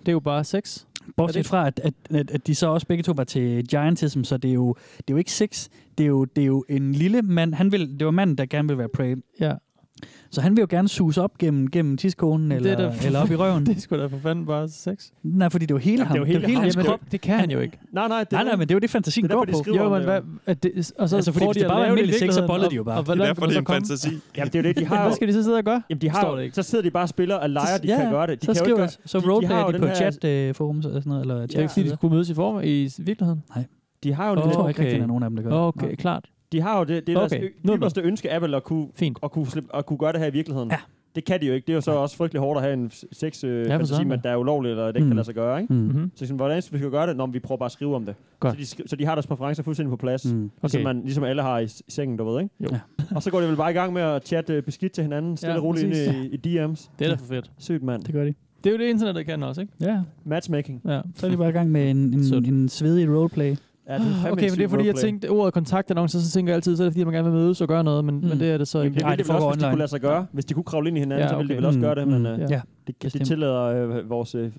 Speaker 7: det er jo bare sex. Er
Speaker 4: Bortset
Speaker 7: det-
Speaker 4: fra, at, at, at, at de så også begge to var til giantism, så det er jo, det er jo ikke sex. Det er jo, det er jo en lille mand. Han vil, det var manden, der gerne ville være prey.
Speaker 7: Ja.
Speaker 4: Så han vil jo gerne suge op gennem, gennem tidskånen eller,
Speaker 7: det er da-
Speaker 4: eller op i røven.
Speaker 7: [LAUGHS] det er sgu da for fanden bare sex.
Speaker 4: Nej, fordi det var hele
Speaker 7: Jamen,
Speaker 4: ham.
Speaker 7: det er jo hele ham.
Speaker 4: hans
Speaker 7: Jamen,
Speaker 4: krop.
Speaker 7: det- det kan han jo ikke.
Speaker 3: Nej, nej, det
Speaker 4: nej, nej, men det er jo det, fantasien
Speaker 3: det er
Speaker 4: går
Speaker 3: derfor,
Speaker 4: på.
Speaker 3: de skriver
Speaker 7: Jo,
Speaker 3: om
Speaker 7: men
Speaker 3: det,
Speaker 7: hvad... At det, og så
Speaker 4: Altså, fordi
Speaker 7: får
Speaker 4: hvis det
Speaker 7: de at
Speaker 4: bare var
Speaker 7: lave i
Speaker 4: almindelig sex, så
Speaker 7: virkeligheden,
Speaker 4: bollede de jo
Speaker 7: og-
Speaker 4: bare.
Speaker 7: Og,
Speaker 4: Det er
Speaker 7: hvor
Speaker 6: Det er
Speaker 7: langt
Speaker 6: derfor,
Speaker 7: kan man
Speaker 6: det er en
Speaker 7: så komme?
Speaker 6: fantasi.
Speaker 3: Jamen, det er jo det, de har
Speaker 7: Hvad
Speaker 3: jo,
Speaker 7: skal de så sidde og gøre?
Speaker 3: jamen, de
Speaker 7: Forstår
Speaker 3: har
Speaker 7: det
Speaker 3: jo,
Speaker 7: ikke.
Speaker 3: så sidder de bare og spiller og leger, de
Speaker 4: ja,
Speaker 3: kan gøre det. De
Speaker 4: så
Speaker 3: kan jo
Speaker 4: skriver,
Speaker 3: ikke gøre,
Speaker 4: så
Speaker 3: de- de har
Speaker 4: roleplayer
Speaker 3: jo
Speaker 4: de,
Speaker 3: den
Speaker 4: på
Speaker 3: her-
Speaker 4: chat-forums eller sådan noget. Eller
Speaker 7: Det er ikke, fordi de skulle mødes i form i s- virkeligheden.
Speaker 3: de har jo
Speaker 4: Jeg
Speaker 3: den
Speaker 4: tror
Speaker 3: her-
Speaker 4: ikke rigtig, der er nogen af dem, der gør det.
Speaker 7: Okay,
Speaker 4: Nej.
Speaker 7: klart.
Speaker 3: De har jo det, det er okay.
Speaker 7: Okay,
Speaker 3: deres ø-
Speaker 7: nu er det
Speaker 3: ypperste ønske af vel at kunne,
Speaker 7: Fint.
Speaker 3: at, kunne slippe, at kunne gøre det her i virkeligheden.
Speaker 4: Ja.
Speaker 3: Det kan de jo ikke. Det er jo så også frygtelig hårdt at have en sex øh,
Speaker 7: for
Speaker 3: fantasi,
Speaker 7: søren da.
Speaker 3: men der er ulovligt, eller det ikke
Speaker 4: Mm.
Speaker 3: kan lade sig gøre. Ikke?
Speaker 4: Mm.
Speaker 7: Mm-hmm.
Speaker 3: Så sådan, hvordan skal vi skal gøre det? Nå, men vi prøver bare at skrive om det.
Speaker 7: Godt.
Speaker 3: Så, de skri- så de har deres præferencer fuldstændig på plads.
Speaker 4: Mm.
Speaker 3: Mm. Okay.
Speaker 7: Okay.
Speaker 3: Ligesom, man, ligesom alle har i, s- i sengen, du ved, ikke?
Speaker 7: Jo.
Speaker 4: Ja.
Speaker 3: Og så går de vel bare i gang med at chatte øh, beskidt til hinanden, stille
Speaker 7: Ja,
Speaker 3: og roligt ind
Speaker 7: præcis.
Speaker 3: i, i DM's.
Speaker 7: Det er da for fedt.
Speaker 3: Sygt, mand.
Speaker 4: Det gør de.
Speaker 7: Det er jo det, internettet kan også, ikke?
Speaker 4: Ja,
Speaker 3: Matchmaking.
Speaker 7: Ja.
Speaker 4: så er de bare i gang med en, en,
Speaker 7: Sødt.
Speaker 4: en svedig roleplay.
Speaker 3: Ja, det er fandme
Speaker 7: Ah, Okay,
Speaker 3: et
Speaker 7: men det
Speaker 3: sygt
Speaker 7: er fordi, jeg
Speaker 3: roleplay.
Speaker 7: tænkte, ordet kontaktannoncer, så tænker jeg altid, så er det fordi, man gerne vil mødes og gøre noget, men, men
Speaker 4: Mm.
Speaker 7: det er det så
Speaker 3: Jamen,
Speaker 7: ikke.
Speaker 3: det,
Speaker 4: Nej,
Speaker 3: Ej, det,
Speaker 4: det
Speaker 3: det også,
Speaker 4: foregår
Speaker 3: hvis de
Speaker 4: online.
Speaker 3: kunne lade sig gøre. Hvis de kunne kravle ind i hinanden,
Speaker 7: Ja,
Speaker 3: så ville de
Speaker 7: okay.
Speaker 3: vel også
Speaker 4: Mm,
Speaker 3: gøre det,
Speaker 4: mm,
Speaker 3: men øh,
Speaker 7: ja.
Speaker 3: det, det
Speaker 4: Bestemt.
Speaker 3: tillader øh, vores, øh,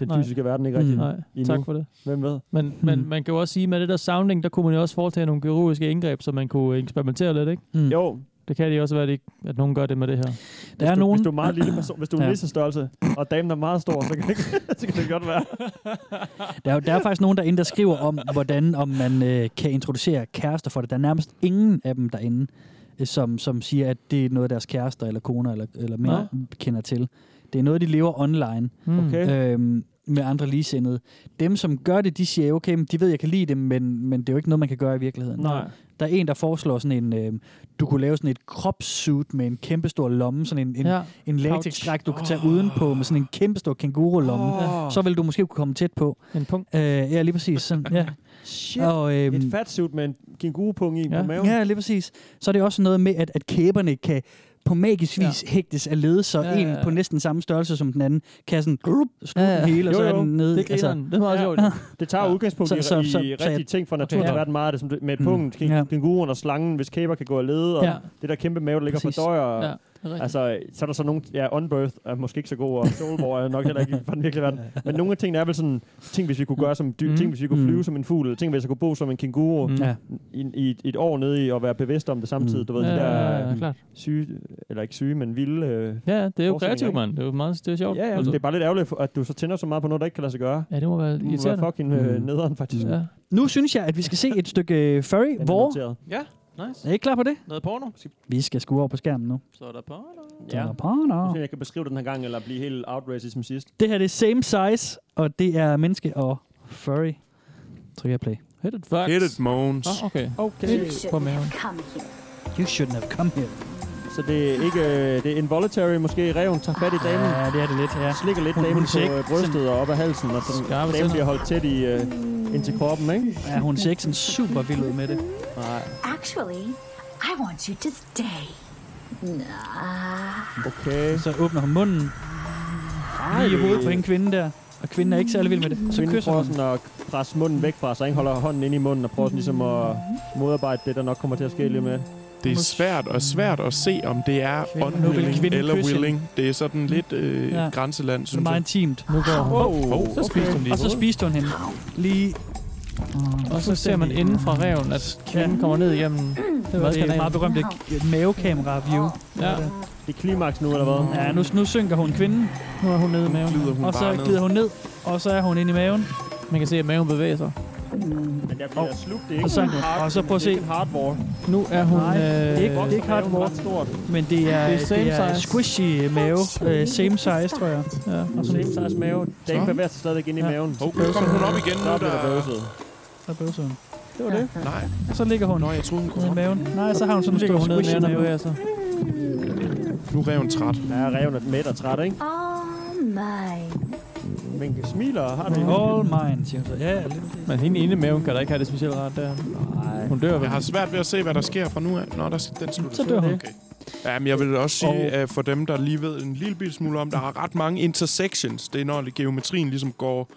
Speaker 3: den
Speaker 7: Nej.
Speaker 3: fysiske verden ikke rigtigt.
Speaker 4: Mm.
Speaker 7: Nej,
Speaker 3: Endnu.
Speaker 7: tak for det.
Speaker 3: Hvem ved?
Speaker 7: Men, men
Speaker 4: Mm.
Speaker 7: man kan jo også sige, med det der sounding, der kunne man jo også foretage nogle kirurgiske indgreb, så man kunne eksperimentere lidt, ikke?
Speaker 4: Mm.
Speaker 3: Jo,
Speaker 7: Det kan det også være, at, ikke, at nogen gør det med det her.
Speaker 4: der er
Speaker 3: hvis du,
Speaker 4: nogen...
Speaker 3: Hvis du er meget lille person, hvis du er
Speaker 4: Ja.
Speaker 3: ja. størrelse, og damen er meget stor, så kan [LAUGHS] det, så kan det godt være.
Speaker 4: Der er, jo- der er faktisk nogen derinde, der skriver om, hvordan om man øh, kan introducere kærester for det. Der er nærmest ingen af dem derinde, øh, som, som siger, at det er noget, deres kærester eller koner eller, eller mænd
Speaker 7: Nej.
Speaker 4: kender til. Det er noget, de lever online
Speaker 7: Mm.
Speaker 3: Okay.
Speaker 4: øhm, med andre ligesindede. Dem, som gør det, de siger, okay, men de ved, jeg kan lide det, men, men det er jo ikke noget, man kan gøre i virkeligheden.
Speaker 7: Nej.
Speaker 4: Der er en, der foreslår sådan en, øh, du kunne lave sådan et kropssuit med en kæmpestor lomme, sådan en, en,
Speaker 7: Ja.
Speaker 4: en latexdragt, du kan tage udenpå med sådan en kæmpestor kænguru-lomme.
Speaker 3: Oh,
Speaker 4: Så vil du måske kunne komme tæt på.
Speaker 7: En punkt.
Speaker 4: Øh, ja, lige præcis. Sådan, ja.
Speaker 3: shit.
Speaker 4: Og, øhm,
Speaker 3: Et fatsuit med en kængurupung i
Speaker 7: Ja.
Speaker 3: på maven.
Speaker 4: ja, lige præcis. Så er det også noget med, at, at kæberne kan på magisk vis ja. hægtes af led, så
Speaker 7: Ja,
Speaker 4: ja,
Speaker 7: ja,
Speaker 4: ja, ja.
Speaker 7: ja.
Speaker 4: en på næsten samme størrelse som den anden kan sådan grup, slutte
Speaker 7: Ja,
Speaker 4: ja,
Speaker 7: ja.
Speaker 4: ja. hele, og
Speaker 3: Jo,
Speaker 4: så er
Speaker 3: jo.
Speaker 4: den nede.
Speaker 7: Det griner altså, Det var også
Speaker 3: Ja.
Speaker 7: [LAUGHS] sjovt. jo.
Speaker 3: Det tager
Speaker 7: Ja.
Speaker 3: udgangspunkt
Speaker 4: Så-
Speaker 3: i,
Speaker 4: så-
Speaker 3: i,
Speaker 4: så-
Speaker 3: i
Speaker 4: så
Speaker 3: rigtige
Speaker 4: jeg-
Speaker 3: ting fra naturen,
Speaker 7: Okay,
Speaker 3: okay,
Speaker 7: ja.
Speaker 3: der er ret meget af det, som du- med
Speaker 4: Mm.
Speaker 3: pungen,
Speaker 4: Ja.
Speaker 3: kæng- kænguruen og slangen, hvis kæber kan gå af lede, og
Speaker 7: Ja.
Speaker 3: det der kæmpe mave, der ligger
Speaker 4: Præcis.
Speaker 3: for døjer.
Speaker 7: Ja, det er rigtigt.
Speaker 3: Altså, så er der så nogle, ja, Unbirth er måske ikke så god, og Soulborg er nok heller ikke fra den virkelige verden. Men nogle af tingene er vel sådan, ting hvis vi kunne gøre som dyr,
Speaker 7: Mm.
Speaker 3: ting hvis vi kunne
Speaker 4: Mm.
Speaker 3: flyve som en fugl, ting hvis jeg kunne bo som en kænguru,
Speaker 7: Mm.
Speaker 4: Ja.
Speaker 3: i, i et, et år nede i og være bevidst om det samtidig.
Speaker 4: Mm.
Speaker 3: Du ved,
Speaker 7: Ja,
Speaker 3: det der
Speaker 7: ja, ja, klart.
Speaker 3: syge, eller ikke syge, men vilde... Øh,
Speaker 7: Ja, ja, det er jo
Speaker 3: Forestillinger,
Speaker 7: kreativt,
Speaker 3: ikke?
Speaker 7: mand. Det er jo meget det er sjovt.
Speaker 3: ja, ja, men
Speaker 7: altså.
Speaker 3: det er bare lidt ærgerligt, at du så tænder så meget på noget, der ikke kan lade sig gøre.
Speaker 7: ja, det må være
Speaker 3: Du må være
Speaker 7: irriterende.
Speaker 3: fucking øh,
Speaker 4: Mm.
Speaker 3: nederen, faktisk.
Speaker 7: Ja.
Speaker 4: Nu synes jeg, at vi skal se et stykke øh, furry.
Speaker 3: Den er
Speaker 4: Hvor?
Speaker 3: noteret.
Speaker 7: Nice.
Speaker 4: Er I ikke klar på det?
Speaker 7: Noget porno.
Speaker 4: Vi skal skrue over på skærmen nu.
Speaker 7: Så er der porno.
Speaker 3: Ja.
Speaker 4: Ja.
Speaker 3: Jeg synes, jeg kan beskrive den her gang, eller blive helt outraged som sidst.
Speaker 4: Det her det er same size, og det er menneske og furry. Tryk jeg play.
Speaker 7: Hit it, fucks.
Speaker 6: Hit it, Måns.
Speaker 7: Ah, okay.
Speaker 3: Okay.
Speaker 7: På maven.
Speaker 4: You shouldn't have come here.
Speaker 3: Så det er ikke... Øh, det er involuntary, måske. Reven tager fat i damen.
Speaker 4: Ja, det er det lidt, ja.
Speaker 3: Slikker lidt
Speaker 4: Hun-
Speaker 3: damen
Speaker 4: hun
Speaker 3: på
Speaker 4: ser ikke
Speaker 3: øh, brystet og op ad halsen, og så
Speaker 7: Skarpe
Speaker 3: damen
Speaker 7: tænder.
Speaker 3: bliver holdt tæt i, øh, ind til kroppen, ikke?
Speaker 4: ja hun ser ikke sådan super vild ud med det.
Speaker 3: Nej.
Speaker 11: Actually, I want you to stay.
Speaker 3: Okay.
Speaker 4: Så åbner hun munden lige i hovedet på en kvinde der. Og kvinden er ikke særlig vild med det. Så
Speaker 3: Kvinden
Speaker 4: kysser
Speaker 3: prøver
Speaker 4: hun.
Speaker 3: sådan at presse munden væk fra sig, ikke? holder hånden ind i munden og prøver sådan ligesom at modarbejde det, der nok kommer til at ske lige med.
Speaker 6: Det er svært og svært at se, om det er
Speaker 7: Kvinde-
Speaker 4: Nu vil
Speaker 6: unwilling
Speaker 4: kvinden
Speaker 6: eller
Speaker 4: kysse
Speaker 6: willing. Det er sådan lidt øh,
Speaker 4: Ja.
Speaker 6: ja. grænseland,
Speaker 4: Så er det
Speaker 6: synes
Speaker 4: meget
Speaker 6: jeg.
Speaker 4: intimt.
Speaker 7: Nu går
Speaker 6: Oh,
Speaker 7: hun.
Speaker 6: oh,
Speaker 7: Så spiser hun lige.
Speaker 4: Og så spiste hun hende. Lige.
Speaker 7: Og så ser man inden fra reven, at kvinden kommer ned igennem
Speaker 4: Det var det
Speaker 7: madkanalen.
Speaker 4: meget berømte mavekamera-view.
Speaker 7: Ja,
Speaker 3: Det er klimaks nu, eller hvad?
Speaker 4: Ja, nu, nu synker hun kvinden,
Speaker 7: nu er hun nede i maven.
Speaker 6: glider hun
Speaker 4: og så
Speaker 6: bare ned.
Speaker 4: glider hun ned, og så er hun inde i maven.
Speaker 7: Man kan se, at maven bevæger sig.
Speaker 3: Men jeg bliver slugt, det er
Speaker 4: Og
Speaker 3: ikke
Speaker 4: så, og så prøv at se.
Speaker 3: en hardware.
Speaker 7: Nu er hun...
Speaker 4: Nej,
Speaker 7: øh,
Speaker 4: det er ikke-
Speaker 3: Det er ikke hardware. ret stort.
Speaker 4: Men det er,
Speaker 7: Det
Speaker 4: det
Speaker 7: er
Speaker 4: er,
Speaker 7: same
Speaker 4: det er
Speaker 7: size.
Speaker 4: squishy mave. Øh, same size, tror jeg.
Speaker 7: Ja.
Speaker 3: Og så lidt deres mave. Dagen bevæger sig stadigvæk ind i
Speaker 4: Ja.
Speaker 3: maven.
Speaker 6: Oh, nu kommer hun op igen nu,
Speaker 3: Så bliver der
Speaker 6: der...
Speaker 3: bøvset.
Speaker 4: Så bøvser hun.
Speaker 3: Det var det.
Speaker 6: Nej,
Speaker 4: Så ligger hun
Speaker 6: nå, jeg troede, hun
Speaker 4: nede i
Speaker 6: kunne
Speaker 4: maven. Nej, så har hun sådan
Speaker 7: Nu
Speaker 4: en
Speaker 7: ligger
Speaker 4: stor
Speaker 7: hun ned i
Speaker 4: squishy
Speaker 7: maven og
Speaker 4: mave.
Speaker 7: bevæger sig.
Speaker 6: Nu er reven træt.
Speaker 3: Ja, reven er mæt og træt, ikke?
Speaker 11: All mine.
Speaker 3: Men smiler og har det.
Speaker 4: All mine, siger hun så. Ja, ja, lige præcis.
Speaker 7: Men hende inde i maven kan da ikke have det specielt rart der. Hun dør vel.
Speaker 6: Jeg har svært ved at se, hvad der sker fra nu af. Nå, der, den slutter.
Speaker 4: Så dør hun.
Speaker 6: Okay. Ja, men jeg vil også sige,
Speaker 4: Og-
Speaker 6: at for dem, der lige ved en lille bitte smule om, der har ret mange intersections. Det er, når geometrien ligesom går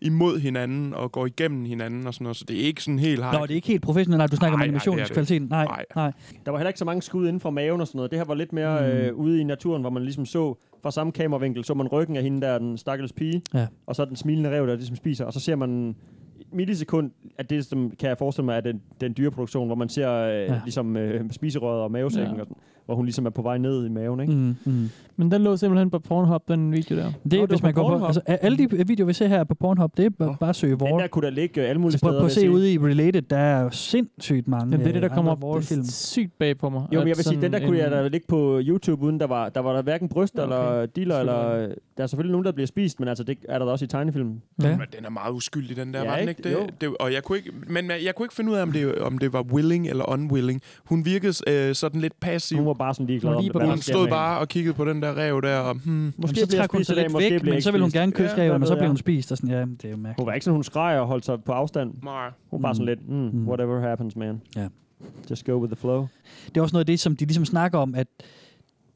Speaker 6: imod hinanden og går igennem hinanden og sådan noget. Så det er ikke sådan helt hard.
Speaker 4: Nå, det er ikke helt professionelt. Nej, du snakker om
Speaker 6: Nej, nej, det er det ikke.
Speaker 4: animationskvaliteten. Nej,
Speaker 6: Nej.
Speaker 4: nej. Mm.
Speaker 3: Der var heller ikke så mange skud inden fra maven og sådan noget. Det her var lidt mere øh, ude i naturen, hvor man ligesom så fra samme kameravinkel, så man ryggen af hende der, den stakkels pige,
Speaker 4: Ja.
Speaker 3: og så den smilende rev, der ligesom spiser, og så ser man et millisekund, at det som kan jeg forestille mig, er den, den dyreproduktion, hvor man ser øh,
Speaker 4: Ja.
Speaker 3: ja. ligesom øh, spiserøret og mavesækken
Speaker 7: Ja.
Speaker 3: ja. og sådan. hvor hun ligesom er på vej ned i maven, ikke?
Speaker 4: Mm, mm.
Speaker 7: Men den lå simpelthen på Pornhub, den video der.
Speaker 4: Det, er,
Speaker 3: var
Speaker 4: hvis
Speaker 3: på
Speaker 4: man går på,
Speaker 3: Pornhub.
Speaker 4: altså, a- alle de videoer, vi ser her på Pornhub, det er bare, bare at søge
Speaker 3: Den
Speaker 4: War.
Speaker 3: der kunne der ligge øh, alle mulige
Speaker 4: Altså,
Speaker 3: steder.
Speaker 4: prøv, prøv at
Speaker 3: vil jeg
Speaker 4: se
Speaker 3: sige.
Speaker 4: ude i Related, der er jo sindssygt mange
Speaker 7: Jamen, det er det, der
Speaker 4: øh,
Speaker 7: kommer
Speaker 4: andre
Speaker 7: op
Speaker 4: War-film.
Speaker 7: det sygt bag på mig.
Speaker 3: Jo, men
Speaker 7: at
Speaker 3: jeg vil sige,
Speaker 7: sådan
Speaker 3: den der kunne jeg
Speaker 7: en-
Speaker 3: da ligge på YouTube, uden der var, der var der hverken bryster
Speaker 7: Ja, okay.
Speaker 3: okay. eller dealer,
Speaker 7: Selvfølgelig.
Speaker 3: eller... Der er selvfølgelig nogen, der bliver spist, men altså, det er der da også i tegnefilmen.
Speaker 7: Ja.
Speaker 6: Men den er meget uskyldig, den der,
Speaker 3: Ja,
Speaker 6: ja, var den
Speaker 3: ikke?
Speaker 6: ikke
Speaker 3: Jo.
Speaker 6: det? det og jeg kunne ikke, men jeg kunne ikke finde ud af, om det, om det var willing eller unwilling. Hun virkede øh, sådan lidt passiv.
Speaker 3: Hun var bare sådan lige glad
Speaker 7: Hun
Speaker 3: om,
Speaker 7: lige
Speaker 3: hvad
Speaker 7: på-
Speaker 3: der
Speaker 6: Hun
Speaker 3: sker
Speaker 6: stod
Speaker 3: med hende.
Speaker 6: bare og kiggede på den der rev der, og hmm,
Speaker 4: Jamen,
Speaker 3: Måske
Speaker 4: så
Speaker 3: bliver jeg
Speaker 4: trak hun
Speaker 3: spist
Speaker 4: sig
Speaker 3: i dag,
Speaker 4: lidt
Speaker 3: måske
Speaker 4: væk,
Speaker 3: bliver jeg
Speaker 4: men
Speaker 3: ikke
Speaker 4: så vil hun
Speaker 3: spist.
Speaker 4: gerne kysse
Speaker 3: Ja,
Speaker 4: reven,
Speaker 3: hvad
Speaker 4: og så
Speaker 3: ved
Speaker 4: bliver
Speaker 3: jeg.
Speaker 4: hun spist. Og sådan, ja, det er jo mærkeligt.
Speaker 3: Hun var ikke sådan, hun skreg og holdt sig på afstand.
Speaker 6: Mara.
Speaker 3: Hun var bare sådan lidt, mm,
Speaker 4: Mm.
Speaker 3: whatever happens, man.
Speaker 4: Ja.
Speaker 3: Just go with the flow.
Speaker 4: Det er også noget af det, som de ligesom snakker om, at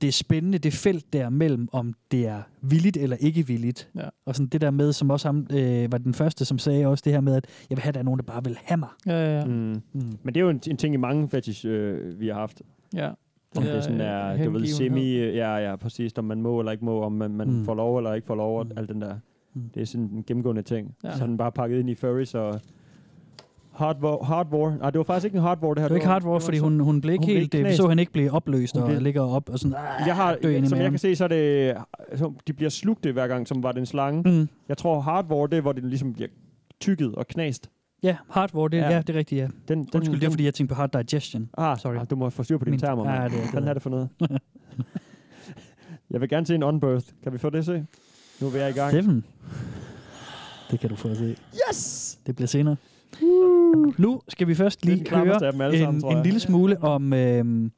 Speaker 4: det er spændende, det felt der mellem, om det er villigt eller ikke villigt.
Speaker 7: Ja.
Speaker 4: Og sådan det der med, som også ham, øh, var den første, som sagde også det her med, at jeg vil have, at der er nogen, der bare vil have mig.
Speaker 7: Ja, ja, ja.
Speaker 3: Mm.
Speaker 4: Mm.
Speaker 3: Men det er jo en, en ting i mange fetish, øh, vi har haft.
Speaker 7: ja.
Speaker 3: Om det sådan
Speaker 7: øh,
Speaker 3: er, du ved,
Speaker 7: hengivenhed.
Speaker 3: semi, øh, ja, ja, præcis, om man må eller ikke må, om man, man
Speaker 4: Mm.
Speaker 3: mm. får lov eller ikke får lov, og
Speaker 4: Mm.
Speaker 3: mm. alt den der.
Speaker 4: Mm.
Speaker 3: Det er sådan en gennemgående ting.
Speaker 7: Ja.
Speaker 3: Ja. Så er den bare pakket ind i furries og hard war. Hard war. Nej, det var faktisk ikke en hard war, det her.
Speaker 4: Det var ikke hard war,
Speaker 3: det var
Speaker 4: fordi
Speaker 3: så-
Speaker 4: hun, hun blev ikke
Speaker 3: hun blev
Speaker 4: helt...
Speaker 3: ikke
Speaker 4: øh, Vi
Speaker 3: knæst.
Speaker 4: så, at han ikke blev opløst
Speaker 3: Hun
Speaker 4: og
Speaker 3: blev-
Speaker 4: ligger op og sådan... "Ah,
Speaker 3: Jeg har,
Speaker 4: dø ind i
Speaker 3: som jeg
Speaker 4: maven."
Speaker 3: kan se, så er det, så de bliver slugt det hver gang, som var den slange. Mm.
Speaker 4: Mm.
Speaker 3: Jeg tror, hardware, det er, hvor det ligesom bliver tykket og knast.
Speaker 4: Ja, hard war, det, ja.
Speaker 3: Ja.
Speaker 4: ja, det er rigtigt, ja.
Speaker 3: Den, den,
Speaker 4: Undskyld, det er,
Speaker 3: den-
Speaker 4: fordi jeg tænkte på hard digestion. Sorry.
Speaker 3: Ah, sorry. Ah, du må få styr på
Speaker 4: Min-
Speaker 3: dine termer,
Speaker 4: Ja,
Speaker 3: mand.
Speaker 4: det er det.
Speaker 3: Hvad er det for noget? jeg vil gerne se en unbirth. Kan vi få det at se? Nu er vi i gang.
Speaker 4: Steffen. Det kan du få at se.
Speaker 3: Yes!
Speaker 4: Det bliver senere. Nu skal vi først
Speaker 3: Det er
Speaker 4: lige
Speaker 3: den klammeste
Speaker 4: køre
Speaker 3: af dem alle sammen,
Speaker 4: en,
Speaker 3: tror
Speaker 4: en
Speaker 3: jeg.
Speaker 4: lille smule om, øh,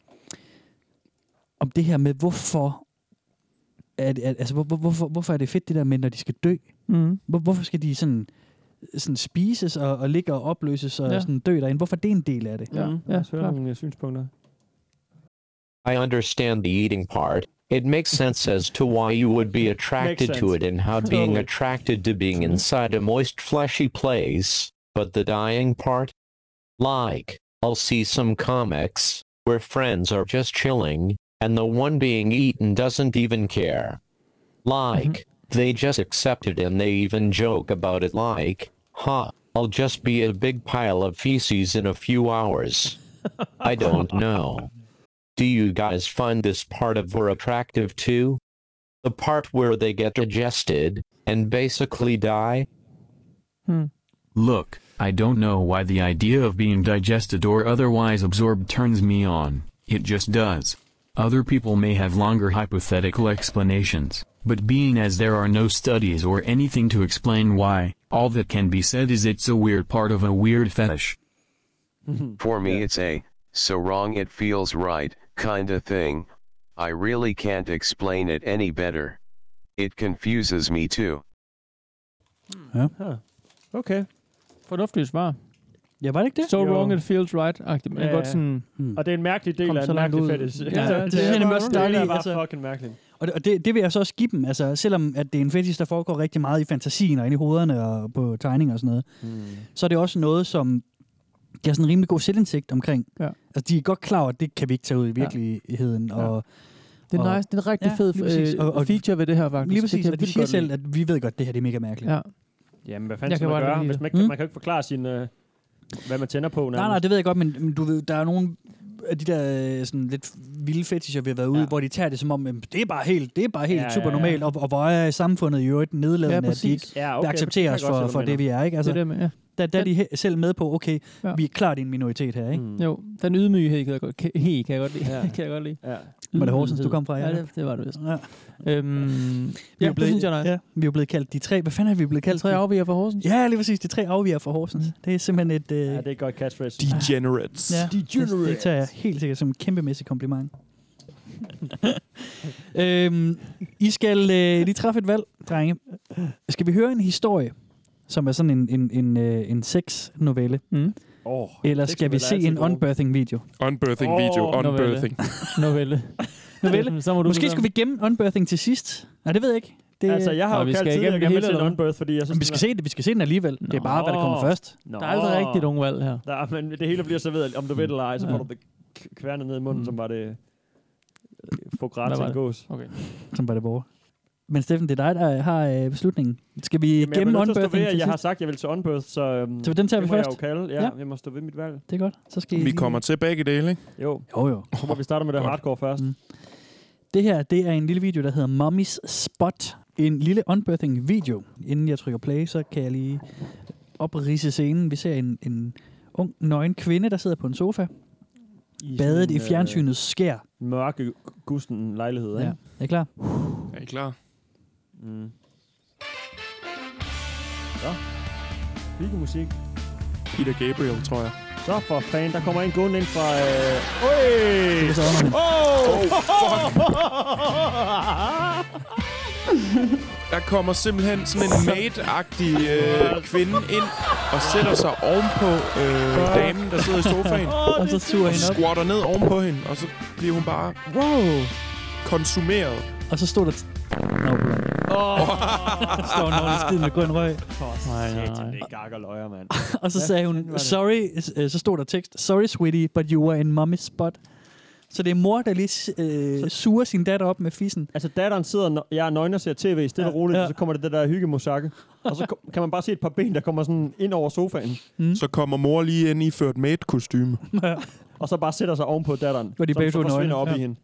Speaker 4: om det her med, hvorfor er det, altså, hvor, hvor- hvorfor, hvorfor er det fedt det der med, når de skal dø?
Speaker 7: Mm.
Speaker 4: Hvor, hvorfor skal de sådan, sådan spises og, og ligge og opløses og
Speaker 7: Ja.
Speaker 4: ja. sådan dø derinde? Hvorfor er det en del af det?
Speaker 7: Ja,
Speaker 3: Ja, mm,
Speaker 7: ja,
Speaker 3: lad os høre
Speaker 7: klart.
Speaker 3: nogle øh, synspunkter.
Speaker 9: I understand the eating part. It makes sense as to why you would be attracted to
Speaker 3: sense.
Speaker 9: it and how being
Speaker 3: Totally.
Speaker 9: attracted to being inside a moist, fleshy place, but the dying part? Like, I'll see some comics where friends are just chilling, and the one being eaten doesn't even care. Like, they just accept it and they even joke about it, like, huh, I'll just be a big pile of feces in a few hours. I don't know. Do you guys find this part of her attractive too? The part where they get digested and basically die?
Speaker 12: Look, I don't know why the idea of being digested or otherwise absorbed turns me on, it just does. Other people may have longer hypothetical explanations, but being as there are no studies or anything to explain why, all that can be said is it's a weird part of a weird fetish.
Speaker 13: For me, it's a so wrong it feels right kinda thing. I really can't explain it any better. It confuses me too.
Speaker 3: Okay.
Speaker 7: Fornuftigt svar.
Speaker 4: Ja, var det ikke det? Mm.
Speaker 7: So
Speaker 3: Jo.
Speaker 7: wrong it feels right. agtigt. Men
Speaker 3: Ja,
Speaker 7: godt
Speaker 3: ja.
Speaker 7: sådan...
Speaker 3: Og det er en mærkelig del
Speaker 7: Kom
Speaker 3: af
Speaker 7: så
Speaker 3: en
Speaker 7: langt
Speaker 3: mærkelig
Speaker 7: ud.
Speaker 3: fetish. [LAUGHS]
Speaker 7: Ja,
Speaker 3: Altså,
Speaker 7: det
Speaker 4: synes jeg
Speaker 3: er
Speaker 4: Hmm. nemlig
Speaker 3: bare-
Speaker 4: også
Speaker 3: Det
Speaker 4: dejligt,
Speaker 3: er bare
Speaker 4: altså.
Speaker 3: fucking mærkeligt.
Speaker 4: Og det, og det, det vil jeg så også give dem, altså selvom at det er en fetish, der foregår rigtig meget i fantasien og inde i hovederne og på tegninger og sådan noget, mm. så er det også noget, som de har sådan en rimelig god selvindsigt omkring.
Speaker 7: Ja.
Speaker 4: Altså de er godt klar over, at det kan vi ikke tage ud i virkeligheden. Ja. Og,
Speaker 7: Det er
Speaker 4: Og-
Speaker 7: nice. Det er en rigtig
Speaker 4: Ja,
Speaker 7: fed
Speaker 4: lige præcis.
Speaker 7: øh,
Speaker 4: Og- og-
Speaker 7: feature ved det her, faktisk.
Speaker 4: lige
Speaker 7: Det
Speaker 4: præcis,
Speaker 7: kan
Speaker 4: og
Speaker 7: jeg
Speaker 4: de siger
Speaker 7: vildt godt
Speaker 4: selv, at vi ved godt, at det her det er mega mærkeligt.
Speaker 7: lide. Ja.
Speaker 3: Jamen, hvad fanden
Speaker 7: Jeg
Speaker 3: skal
Speaker 7: kan
Speaker 3: man
Speaker 7: godt
Speaker 3: gøre?
Speaker 7: lide
Speaker 3: Hvis
Speaker 7: det.
Speaker 3: man, ikke,
Speaker 4: Mm.
Speaker 3: man kan jo ikke forklare sin, øh, hvad man tænder på.
Speaker 4: Nej, nej, det ved jeg godt, men, men du ved, der er nogle af de der øh, sådan lidt vilde fetisher, vi har været ude, ja.
Speaker 3: Ja.
Speaker 4: hvor de tager det som om, "Jamen, det er bare helt, det er bare helt ja,
Speaker 3: Ja, ja,
Speaker 4: super normalt,
Speaker 3: ja.
Speaker 4: og, og hvor er samfundet i øvrigt nedladende,
Speaker 7: Ja,
Speaker 4: at de ikke
Speaker 7: præcis.
Speaker 3: Ja,
Speaker 4: okay, accepterer
Speaker 3: det
Speaker 4: os
Speaker 3: kan jeg
Speaker 4: for,
Speaker 3: godt se,
Speaker 4: for
Speaker 3: hvad du
Speaker 4: det, vi er. Ikke?
Speaker 7: Det
Speaker 4: Altså,
Speaker 7: er det med, ja.
Speaker 4: der, der er de he- selv med på, okay, ja.
Speaker 7: Ja.
Speaker 4: vi er klart en minoritet her, ikke? Mm.
Speaker 3: mener.
Speaker 7: [LAUGHS] Jo, den ydmyghed kan jeg godt, kan, he, kan jeg godt lide.
Speaker 3: Ja.
Speaker 7: [LAUGHS] kan jeg godt lide.
Speaker 3: Ja.
Speaker 4: Var det Horsens, du kom fra?
Speaker 7: Ja,
Speaker 4: Ja,
Speaker 7: ja det, det, var det vist.
Speaker 4: Ja.
Speaker 7: Øhm, ja, det synes jeg er nice.
Speaker 4: ja, vi er jo blevet kaldt de tre. Hvad fanden er vi blevet
Speaker 7: Ja.
Speaker 4: kaldt?
Speaker 7: Tre afviger fra Horsens. Mm.
Speaker 4: Ja, lige præcis. De tre afviger fra Horsens. Det er simpelthen et... Øh,
Speaker 3: ja, det er et godt catchphrase.
Speaker 6: Degenerates.
Speaker 4: ja, det, det tager jeg helt sikkert som en kæmpemæssig kompliment. [LAUGHS] øhm, I skal øh, lige træffe et valg, drenge. Skal vi høre en historie, som er sådan en, en, en, øh, en sex-novelle?
Speaker 7: Mm.
Speaker 3: Åh,
Speaker 4: Eller skal vi
Speaker 3: sexnoveller er
Speaker 4: se
Speaker 3: altid
Speaker 4: en
Speaker 3: gode.
Speaker 4: unbirthing-video?
Speaker 6: Unbirthing
Speaker 3: Åh,
Speaker 6: video,
Speaker 3: novelle.
Speaker 6: unbirthing.
Speaker 7: [LAUGHS] Novelle.
Speaker 4: Novelle.
Speaker 7: Så må du
Speaker 4: Måske skulle vi gemme unbirthing til sidst. Nej, det ved jeg ikke. Det,
Speaker 3: Altså, jeg har
Speaker 7: Nå,
Speaker 3: jo
Speaker 7: vi skal
Speaker 3: kaldt tidligere,
Speaker 7: igennem
Speaker 3: at
Speaker 7: det
Speaker 3: jeg vil
Speaker 7: hele,
Speaker 3: se en
Speaker 7: eller hvad?
Speaker 3: unbirth, fordi jeg synes...
Speaker 4: Men vi skal se det, vi skal se den alligevel. Nå. Det er bare, hvad der kommer
Speaker 3: Nå.
Speaker 4: først.
Speaker 3: Nå.
Speaker 7: Der er aldrig rigtigt nogen valg her.
Speaker 3: Der er, men det hele bliver serveret, om du ved det eller ej, så
Speaker 7: Ja.
Speaker 3: får du det k-
Speaker 4: Hmm.
Speaker 3: kværnet ned i munden,
Speaker 7: Mm.
Speaker 3: som var det øh, få
Speaker 7: Hvad
Speaker 3: græt til
Speaker 7: var
Speaker 3: en
Speaker 7: det?
Speaker 3: gås.
Speaker 7: Okay.
Speaker 4: Som var det vores. Men Steffen, det er dig, der har øh, beslutningen. Skal vi
Speaker 3: Jamen, jeg
Speaker 4: gemme
Speaker 3: er nødt til at stå
Speaker 4: unbirthing
Speaker 3: ved, at
Speaker 4: til
Speaker 3: jeg har
Speaker 4: sidst?
Speaker 3: sagt, at jeg vil til Unbirth, så, øhm,
Speaker 4: Så den tager vi
Speaker 3: det må
Speaker 4: først?
Speaker 3: jeg jo kalde. Ja,
Speaker 4: Ja.
Speaker 3: ja, jeg må stå ved mit valg.
Speaker 4: Det er godt. Så skal I
Speaker 6: Vi
Speaker 4: lige-
Speaker 6: kommer til begge dele, ikke?
Speaker 3: Jo.
Speaker 4: Jo, jo.
Speaker 3: Så må vi starte med det hardcore først. Mm.
Speaker 4: Det her, det er en lille video, der hedder Mommy's Spot. En lille unbirthing video. Inden jeg trykker play, så kan jeg lige oprise scenen. Vi ser en, en ung, nøgen kvinde, der sidder på en sofa.
Speaker 3: I
Speaker 4: badet
Speaker 3: sådan,
Speaker 4: i fjernsynets skær.
Speaker 3: Øh, mørke gusten lejlighed,
Speaker 4: Ja.
Speaker 3: ikke?
Speaker 4: Er I klar?
Speaker 6: Er I klar?
Speaker 3: Mm. Så. Hvilken musik?
Speaker 6: Peter Gabriel, tror jeg.
Speaker 3: Så for fanden, der kommer en gående ind fra... Øh... Øj!
Speaker 4: Det er så underligt.
Speaker 6: Oh,
Speaker 3: fuck!
Speaker 6: Der kommer simpelthen sådan en maid-agtig øh, kvinde ind og sætter sig ovenpå øh, damen, der sidder i sofaen.
Speaker 4: Og så suger
Speaker 6: og
Speaker 4: hende op.
Speaker 6: squatter ned ovenpå hende, og så bliver hun bare
Speaker 4: Wow!
Speaker 6: konsumeret.
Speaker 4: Og så stod der... T- Nå,
Speaker 3: Åh,
Speaker 4: [LAUGHS] står hun over skid med grøn røg.
Speaker 3: for nej. det er gakker løjer, mand.
Speaker 4: Og så
Speaker 3: Hvad
Speaker 4: sagde
Speaker 3: fanden var
Speaker 4: hun,
Speaker 3: det?
Speaker 4: sorry, øh, så stod der tekst, sorry sweetie, but you were in mommy's spot. Så det er mor, der lige øh, suger sin datter op med fissen.
Speaker 3: Altså datteren sidder, og nø- jeg er nøgen og ser tv stille og roligt,
Speaker 4: ja.
Speaker 3: ja. og så kommer det det der hyggemosakke. Og så ko- kan man bare se et par ben, der kommer sådan ind over
Speaker 4: [LAUGHS]
Speaker 3: sofaen,
Speaker 4: Mm.
Speaker 6: Så kommer mor lige ind i ført maid-kostyme.
Speaker 3: og så bare sætter sig ovenpå datteren,
Speaker 4: Hvor de
Speaker 3: som
Speaker 4: begge
Speaker 3: så
Speaker 4: to er nøgne.
Speaker 3: forsvinder op ja. i
Speaker 4: Ja.
Speaker 3: hende.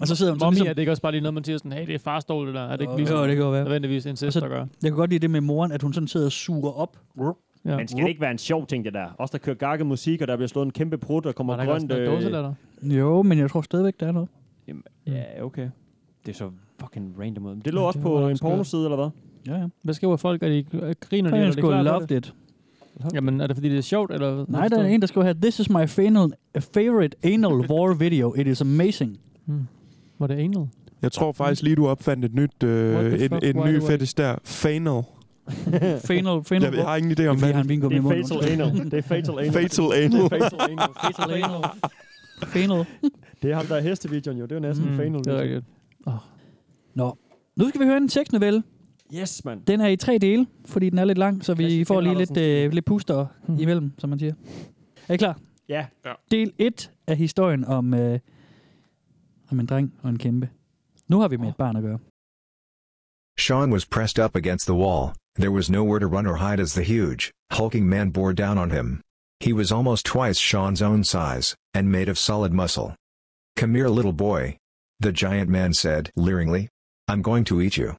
Speaker 4: Og så sidder hun så
Speaker 7: Mommy,
Speaker 4: ligesom,
Speaker 7: er det ikke også bare lige noget, man siger sådan, hey, det er fars dål, det der. Er det ikke
Speaker 4: Jo,
Speaker 7: ligesom
Speaker 4: jo, det kan godt være.
Speaker 7: nødvendigvis incest, der gør?
Speaker 4: jeg kan godt lide det med moren, at hun sådan sidder og suger op.
Speaker 7: Ja.
Speaker 3: Men skal det ikke være en sjov ting, det der? Også der kører gakke musik, og der bliver slået en kæmpe prut, og
Speaker 7: Var
Speaker 3: kommer
Speaker 7: der ikke også
Speaker 3: grønt... øh,
Speaker 7: noget dåselatter?
Speaker 4: Jo, men jeg tror stadigvæk, der er noget.
Speaker 3: Jamen,
Speaker 4: Mm.
Speaker 3: ja, okay. Det er så fucking random. ud. Men Det lå
Speaker 7: Ja,
Speaker 3: også
Speaker 7: det
Speaker 3: på
Speaker 7: var
Speaker 3: en
Speaker 7: skørt.
Speaker 3: pornoside, eller hvad?
Speaker 4: Ja, ja.
Speaker 7: Hvad skriver folk? Er de, er- griner de,
Speaker 4: Der er
Speaker 7: eller
Speaker 4: en,
Speaker 7: er
Speaker 4: der
Speaker 7: de
Speaker 4: skriver,
Speaker 7: klar på
Speaker 4: loved
Speaker 7: det?
Speaker 4: it.
Speaker 7: Jamen, er det fordi, det er sjovt, eller? hvad?
Speaker 4: Nej, der er en, der skriver her, this is my final, favorite anal war video. It is amazing.
Speaker 7: Mm. Var det
Speaker 3: [LAUGHS]
Speaker 7: anal?
Speaker 6: Jeg tror faktisk lige, du opfandt et nyt,
Speaker 7: What
Speaker 6: øh,
Speaker 7: the
Speaker 6: en,
Speaker 7: fuck,
Speaker 6: en
Speaker 7: why
Speaker 6: ny
Speaker 7: do I-
Speaker 6: fetish der. Fanal.
Speaker 4: Final, final
Speaker 6: Jeg, jeg har ingen idé om,
Speaker 4: Det er,
Speaker 6: hvad
Speaker 4: fordi, han vinker
Speaker 3: Det
Speaker 4: med
Speaker 3: er
Speaker 4: munden. [LAUGHS]
Speaker 3: fatal anal. Det
Speaker 6: [LAUGHS]
Speaker 3: er fatal anal.
Speaker 6: Fatal
Speaker 3: Det
Speaker 6: anal.
Speaker 3: er [LAUGHS] fatal anal.
Speaker 4: Fatal anal. Final.
Speaker 3: Det er ham, der er hestevideoen jo. Det er jo næsten mm,
Speaker 7: Mm,
Speaker 3: fatal.
Speaker 7: det er rigtigt.
Speaker 4: Nå. Nu skal vi høre en tekstnovelle.
Speaker 3: Yes, mand.
Speaker 4: Den er i tre dele, fordi den er lidt lang, så vi
Speaker 3: Christian
Speaker 4: får lige lidt,
Speaker 3: Andersen.
Speaker 4: øh, lidt puster
Speaker 7: Mm.
Speaker 4: imellem, som man siger. Er I klar?
Speaker 3: Ja.
Speaker 4: Del 1 af historien om, øh, om en dreng og en kæmpe. Nu har vi med et barn at gøre.
Speaker 14: Sean was pressed up against the wall, there was nowhere to run or hide as the huge, hulking man bore down on him. He was almost twice Sean's own size, and made of solid muscle. Come here, little boy. The giant man said, leeringly. I'm going to eat you.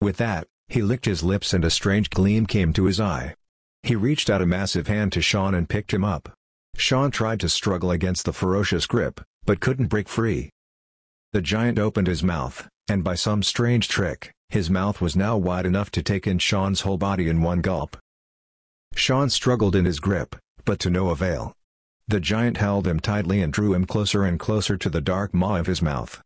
Speaker 14: With that, he licked his lips and a strange gleam came to his eye. He reached out a massive hand to Sean and picked him up. Sean tried to struggle against the ferocious grip, but couldn't break free. The giant opened his mouth, and by some strange trick, his mouth was now wide enough to take in Sean's whole body in one gulp. Sean struggled in his grip, but to no avail. The giant held him tightly and drew him closer and closer to the dark maw of his mouth.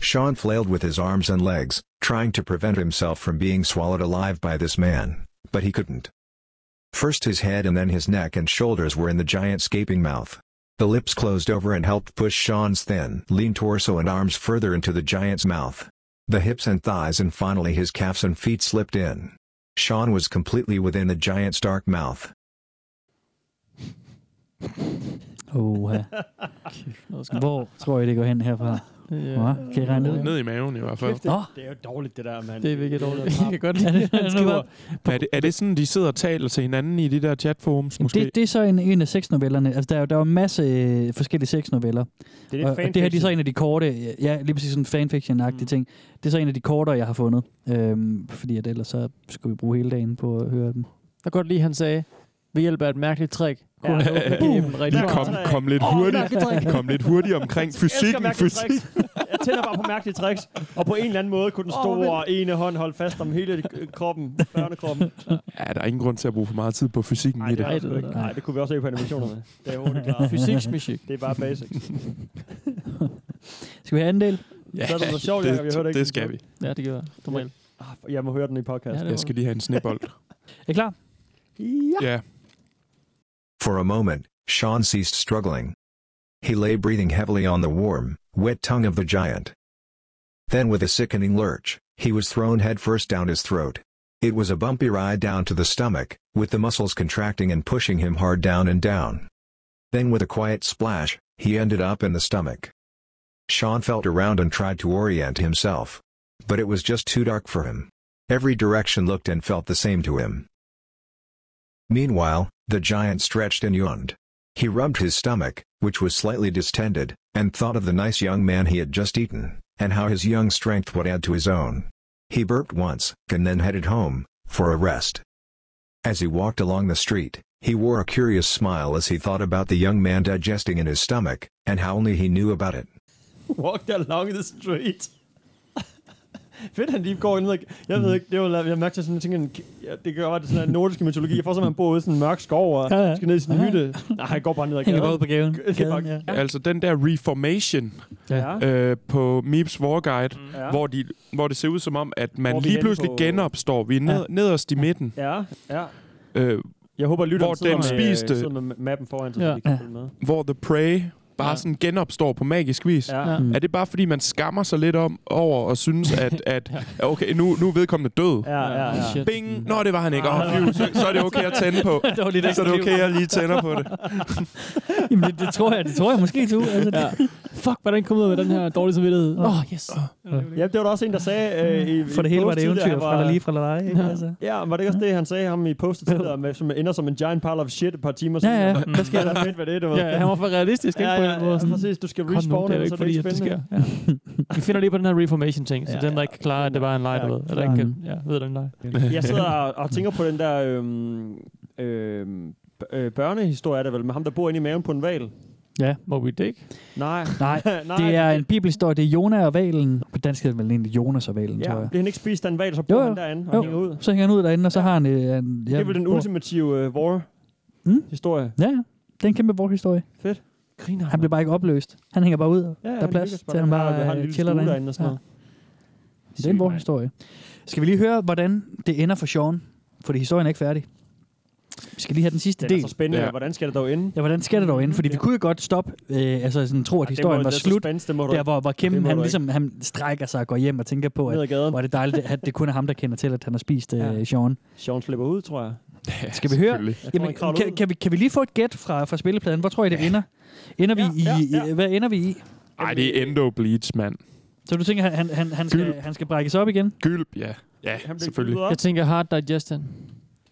Speaker 14: Sean flailed with his arms and legs, trying to prevent himself from being swallowed alive by this man, but he couldn't. First his head and then his neck and shoulders were in the giant's gaping mouth. The lips closed over and helped push Sean's thin, lean torso and arms further into the giant's mouth. The hips and thighs and finally his calves and feet slipped in. Sean was completely within the giant's dark mouth.
Speaker 4: Oh, ja. Hvor tror I, det går hen herfra? Ja, kan I regne det ud?
Speaker 6: Ned i maven i hvert fald.
Speaker 3: Kæft, det,
Speaker 4: Nå.
Speaker 3: det er jo dårligt, det der, mand.
Speaker 7: Det er virkelig
Speaker 3: noget
Speaker 7: dårligt. Jeg
Speaker 3: pap.
Speaker 7: kan godt lide, [LAUGHS] at han skriver.
Speaker 6: Er det, er det sådan, de sidder og taler til hinanden i de der chatforums måske?
Speaker 4: Det, det er så en, en af sexnovellerne. Altså, der er jo der er jo en masse øh, forskellige sexnoveller.
Speaker 3: Det
Speaker 4: Og-
Speaker 3: er
Speaker 4: og
Speaker 3: lidt
Speaker 4: det her det er så
Speaker 3: fanfiction.
Speaker 4: en af de korte, ja, lige præcis sådan fanfiction-agtige mm. ting. Det er så en af de kortere, jeg har fundet. Øhm, fordi at ellers så skulle vi bruge hele dagen på at høre dem.
Speaker 7: Jeg kan godt lide, at han sagde, ved hjælp af et mærkeligt trick, kunne
Speaker 3: Ja.
Speaker 7: han åbne gamen rigtig
Speaker 6: Lige
Speaker 7: godt.
Speaker 6: kom, kom lidt
Speaker 7: [LAUGHS]
Speaker 6: hurtigt. Kom lidt hurtigt omkring fysikken.
Speaker 3: Jeg elsker mærkelige
Speaker 6: Fysik.
Speaker 3: tricks. Jeg tænder bare på mærkelige tricks. Og på en eller anden måde kunne den store oh, ene hånd holde fast om hele øh, kroppen,
Speaker 7: [LAUGHS]
Speaker 3: børnekroppen.
Speaker 6: Ja, der er ingen grund til at bruge for meget tid på fysikken
Speaker 3: Nej,
Speaker 6: i
Speaker 3: det,
Speaker 6: det.
Speaker 3: er
Speaker 7: det er
Speaker 3: det,
Speaker 7: det.
Speaker 3: Nej, det kunne vi også se på
Speaker 7: [LAUGHS]
Speaker 3: animationerne. Det er hurtigt klart.
Speaker 7: Fysiksmusik.
Speaker 3: Det er bare basics.
Speaker 4: Skal vi have anden del?
Speaker 6: Ja,
Speaker 3: Så er det noget sjovt, Jacob, jeg
Speaker 6: det,
Speaker 3: hørte ikke.
Speaker 6: det skal vi.
Speaker 7: Ja, det gør jeg. Normalt.
Speaker 3: Ah, for- Jeg må høre den i podcast.
Speaker 7: Ja, det
Speaker 6: Jeg skal lige have en
Speaker 3: [LAUGHS]
Speaker 6: snebold.
Speaker 4: Er I klar?
Speaker 6: Ja.
Speaker 14: For a moment, Sean ceased struggling. He lay breathing heavily on the warm, wet tongue of the giant. Then, with a sickening lurch, he was thrown headfirst down his throat. It was a bumpy ride down to the stomach, with the muscles contracting and pushing him hard down and down. Then, with a quiet splash, he ended up in the stomach. Sean felt around and tried to orient himself. but it was just too dark for him. Every direction looked and felt the same to him. Meanwhile, the giant stretched and yawned. He rubbed his stomach, which was slightly distended, and thought of the nice young man he had just eaten, and how his young strength would add to his own. He burped once, and then headed home, for a rest. As he walked along the street, he wore a curious smile as he thought about the young man digesting in his stomach, and how only he knew about it.
Speaker 3: [LAUGHS] Walked along the street. [LAUGHS] Fedt, han lige går ind. Like, jeg
Speaker 6: Mm.
Speaker 3: ved ikke, det var, jeg mærkte sådan, jeg tænkte, ja, det gør bare det er sådan en nordisk mytologi. Jeg får sådan, man bor ude i sådan en mørk skov, og
Speaker 6: Ja, ja.
Speaker 3: skal ned i sin
Speaker 6: Ja, ja.
Speaker 3: hytte. Nej, han går bare ned ad
Speaker 6: Han
Speaker 3: gaden.
Speaker 6: går ud på
Speaker 3: [LAUGHS]
Speaker 6: gaden.
Speaker 3: Gaden, ja.
Speaker 6: Ja. Altså den der reformation
Speaker 3: Ja.
Speaker 6: ja. øh, på Meeps War Guide,
Speaker 3: Ja.
Speaker 6: Mm. ja. hvor, de, hvor det ser ud som om, at man
Speaker 3: Hvor er vi
Speaker 6: lige
Speaker 3: henne
Speaker 6: pludselig
Speaker 3: på-
Speaker 6: på... genopstår. Vi er ned,
Speaker 3: Ja.
Speaker 6: ja. nederst i midten.
Speaker 3: Ja, ja.
Speaker 6: Øh,
Speaker 3: Jeg håber, lytteren
Speaker 6: hvor
Speaker 3: sidder
Speaker 6: den
Speaker 3: med, øh,
Speaker 6: spiste,
Speaker 3: sidder med mappen foran, så ja. de kan følge med.
Speaker 6: hvor The Prey bare ja. sådan genopstår på magisk vis.
Speaker 3: Ja.
Speaker 6: Ja.
Speaker 3: Mm.
Speaker 6: Er det bare, fordi man skammer sig lidt om over og synes, at, at okay, nu, nu er vedkommende død?
Speaker 3: Ja, ja, ja. Shit.
Speaker 6: Bing! Nå, det var han ikke.
Speaker 3: Ah.
Speaker 6: Oh, phew, så, så er det okay at tænde på.
Speaker 7: Det var lige det,
Speaker 6: så er det
Speaker 7: jeg
Speaker 6: okay, at jeg
Speaker 7: skrev.
Speaker 6: lige tænder på det.
Speaker 7: Jamen, det, det, tror jeg, det tror jeg måske, du. Altså, ja. Fuck, hvordan kom jeg ud med den her dårlige samvittighed? Åh, oh, yes.
Speaker 3: Ja, det var der også en, der sagde... Øh, i,
Speaker 4: Mm. For det hele var det eventyr, fra der lige, fra der dig, ikke?
Speaker 3: Ja.
Speaker 4: Altså.
Speaker 3: ja, var det ikke også det, han sagde ham i postet tidligere, med, som ender som en giant pile of shit et par timer siden?
Speaker 7: ja.
Speaker 3: Hvad sker der fedt ved det, du ved?
Speaker 7: [LAUGHS] Ja, han var for realistisk, ikke?
Speaker 3: Ja,
Speaker 7: på en
Speaker 3: ja,
Speaker 7: eller anden
Speaker 3: ja,
Speaker 7: måde. Sådan,
Speaker 3: præcis. Du skal
Speaker 7: "Kom nu,
Speaker 3: respawn,
Speaker 7: det er jo
Speaker 3: ellers
Speaker 7: ikke
Speaker 3: er det
Speaker 7: fordi,
Speaker 3: ikke
Speaker 7: at det
Speaker 3: spændende.
Speaker 7: sker. Ja. [LAUGHS] Vi finder lige på den her reformation-ting, så ja, den, der ikke klarer, at det bare er en leg, ja, ved, eller ikke kan, ja, ved den leg. [LAUGHS]
Speaker 3: Jeg sidder og, og tænker på den der øhm, øhm, b- øh, børnehistorie, er det vel, med ham, der bor inde i maven på en val.
Speaker 7: Ja, Moby Dick.
Speaker 3: [LAUGHS] Nej.
Speaker 4: Nej,
Speaker 3: Nej,
Speaker 4: det er en bibelhistorie. Det er Jonah og valen. På dansk hedder det vel egentlig Jonas og valen, tror
Speaker 3: Ja,
Speaker 4: jeg.
Speaker 3: bliver han ikke spist af en val, så bor han derinde og hænger ud.
Speaker 4: Så hænger han ud derinde, og så har han... Øh, en,
Speaker 3: Det er vel den
Speaker 4: bor-
Speaker 3: ultimative øh, war-historie.
Speaker 4: Mm. Ja, ja. det er en kæmpe vorhistorie.
Speaker 3: Fedt. Griner
Speaker 4: han bliver bare ikke opløst. Han hænger bare ud. Ja, der er
Speaker 3: han
Speaker 4: plads
Speaker 3: hygger sig
Speaker 4: til, at han
Speaker 3: bare. Han
Speaker 4: bare
Speaker 3: har- har en
Speaker 4: øh,
Speaker 3: lille
Speaker 4: chiller
Speaker 3: stue
Speaker 4: derinde.
Speaker 3: derinde og sådan noget.
Speaker 4: Det er en vores historie. Skal vi lige høre, hvordan det ender for Sean? Fordi historien er ikke færdig. Vi skal lige have den sidste
Speaker 3: Det
Speaker 4: del.
Speaker 3: er så spændende. Ja. Hvordan skal det dog ende?
Speaker 4: Ja, hvordan skal det dog ende? Fordi vi kunne jo godt stoppe, øh, altså sådan tro, at
Speaker 3: det må-
Speaker 4: historien var
Speaker 3: det er
Speaker 4: slut.
Speaker 3: suspense, det må du
Speaker 4: der,
Speaker 3: ikke.
Speaker 4: hvor, hvor Kim,
Speaker 3: Det må
Speaker 4: han
Speaker 3: du ikke.
Speaker 4: ligesom, han strækker sig og går hjem og tænker på,
Speaker 3: Ned ad
Speaker 4: at
Speaker 3: gaden.
Speaker 4: hvor er det dejligt, at det kun er ham, der kender til, at han har spist øh, Sean.
Speaker 3: Sean slipper ud, tror jeg.
Speaker 4: [LAUGHS] Skal vi høre?
Speaker 3: selvfølgelig. Jeg tror,
Speaker 4: Jamen,
Speaker 3: han kravler
Speaker 4: kan,
Speaker 3: ud.
Speaker 4: kan, vi, kan vi lige få et gæt fra, fra spillepladen? Hvor tror I, det ender? Ender vi i, ja, ja. Hvad ender vi i?
Speaker 6: Ej, det er Endo Bleach, mand.
Speaker 4: Så du tænker, han, han, han, skal, han skal brækkes op igen?
Speaker 6: Gylp, ja. Ja, selvfølgelig.
Speaker 7: Jeg tænker hard digestion.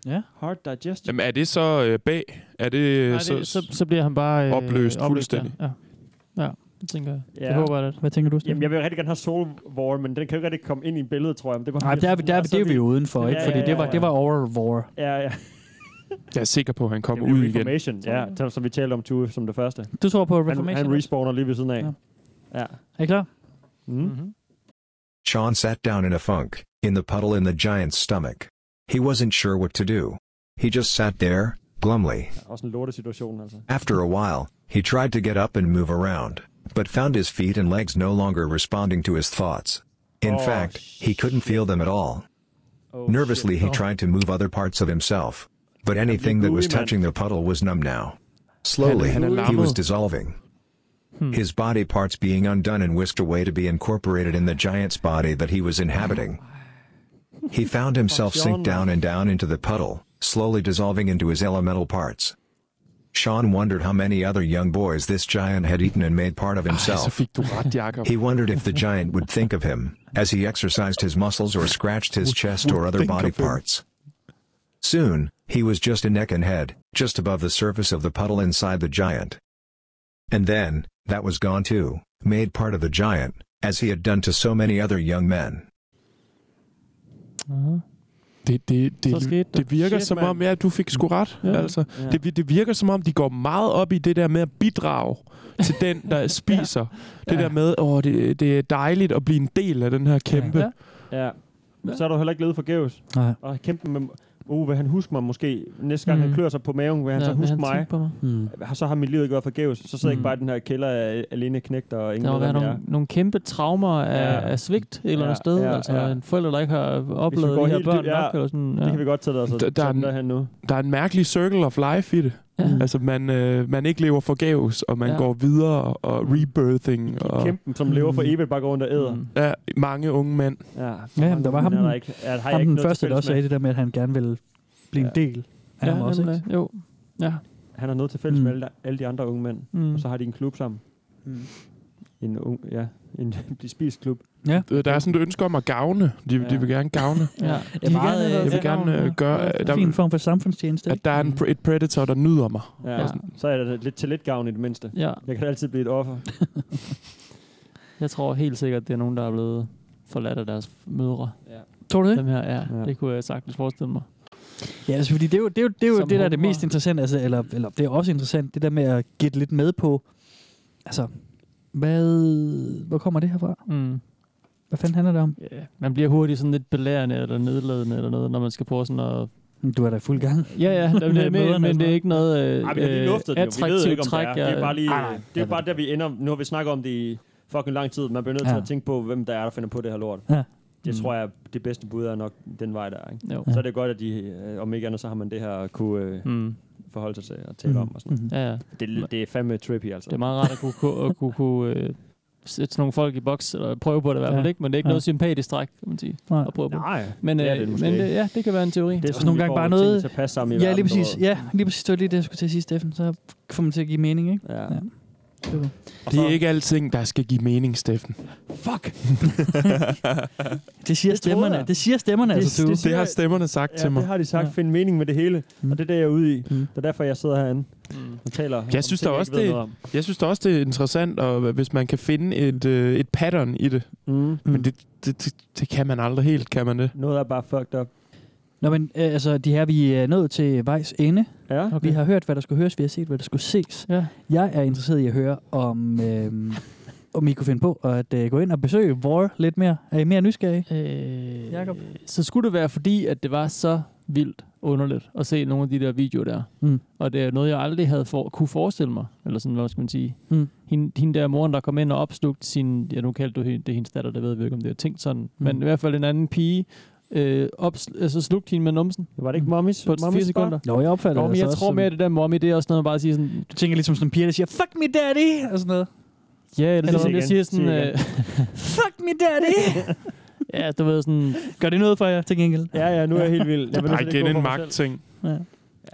Speaker 4: Ja.
Speaker 3: Hard digestion.
Speaker 6: Jamen, er det så øh, bag? Er det,
Speaker 7: Nej,
Speaker 6: så,
Speaker 7: det, så, så bliver han bare... øh,
Speaker 6: opløst fuldstændig?
Speaker 7: Ja, ja. ja det tænker jeg.
Speaker 3: Ja.
Speaker 7: Ja. Jeg håber, at...
Speaker 4: Hvad tænker du,
Speaker 3: Jamen, jeg vil rigtig gerne have Soul War, men den kan jo ikke rigtig komme ind i billedet, tror jeg. Men det var,
Speaker 4: Nej, der, er vi- der, er vi- det er vi jo udenfor,
Speaker 3: Ja,
Speaker 4: ikke?
Speaker 3: altså, ja,
Speaker 4: Fordi
Speaker 3: ja,
Speaker 4: det var,
Speaker 3: ja.
Speaker 4: det var over war.
Speaker 3: Ja, ja.
Speaker 6: Jeg er sikker på, at han kommer
Speaker 3: Det er
Speaker 6: ud igen.
Speaker 3: Reformation, ja, som- som vi talte om Tue som det første.
Speaker 4: Du tror på
Speaker 3: Han-
Speaker 4: Reformation?
Speaker 3: Han, respawner lige ved siden af. Ja.
Speaker 4: Er I klar?
Speaker 3: Mm.
Speaker 14: Sean sat down in a funk, in the puddle in the giant's stomach. He wasn't sure what to do. He just sat there, glumly.
Speaker 3: Der er Også en lortesituation, altså.
Speaker 14: After a while, he tried to get up and move around, but found his feet and legs no longer responding to his thoughts. In
Speaker 3: Oh,
Speaker 14: fact, he couldn't feel them at all.
Speaker 3: Oh,
Speaker 14: Nervously,
Speaker 3: shit.
Speaker 14: he
Speaker 3: Nå.
Speaker 14: tried to move other parts of himself, but anything
Speaker 3: blir
Speaker 14: that was
Speaker 3: gullig, mand.
Speaker 14: touching the puddle was numb now. Slowly,
Speaker 6: Han er
Speaker 14: he was
Speaker 6: lammet.
Speaker 14: dissolving.
Speaker 7: Hmm.
Speaker 14: His body parts being undone and whisked away to be incorporated in the giant's body that he was inhabiting. He found himself sink down and down into the puddle, slowly dissolving into his elemental parts. Sean wondered how many other young boys this giant had eaten and made part of
Speaker 6: Så
Speaker 14: himself.
Speaker 6: fik du ret, Jacob.
Speaker 14: He wondered if the giant would think of him, as he exercised his muscles or scratched his chest or other
Speaker 6: think
Speaker 14: body
Speaker 6: of him.
Speaker 14: parts. Soon, he was just a neck and head, just above the surface of the puddle inside the giant. And then, that was gone too, made part of the giant, as he had done to so many other young men.
Speaker 7: Uh-huh.
Speaker 6: Det, det,
Speaker 7: Så skete
Speaker 6: det,
Speaker 7: det.
Speaker 6: det virker
Speaker 7: Shit,
Speaker 6: som
Speaker 7: mand.
Speaker 6: om, ja, du fik sgu ret.
Speaker 7: Ja.
Speaker 6: Ja. Altså,
Speaker 7: Ja.
Speaker 6: det, det virker som om, de går meget op i det der med at bidrage til den,
Speaker 7: [LAUGHS]
Speaker 6: der spiser. ja. Det der med, åh, det, det er dejligt at blive en del af den her kæmpe. Ja.
Speaker 7: Ja.
Speaker 3: Ja. Så er du heller ikke levet forgæves.
Speaker 4: Nej.
Speaker 3: Og kæmpe med... Uh, vil han huske mig måske? Næste gang mm. han
Speaker 7: Mm.
Speaker 3: klør sig på maven, vil han
Speaker 7: Ja,
Speaker 3: så
Speaker 7: vil
Speaker 3: huske
Speaker 7: han
Speaker 3: mig?
Speaker 7: tænke på mig?
Speaker 3: Mm. Så har mit liv ikke været forgæves. Så sidder mm. jeg ikke bare i den her kælder af alene knægt og ingen
Speaker 7: Der har
Speaker 3: ved,
Speaker 7: været
Speaker 3: hvem jeg
Speaker 7: nogle, nogle kæmpe traumer af,
Speaker 3: Ja.
Speaker 7: af svigt et eller
Speaker 3: Ja,
Speaker 7: andet sted.
Speaker 3: ja,
Speaker 7: altså
Speaker 3: ja.
Speaker 7: en forælder, der ikke har
Speaker 3: er. Hvis vi
Speaker 7: oplevet
Speaker 3: går
Speaker 7: de her
Speaker 3: helt
Speaker 7: børn
Speaker 3: dybt-
Speaker 7: nok. Eller sådan, ja.
Speaker 3: Det kan vi godt tage os
Speaker 6: Der, der, er en,
Speaker 3: der, nu.
Speaker 6: der er en mærkelig circle of life i det.
Speaker 7: Ja.
Speaker 6: Altså, man, øh, man ikke lever forgæves, og man
Speaker 7: Ja.
Speaker 6: ja. går videre, og rebirthing, og
Speaker 3: Kæmpen, som lever for evigt, bare går rundt og æder. Mm.
Speaker 6: ja, mange unge mænd.
Speaker 3: Ja,
Speaker 4: Ja, jamen, der var ham,
Speaker 3: Han er
Speaker 4: den-
Speaker 3: der ikke, er, har jeg
Speaker 4: Ham
Speaker 3: ikke
Speaker 4: den
Speaker 3: noget
Speaker 4: første,
Speaker 3: til
Speaker 4: der
Speaker 3: fælles
Speaker 4: også sagde det der med, at han gerne ville blive en del af
Speaker 7: Ja,
Speaker 4: ham også,
Speaker 7: nemlig.
Speaker 4: ikke?
Speaker 7: Jo. Ja.
Speaker 3: med. Han har noget til fælles mm.
Speaker 4: Mm.
Speaker 3: med alle, alle de andre unge mænd, mm.
Speaker 7: Mm.
Speaker 3: og så har de en klub sammen. Mm. En, ung- ja, en [LAUGHS] blive spist klub.
Speaker 4: Ja.
Speaker 6: Der er sådan et ønske om at gavne. De, ja. de vil gerne gavne.
Speaker 3: Ja.
Speaker 6: De
Speaker 4: vil
Speaker 6: vil
Speaker 4: gerne,
Speaker 6: gerne,
Speaker 4: øh,
Speaker 6: jeg vil gerne
Speaker 4: gavne, ja.
Speaker 6: øh, gøre...
Speaker 4: Det
Speaker 6: øh,
Speaker 4: er en fin
Speaker 6: Der,
Speaker 4: form for samfundstjeneste.
Speaker 6: at der er en, pr- et predator, der nyder mig.
Speaker 3: Ja,
Speaker 6: Og
Speaker 3: ja.
Speaker 6: sådan-
Speaker 3: Så er det lidt til lidt gavn i det mindste.
Speaker 7: Ja.
Speaker 3: Jeg kan altid blive et offer.
Speaker 7: Jeg tror helt sikkert, det er nogen, der er blevet forladt af deres mødre.
Speaker 3: Ja.
Speaker 4: Tror du det?
Speaker 7: Dem her, ja. Det kunne jeg sagtens forestille mig.
Speaker 4: Ja, altså, fordi det er jo det, er jo, det, er jo
Speaker 7: Som
Speaker 4: det der er det
Speaker 7: humor.
Speaker 4: mest interessante, altså, eller, eller det er også interessant, det der med at gætte lidt med på, altså, hvad, hvor kommer det her fra?
Speaker 7: Mm.
Speaker 4: Hvad fanden handler det om?
Speaker 7: Yeah. Man bliver hurtigt sådan lidt belærende eller nedladende eller noget, når man skal prøve sådan at...
Speaker 4: Du er da i fuld gang.
Speaker 7: Ja,
Speaker 3: [LAUGHS]
Speaker 7: ja, men,
Speaker 4: Med
Speaker 7: men,
Speaker 4: møderne og sådan
Speaker 7: men, men det er
Speaker 4: noget.
Speaker 7: ikke noget øh,
Speaker 3: Ej, vi har lige
Speaker 7: øh,
Speaker 3: luftet det. jo. Vi ved jo
Speaker 7: attraktivt
Speaker 3: ikke, om
Speaker 7: træk.
Speaker 3: det er. Det er
Speaker 7: jeg-
Speaker 3: bare lige,
Speaker 7: Nej, nej.
Speaker 3: det er bare der, vi ender. Nu har vi snakket om det i fucking lang tid. Man bliver nødt til
Speaker 7: Ja.
Speaker 3: at tænke på, hvem der er, der finder på det her lort.
Speaker 4: Ja.
Speaker 3: Det
Speaker 7: Mm.
Speaker 3: tror jeg, det bedste bud er nok den vej, der er. Ikke?
Speaker 7: Jo.
Speaker 3: Så er det godt, at de, øh, om ikke andet, så har man det her at kunne øh,
Speaker 7: Mm.
Speaker 3: forholde sig til og tale
Speaker 7: Mhm.
Speaker 3: om. Og sådan noget.
Speaker 7: Ja, ja.
Speaker 3: Det, det er fandme trippy, altså.
Speaker 7: Det er meget rart at kunne, kunne, at kunne, kunne øh, sætte sådan nogle folk i boks, eller prøve på det i hvert fald
Speaker 3: Ja.
Speaker 7: ikke, men det er ikke
Speaker 3: Ja.
Speaker 7: noget sympatisk træk, kan man sige,
Speaker 4: Nej.
Speaker 7: at prøve på.
Speaker 3: Nej,
Speaker 7: men,
Speaker 3: det er
Speaker 7: øh,
Speaker 3: det måske
Speaker 7: men
Speaker 3: ikke.
Speaker 7: det, ja, det kan være en teori.
Speaker 3: Det er
Speaker 4: Og nogle gange bare noget... ja, lige præcis. Ja, lige præcis. Det var lige det, jeg skulle til at sige, Steffen. Så får man til at give mening, ikke?
Speaker 3: Ja.
Speaker 4: ja.
Speaker 6: Det er ikke alting, der skal give mening, Steffen.
Speaker 4: Fuck! det siger stemmerne. Det siger stemmerne, altså, du.
Speaker 6: det har stemmerne sagt
Speaker 3: ja,
Speaker 6: til mig.
Speaker 3: det har de sagt. Ja. Find mening med det hele. Mm. Og det er det, jeg er ude i. Mm. Det er derfor, jeg sidder herinde og taler. om
Speaker 6: Mm. Jeg synes,
Speaker 3: ting,
Speaker 6: der også,
Speaker 3: ikke ved noget
Speaker 6: det,
Speaker 3: om.
Speaker 6: jeg synes der også, det er interessant, og hvis man kan finde et, øh, et pattern i det.
Speaker 3: Mm.
Speaker 6: Men det, det, det, det kan man aldrig helt, kan man det?
Speaker 3: Noget er bare fucked up.
Speaker 4: Nå, men øh, altså, de her, vi er nået til vejs ende.
Speaker 3: Ja,
Speaker 4: okay. Vi har hørt, hvad der skulle høres, vi har set, hvad der skulle ses.
Speaker 7: Ja.
Speaker 4: Jeg er interesseret i at høre, om, øh, om I kunne finde på at øh, gå ind og besøge War lidt mere. Er I mere nysgerrige?
Speaker 7: Øh, Jacob? Så skulle det være fordi, at det var så vildt underligt at se nogle af de der videoer der.
Speaker 4: Mm.
Speaker 7: Og det er noget, jeg aldrig havde for, kunne forestille mig, eller sådan, hvad skal man sige.
Speaker 4: Mm.
Speaker 7: Hende, hende der moren, der kom ind og opslugte sin, ja nu kaldte du hende, det er hendes datter, der ved vi ikke, om det er tænkt sådan, mm. men i hvert fald en anden pige, øh, opsl- altså slugte hende med numsen. Mm.
Speaker 3: Var det ikke mommies?
Speaker 7: På
Speaker 3: mommies
Speaker 7: fire
Speaker 3: spot?
Speaker 7: sekunder.
Speaker 4: Jo, jeg opfatter
Speaker 7: Nå,
Speaker 4: det
Speaker 7: men jeg
Speaker 4: altså
Speaker 7: tror
Speaker 4: også
Speaker 7: mere,
Speaker 4: som-
Speaker 7: at det der mommy, det er også noget, man bare siger sådan...
Speaker 4: Du tænker ligesom sådan en pige, der siger, fuck me daddy, og sådan noget.
Speaker 7: Ja, eller
Speaker 4: Sig
Speaker 7: sådan, jeg
Speaker 4: igen.
Speaker 7: siger sådan...
Speaker 4: Sig
Speaker 7: Øh,
Speaker 4: igen.
Speaker 7: [LAUGHS]
Speaker 4: Fuck me daddy!
Speaker 7: ja, du ved sådan...
Speaker 4: Gør det noget for jer, til gengæld?
Speaker 3: Ja, ja, nu er jeg helt vild.
Speaker 6: Jeg Ej, igen en magtting.
Speaker 4: Ja.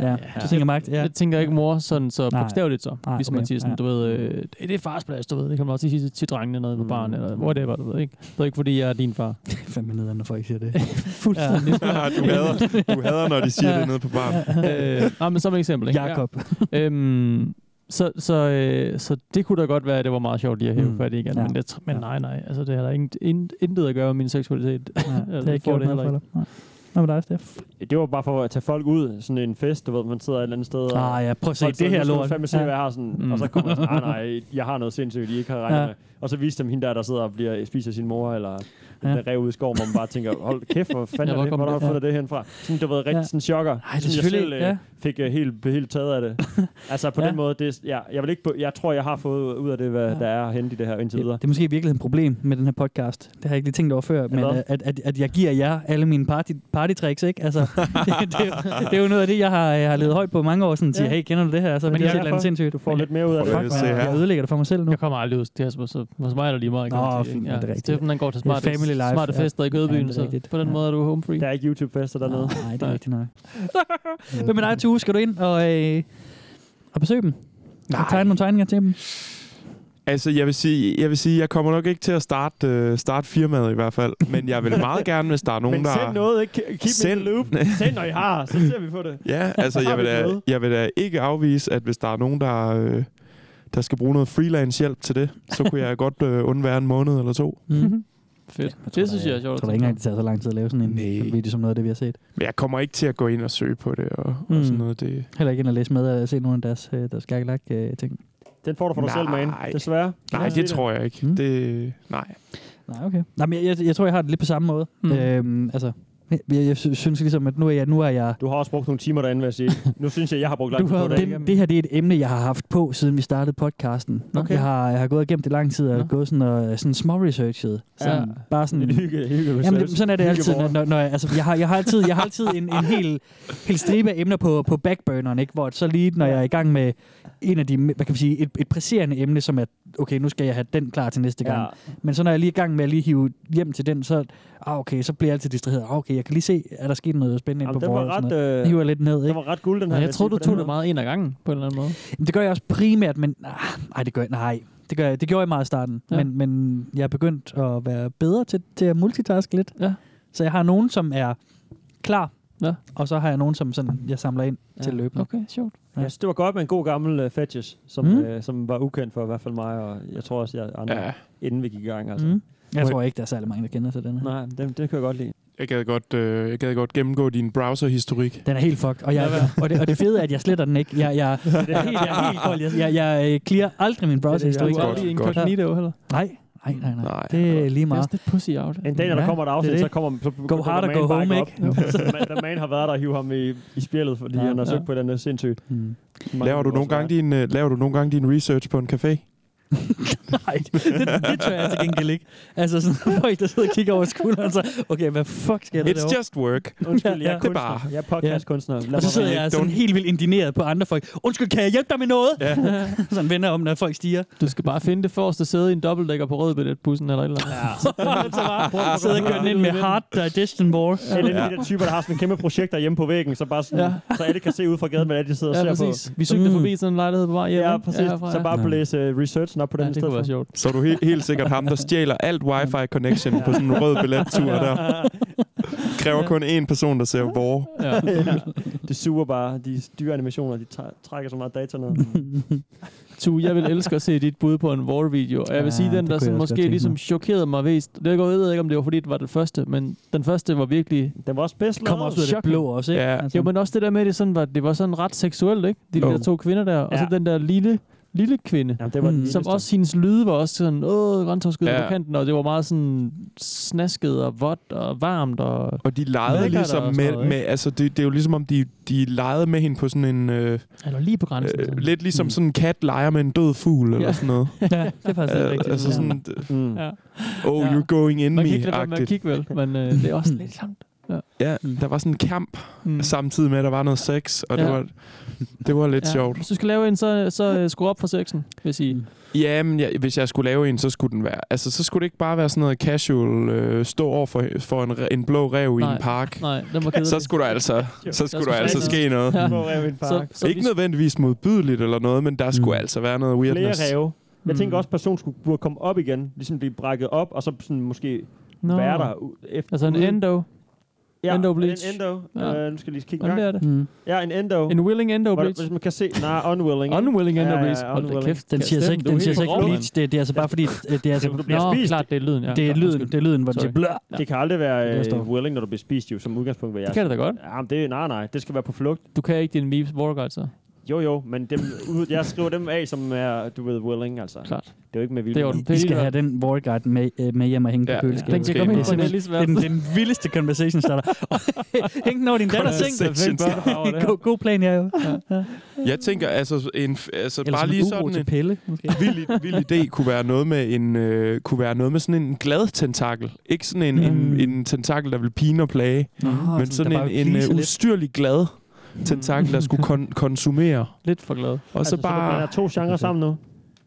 Speaker 4: Ja, du tænker magt, ja.
Speaker 7: Jeg tænker ikke mor sådan så
Speaker 4: Nej.
Speaker 7: bogstaveligt så,
Speaker 4: Nej,
Speaker 7: Nej, ligesom man
Speaker 4: okay,
Speaker 7: siger sådan,
Speaker 4: ja.
Speaker 7: du ved, øh, det det er fars plads, du ved, det kan man også sige til, til drengene noget på barn, eller whatever, du ved ikke. Det er ikke, fordi jeg er
Speaker 4: [LAUGHS]
Speaker 7: din far.
Speaker 4: Mm. Fandme nederen, når folk siger det.
Speaker 7: [LAUGHS] Fuldstændig.
Speaker 6: Ja. [LAUGHS] Du hader- du hader, når de siger det nede på baren.
Speaker 7: Øh, nej, men som et eksempel, ikke?
Speaker 4: Jakob.
Speaker 7: Ja. Øhm, så, så, øh, så det kunne da godt være, at det var meget sjovt lige at hæve
Speaker 4: Mm.
Speaker 7: mm. fat i igen,
Speaker 4: Ja.
Speaker 7: ja. men, jeg, tr- men nej, nej, altså det har da intet, intet, intet at gøre med min seksualitet. [LAUGHS] Altså, Ja,
Speaker 4: det har ikke gjort noget for dig. Nej. Hvad med dig, Steff?
Speaker 3: Det var bare for at tage folk ud, sådan en fest, du ved, man sidder et eller andet sted. og
Speaker 4: Ah, ja, prøv at se
Speaker 3: folk
Speaker 4: det
Speaker 3: sidder,
Speaker 4: her
Speaker 3: "Nu skal du
Speaker 4: lort."
Speaker 3: fandme se,
Speaker 4: Ja.
Speaker 3: hvad jeg har sådan.
Speaker 4: Mm.
Speaker 3: Og så kommer jeg sådan, "Ah, nej, nej, jeg har noget sindssygt, I ikke har regnet
Speaker 4: Ja.
Speaker 3: ja. med. Og så viste dem hende der, der sidder og bliver, spiser sin mor, eller
Speaker 4: Ja.
Speaker 3: ja. den der rev ud i skoven, hvor man bare tænker, hold kæft, hvor fanden
Speaker 7: Ja,
Speaker 3: ja,
Speaker 7: hvor
Speaker 3: er det,
Speaker 7: kom
Speaker 3: hvor har du
Speaker 7: det-
Speaker 3: fundet det henfra? Sådan, du ved, rigtig
Speaker 7: Ja.
Speaker 3: sådan chokker.
Speaker 7: Ej, det er
Speaker 3: Sådan, jeg
Speaker 7: selvfølgelig-
Speaker 3: selv
Speaker 7: ja.
Speaker 3: øh, fik øh, helt, helt taget af
Speaker 4: [LAUGHS]
Speaker 3: det. altså på den måde, det, ja, jeg, vil ikke, på- jeg tror, jeg har fået ud af det, hvad der er at hente i det her indtil videre.
Speaker 4: Det er måske i virkeligheden et problem med den her podcast. Det har jeg ikke lige tænkt over før, men øh,
Speaker 3: Hvad?
Speaker 4: at, at, at jeg giver jer alle mine party, partytricks, ikke? Altså, [LAUGHS] det, det, er jo- det, er jo noget af det, jeg har, jeg har levet højt på mange år, [LAUGHS] sådan at sige,
Speaker 7: Ja.
Speaker 4: hey, kender du det her? Så
Speaker 7: Men
Speaker 4: men det er
Speaker 7: jeg-
Speaker 4: et eller andet
Speaker 7: derfor-
Speaker 4: sindssygt.
Speaker 7: du får lidt mere ud af det.
Speaker 4: Fuck,
Speaker 7: Se
Speaker 4: man,
Speaker 7: her.
Speaker 4: jeg ødelægger det for mig selv nu.
Speaker 7: Jeg kommer aldrig ud til det, så hos mig er der lige meget. kan
Speaker 4: Nå,
Speaker 7: man sige,
Speaker 4: fint,
Speaker 7: ikke?
Speaker 4: ja, det er rigtigt.
Speaker 7: Steffen, han går til
Speaker 4: Det er
Speaker 7: smarte,
Speaker 4: family life,
Speaker 7: smarte
Speaker 4: ja.
Speaker 7: fester i
Speaker 4: Ja,
Speaker 7: Kødbyen,
Speaker 4: det er
Speaker 7: så
Speaker 4: rigtigt,
Speaker 7: på den måde er du home free.
Speaker 3: Der er ikke YouTube-fester dernede.
Speaker 4: Nej, det er rigtigt nok. Hvad med dig, Tue? Skal du ind og, øh, og besøge dem? Nej. Og tegne nogle tegninger til dem?
Speaker 6: Altså, jeg vil sige, jeg vil sige, jeg kommer nok ikke til at starte, øh, starte firmaet i hvert fald, men jeg vil meget gerne, hvis der er nogen,
Speaker 3: Men
Speaker 6: der...
Speaker 3: send noget, ikke? Keep send.
Speaker 6: Send-
Speaker 3: me in
Speaker 6: [LAUGHS]
Speaker 3: the loop. Send, når I har, så ser vi på det. [LAUGHS]
Speaker 6: Ja, altså,
Speaker 3: Har
Speaker 6: jeg
Speaker 3: vi
Speaker 6: vil, da,
Speaker 3: noget?
Speaker 6: jeg vil da ikke afvise, at hvis der er nogen, der, øh, der skal bruge noget freelance-hjælp til det, så kunne jeg godt øh, undvære en måned eller to.
Speaker 4: Mhm.
Speaker 7: Fedt. det synes jeg er sjovt.
Speaker 4: Jeg tror da ikke engang, det tager så lang tid at lave sådan en en video som noget af det, vi har set.
Speaker 6: Men jeg kommer ikke til at gå ind og søge på det og, mm.
Speaker 4: Mm.
Speaker 6: og sådan noget. Det,
Speaker 4: Heller ikke ind og læse med og se nogle af deres, øh, deres gakkelak-ting.
Speaker 3: Den får du for dig selv, man. Desværre.
Speaker 6: Nej, det tror jeg ikke. Mm. Det, nej.
Speaker 4: Nej, okay. Nej, men jeg, jeg, jeg tror, jeg har det lidt på samme måde. Mm.
Speaker 3: Mm.
Speaker 4: Øhm, altså, jeg, jeg sy- synes ligesom, at nu er jeg... Nu er jeg
Speaker 3: Du har også brugt nogle timer derinde, vil jeg sige. Nu synes jeg, jeg har brugt
Speaker 4: du
Speaker 3: langt
Speaker 4: har,
Speaker 3: på det.
Speaker 4: det, det her det er et emne, jeg har haft på, siden vi startede podcasten. Okay.
Speaker 3: Okay.
Speaker 4: Jeg, har, jeg har gået igennem det lang tid, og gået sådan, og, øh, sådan små researchet. Sådan, ja.
Speaker 3: Ja.
Speaker 4: Bare
Speaker 6: [LAUGHS]
Speaker 4: sådan...
Speaker 3: Lidt hygge- hygge-research.
Speaker 4: Jamen, det, sådan er det altid. Når,
Speaker 3: Hyggeborg.
Speaker 4: når, når, jeg- altså, jeg, har, jeg, har altid, jeg har altid en, en hel, hel stribe af emner på, på backburneren, ikke? hvor så lige, når jeg er i gang med en af de, hvad kan man sige, et, et presserende emne, som er, okay, nu skal jeg have den klar til næste gang.
Speaker 3: Ja.
Speaker 4: Men så når jeg er lige i gang med at lige hive hjem til den, så, ah, okay, så bliver jeg altid distraheret. Ah, okay, jeg kan lige se, er der sket noget spændende inde
Speaker 3: Jamen,
Speaker 4: på
Speaker 3: den var
Speaker 4: bordet. og sådan
Speaker 3: ret,
Speaker 4: noget.
Speaker 3: øh,
Speaker 4: Det hiver jeg lidt ned. Ikke?
Speaker 3: den var ret guld, den her,
Speaker 4: Nå,
Speaker 3: vil jeg sige, på den måde.
Speaker 7: meget en ad gangen, på en eller anden måde.
Speaker 4: Jamen, ah, det gør jeg også primært, men... Nej, det gør jeg... Nej, Det, gør jeg. det gjorde jeg meget i starten,
Speaker 7: Ja.
Speaker 4: ja. men, men jeg er begyndt at være bedre til, til at multitaske lidt.
Speaker 7: Ja.
Speaker 4: Så jeg har nogen, som er klar,
Speaker 7: ja.
Speaker 4: og så har jeg nogen, som sådan, jeg samler ind ja. til løbende.
Speaker 7: Okay, sjovt.
Speaker 3: Ja. Jeg synes, det var godt med en god gammel uh, Fetches, som,
Speaker 4: Mm.
Speaker 3: mm. øh, som var ukendt for i hvert fald mig, og jeg tror også, jeg andre,
Speaker 6: Ja.
Speaker 3: ja. inden vi gik i gang. Altså.
Speaker 4: Mm. Jeg tror ikke, der er særlig mange, der kender til den her.
Speaker 3: Nej, den, den kan jeg godt lide.
Speaker 6: Jeg gad godt, øh, jeg gad godt gennemgå din browser-historik.
Speaker 4: Den er helt fucked, og, jeg, og, det, og det fede er, at jeg sletter den ikke. Jeg, jeg, jeg,
Speaker 7: [LAUGHS] Det er helt- jeg er helt kold.
Speaker 4: jeg, jeg, jeg øh, clear aldrig min browser-historik.
Speaker 7: Du er aldrig incognito heller.
Speaker 4: Nej, nej, nej, nej. Det er lige
Speaker 7: Det er
Speaker 4: meget.
Speaker 7: også lidt pussy out.
Speaker 3: En dag, når der
Speaker 4: Mm. Ja,
Speaker 3: kommer et afsnit,
Speaker 4: det er
Speaker 3: så
Speaker 4: det.
Speaker 3: kommer så
Speaker 4: Go
Speaker 3: dukker
Speaker 4: hard or
Speaker 3: man
Speaker 4: go
Speaker 3: bare
Speaker 4: home,
Speaker 3: op.
Speaker 4: ikke? Jo.
Speaker 3: [LAUGHS] The man- The man har været der og hivet ham i, i spjældet, fordi
Speaker 4: Ja,
Speaker 3: han har søgt
Speaker 4: ja.
Speaker 3: på den er sindssygt.
Speaker 4: Mm.
Speaker 6: Laver du, nogle gange din, øh, laver du nogle gange din research på en café?
Speaker 4: Nej, det, det tør jeg til gengæld ikke. Altså sådan [LAUGHS] folk, der sidder og kigger over skulderen, så, okay, hvad fuck sker der
Speaker 6: It's just work.
Speaker 3: Undskyld, jeg er
Speaker 6: Det er bare-
Speaker 3: kunstner. Jeg er podcastkunstner. Lad
Speaker 4: Og så
Speaker 3: mig
Speaker 4: sidder
Speaker 3: være.
Speaker 4: jeg sådan
Speaker 3: Don't-
Speaker 4: helt vildt indigneret på andre folk. Undskyld, kan jeg hjælpe dig med noget?
Speaker 7: [LAUGHS]
Speaker 6: Ja.
Speaker 4: sådan vender om, når folk stiger.
Speaker 7: Du skal bare finde det forreste sæde i en dobbeltdækker på rødbilletbussen eller et eller andet.
Speaker 4: Ja. [LAUGHS] så
Speaker 7: [LAUGHS]
Speaker 4: bare sidder og kører den ind [LAUGHS] med hard digestion war.
Speaker 3: Ja. Eller ja. de der typer, der har sådan en kæmpe projekt hjemme på væggen, så, bare sådan, ja. så alle kan se ud fra gaden, hvad det er, de sidder
Speaker 7: Ja,
Speaker 3: og ser
Speaker 7: præcis.
Speaker 3: på.
Speaker 7: Vi cyklede Mm. forbi sådan en lejlighed på vej hjem,
Speaker 3: Ja,
Speaker 7: ikke?
Speaker 3: præcis.
Speaker 7: Ja, fra-
Speaker 3: så bare
Speaker 7: ja.
Speaker 3: blæse øh, researchen op på den
Speaker 7: Ja,
Speaker 3: i
Speaker 7: det
Speaker 3: stedet
Speaker 7: kunne være
Speaker 3: for.
Speaker 7: sjovt.
Speaker 6: Så er du helt, helt sikkert ham, der stjæler alt wifi-connection på sådan en rød billettur
Speaker 3: [LAUGHS]
Speaker 6: der. Kræver kun én person, der ser hvor.
Speaker 7: Ja.
Speaker 3: [LAUGHS] Det suger bare. De dyre animationer, de tager- trækker så meget data ned.
Speaker 7: [LAUGHS] Tu, jeg vil elske at se dit bud på en war-video. Og jeg vil
Speaker 3: Ja,
Speaker 7: sige, den
Speaker 3: det
Speaker 7: der
Speaker 3: kunne
Speaker 7: sådan
Speaker 3: jeg også
Speaker 7: måske
Speaker 3: godt tænke
Speaker 7: ligesom
Speaker 3: mig.
Speaker 7: chokerede mig mest. Det går, jeg ved ikke, om det var fordi, det var den første, men den første var virkelig...
Speaker 3: Den var også bedst
Speaker 4: Kommer også ud af det blå også, ikke?
Speaker 7: Ja.
Speaker 4: Altså.
Speaker 7: Altså. Jo, men også det der med, at det, sådan var, det var sådan ret seksuelt, ikke? De
Speaker 4: Jo.
Speaker 7: der to kvinder der, og så den der lille lille kvinde,
Speaker 3: Jamen, det var den
Speaker 7: som
Speaker 3: vildeste.
Speaker 7: også hendes lyde var også sådan, åh, grøntårskød ja.
Speaker 6: Ja.
Speaker 7: på kanten, og det var meget sådan snasket og vådt og varmt. Og,
Speaker 6: Og de [LAUGHS] legede
Speaker 7: Lækkert
Speaker 6: ligesom
Speaker 7: og sådan
Speaker 6: med,
Speaker 7: noget, ikke?
Speaker 6: med altså det, det er jo ligesom om de, de legede med hende på sådan en... Øh,
Speaker 7: Eller lige på grænsen.
Speaker 6: øh, lidt ligesom sådan en kat leger med en død fugl eller
Speaker 7: Mm. Ja.
Speaker 6: sådan noget.
Speaker 7: [LAUGHS] Ja, det er faktisk lidt
Speaker 6: Øh,
Speaker 7: rigtigt.
Speaker 6: Altså
Speaker 7: Ja.
Speaker 6: sådan,
Speaker 3: mm.
Speaker 7: Ja.
Speaker 6: oh, you're going in
Speaker 7: Man
Speaker 6: me
Speaker 7: kan ikke lade være med at kigge vel, men øh, det er også
Speaker 6: hmm.
Speaker 7: lidt samt. Ja.
Speaker 6: Ja, der var sådan en kamp,
Speaker 7: Mm.
Speaker 6: samtidig med, at der var noget sex, og ja.
Speaker 7: Ja.
Speaker 6: det, var, det var lidt ja. sjovt.
Speaker 7: Hvis du skal lave en, så, så øh, skru op for sexen, vil sige.
Speaker 6: Ja, men jeg, hvis jeg skulle lave en, så skulle den være... Altså, så skulle det ikke bare være sådan noget casual, øh, stå over for, for en, re- en blå rev i
Speaker 7: Nej.
Speaker 6: en park.
Speaker 7: Nej, den var kedelig.
Speaker 6: Så skulle der altså,
Speaker 7: Der
Speaker 6: så skulle
Speaker 7: skulle
Speaker 6: der altså
Speaker 7: ske
Speaker 6: ske
Speaker 7: noget.
Speaker 6: noget.
Speaker 7: Ja. Blå rev i en park. Mm. Så- så
Speaker 6: ikke
Speaker 7: vi-
Speaker 6: nødvendigvis modbydeligt eller noget, men der skulle altså være noget
Speaker 3: Flere
Speaker 6: weirdness.
Speaker 3: ræve. Jeg
Speaker 6: Mm.
Speaker 3: tænker også, at personen skulle burde komme op igen, ligesom blive brækket op, og så sådan måske
Speaker 7: Nå.
Speaker 3: være der. u- Efter,
Speaker 7: Altså en
Speaker 3: ude.
Speaker 7: endo.
Speaker 3: Ja,
Speaker 7: Endo
Speaker 3: en
Speaker 7: bleach.
Speaker 3: endo.
Speaker 7: Ja.
Speaker 3: Øh, nu skal jeg lige kigge
Speaker 7: Hvordan
Speaker 3: en
Speaker 7: bliver
Speaker 3: gang.
Speaker 7: det? Mm.
Speaker 3: Ja, en endo.
Speaker 7: En willing endo
Speaker 3: Hvor-
Speaker 7: bleach.
Speaker 3: Hvis man kan se, nej, unwilling. ikke?
Speaker 7: Unwilling endo
Speaker 3: Ja, ja,
Speaker 7: bleach. Hold da
Speaker 3: unwilling.
Speaker 7: kæft,
Speaker 4: Den siger altså ikke, den siger altså ikke bleach. Det, det er altså bare fordi, det er altså...
Speaker 3: Du bliver spist.
Speaker 7: klart, [LAUGHS] det er lyden, ja.
Speaker 4: Det er
Speaker 7: Ja,
Speaker 4: lyden,
Speaker 7: undskyld.
Speaker 4: det er lyden, hvor den siger
Speaker 7: Sorry.
Speaker 4: blør.
Speaker 3: Det kan aldrig være
Speaker 7: Det er det, der
Speaker 3: øh, willing, når du bliver spist, jo, som udgangspunkt. Vil jeg
Speaker 7: Det kan det da
Speaker 3: sige.
Speaker 7: godt.
Speaker 3: Ja, men det, nej, nej, det skal være på flugt.
Speaker 7: Du kan ikke din altså. Meeps War Guide, så.
Speaker 3: Jo, jo, men dem, ud- jeg skriver dem af, som er, du ved, willing, altså.
Speaker 7: Klart. Det
Speaker 3: er jo ikke med vilje.
Speaker 4: Det er I skal have den Warguard med, øh, med hjem og hænge ja,
Speaker 3: Ja,
Speaker 4: på køleskabet.
Speaker 3: den kan godt
Speaker 4: det, er
Speaker 3: være, den er
Speaker 4: simpelthen-
Speaker 3: lige
Speaker 4: det
Speaker 3: svær.
Speaker 4: er den, den vildeste conversation starter. [LAUGHS] Hæng den over din datters
Speaker 6: Conversation
Speaker 4: seng.
Speaker 6: starter.
Speaker 4: god, god plan, jeg jo.
Speaker 6: Jeg tænker, altså, en, f- altså
Speaker 4: Eller
Speaker 6: bare
Speaker 4: som
Speaker 6: lige
Speaker 4: en
Speaker 6: sådan
Speaker 4: uro
Speaker 6: en
Speaker 4: til pille, måske.
Speaker 6: [LAUGHS] vild, vild idé kunne være noget med en øh, kunne være noget med sådan en glad tentakel, ikke sådan en,
Speaker 7: Mm.
Speaker 6: en, en tentakel der vil pine og plage,
Speaker 4: Nå,
Speaker 6: men
Speaker 4: sådan,
Speaker 6: sådan
Speaker 4: der bare
Speaker 6: en, en
Speaker 4: gliser
Speaker 6: øh,
Speaker 4: lidt.
Speaker 6: ustyrlig glad tentakel der skulle kon- konsumere.
Speaker 7: Mm. Lidt for glad.
Speaker 6: Og så
Speaker 3: Så der
Speaker 6: bare
Speaker 3: er to genrer sammen nu.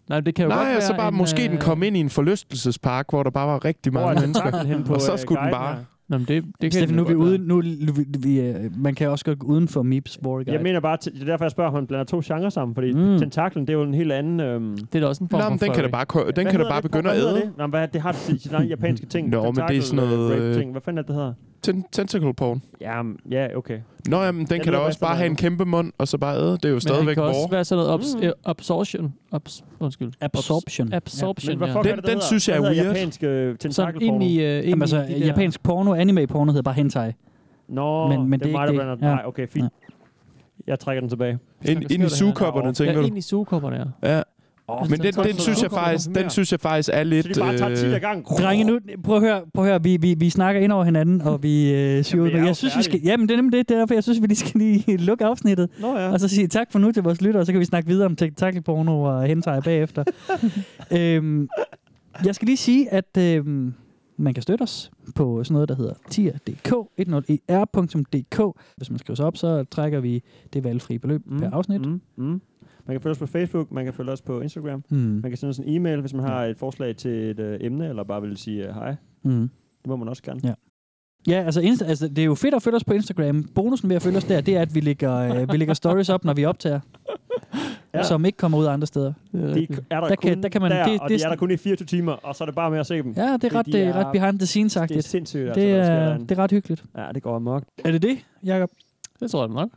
Speaker 7: Nej, det kan jo godt
Speaker 6: Nej, og så
Speaker 7: være
Speaker 6: bare
Speaker 7: en,
Speaker 6: måske den
Speaker 7: øh,
Speaker 6: kom ind i en forlystelsespark, hvor der bare var rigtig
Speaker 7: Hvor
Speaker 6: mange
Speaker 7: er tentaklen henne
Speaker 6: mennesker.
Speaker 7: på,
Speaker 6: og så
Speaker 7: øh,
Speaker 6: skulle den
Speaker 7: guiden
Speaker 6: bare...
Speaker 7: her? Nå, men det, det kan
Speaker 4: Steffen,
Speaker 7: den
Speaker 4: nu
Speaker 7: jo
Speaker 4: er vi
Speaker 7: godt
Speaker 4: ude, nu, vi, vi, øh, man kan også godt gå uden for Meeps Warguard.
Speaker 3: Jeg mener bare, det er derfor, jeg spørger, om han blander to genrer sammen, fordi mm. tentaklen, det er jo en helt anden... Øhm... Det
Speaker 7: er da også en
Speaker 6: form Nå, men for den kan da furry. bare ko- den kan da bare begynde at æde.
Speaker 3: Det? Nå, men hvad, det har sit sit eget japanske ting.
Speaker 6: Nå, men det er
Speaker 3: Tentakel,
Speaker 6: sådan noget,
Speaker 3: øh, rape
Speaker 6: øh,
Speaker 3: ting. Hvad fanden er det, det hedder?
Speaker 6: Ten- tentacle porn.
Speaker 3: Ja, ja, okay.
Speaker 6: Nå, jamen, den,
Speaker 3: Den
Speaker 6: den kan da
Speaker 3: lyder
Speaker 6: også
Speaker 3: bedre,
Speaker 6: bare have en kæmpe mund, og så bare æde. Det er jo
Speaker 7: Men han
Speaker 6: stadigvæk
Speaker 7: kan
Speaker 6: vor.
Speaker 7: også være sådan noget obs- øh, absorption. Obs- undskyld.
Speaker 4: Absorption.
Speaker 7: Absorption, ja.
Speaker 3: øh,
Speaker 4: Sådan
Speaker 7: Sådan ind i... Øh, ind
Speaker 4: Jamen, altså,
Speaker 7: i de der-
Speaker 4: japansk porno, anime-porno hedder bare hentai.
Speaker 3: Nå,
Speaker 4: Men- men det
Speaker 3: det
Speaker 4: er
Speaker 3: er mig, der
Speaker 4: ikke
Speaker 3: blander
Speaker 4: det.
Speaker 3: den.
Speaker 4: Ja.
Speaker 3: Nej, okay, fint. Jeg trækker den tilbage.
Speaker 6: Ind- ind i sugekopperne, tænker
Speaker 7: Ja,
Speaker 6: du?
Speaker 7: ind i sugekopperne, ja.
Speaker 6: Ja.
Speaker 7: Åh,
Speaker 6: men den,
Speaker 7: så-
Speaker 6: den,
Speaker 7: så-
Speaker 6: synes
Speaker 7: så
Speaker 6: jeg
Speaker 7: kommer
Speaker 6: faktisk,
Speaker 7: der
Speaker 6: den synes jeg faktisk er lidt... øh,
Speaker 4: Drenge, nu, prøv at høre, prøv at høre vi, vi, vi snakker ind over hinanden, og vi øh, syver
Speaker 7: vi er
Speaker 4: Jeg,
Speaker 7: jo
Speaker 4: jeg synes, vi skal,
Speaker 7: færdige.
Speaker 4: jamen, det er nemlig det, det er derfor, jeg synes, vi lige skal lige [LAUGHS] lukke afsnittet.
Speaker 3: Nå, ja.
Speaker 4: Og så sige tak for nu til vores lyttere, og så kan vi snakke videre om tentakelporno og hentai bagefter. øhm, jeg skal lige sige, at øhm, man kan støtte os på sådan noget, der hedder tier.dk, 10er.dk. Hvis man skriver sig op, så trækker vi det valgfrie beløb mm. per afsnit.
Speaker 3: Mm, mm. Man kan følge os på Facebook, man kan følge os på Instagram,
Speaker 4: Mm.
Speaker 3: mm. man kan sende os en e-mail, hvis man
Speaker 4: Hmm.
Speaker 3: har et forslag til et øh, emne, eller bare vil sige øh, hej.
Speaker 4: Mm.
Speaker 3: Det må man også gerne.
Speaker 4: Ja. Ja, altså, Insta, altså det er jo fedt at følge os på Instagram. Bonusen ved at følge os der, det er, at vi lægger, øh, vi lægger stories op, når vi optager. ja. som ikke kommer ud andre steder. Det er
Speaker 3: De
Speaker 4: rigtigt.
Speaker 3: er der,
Speaker 4: der,
Speaker 3: kun
Speaker 4: kan, der, kan man,
Speaker 3: der
Speaker 4: det,
Speaker 3: og
Speaker 4: det,
Speaker 3: de er der kun i 24 timer, og så er det bare med at se dem.
Speaker 4: Ja, det er ret,
Speaker 3: de
Speaker 4: det er ret behind the scenes
Speaker 3: Det er
Speaker 4: agtigt
Speaker 3: sindssygt,
Speaker 4: Det,
Speaker 3: altså, hvad der sker
Speaker 4: er,
Speaker 3: derinde.
Speaker 4: det er ret hyggeligt.
Speaker 3: Ja, det går amok.
Speaker 4: Er det det, Jacob?
Speaker 7: Det tror jeg nok.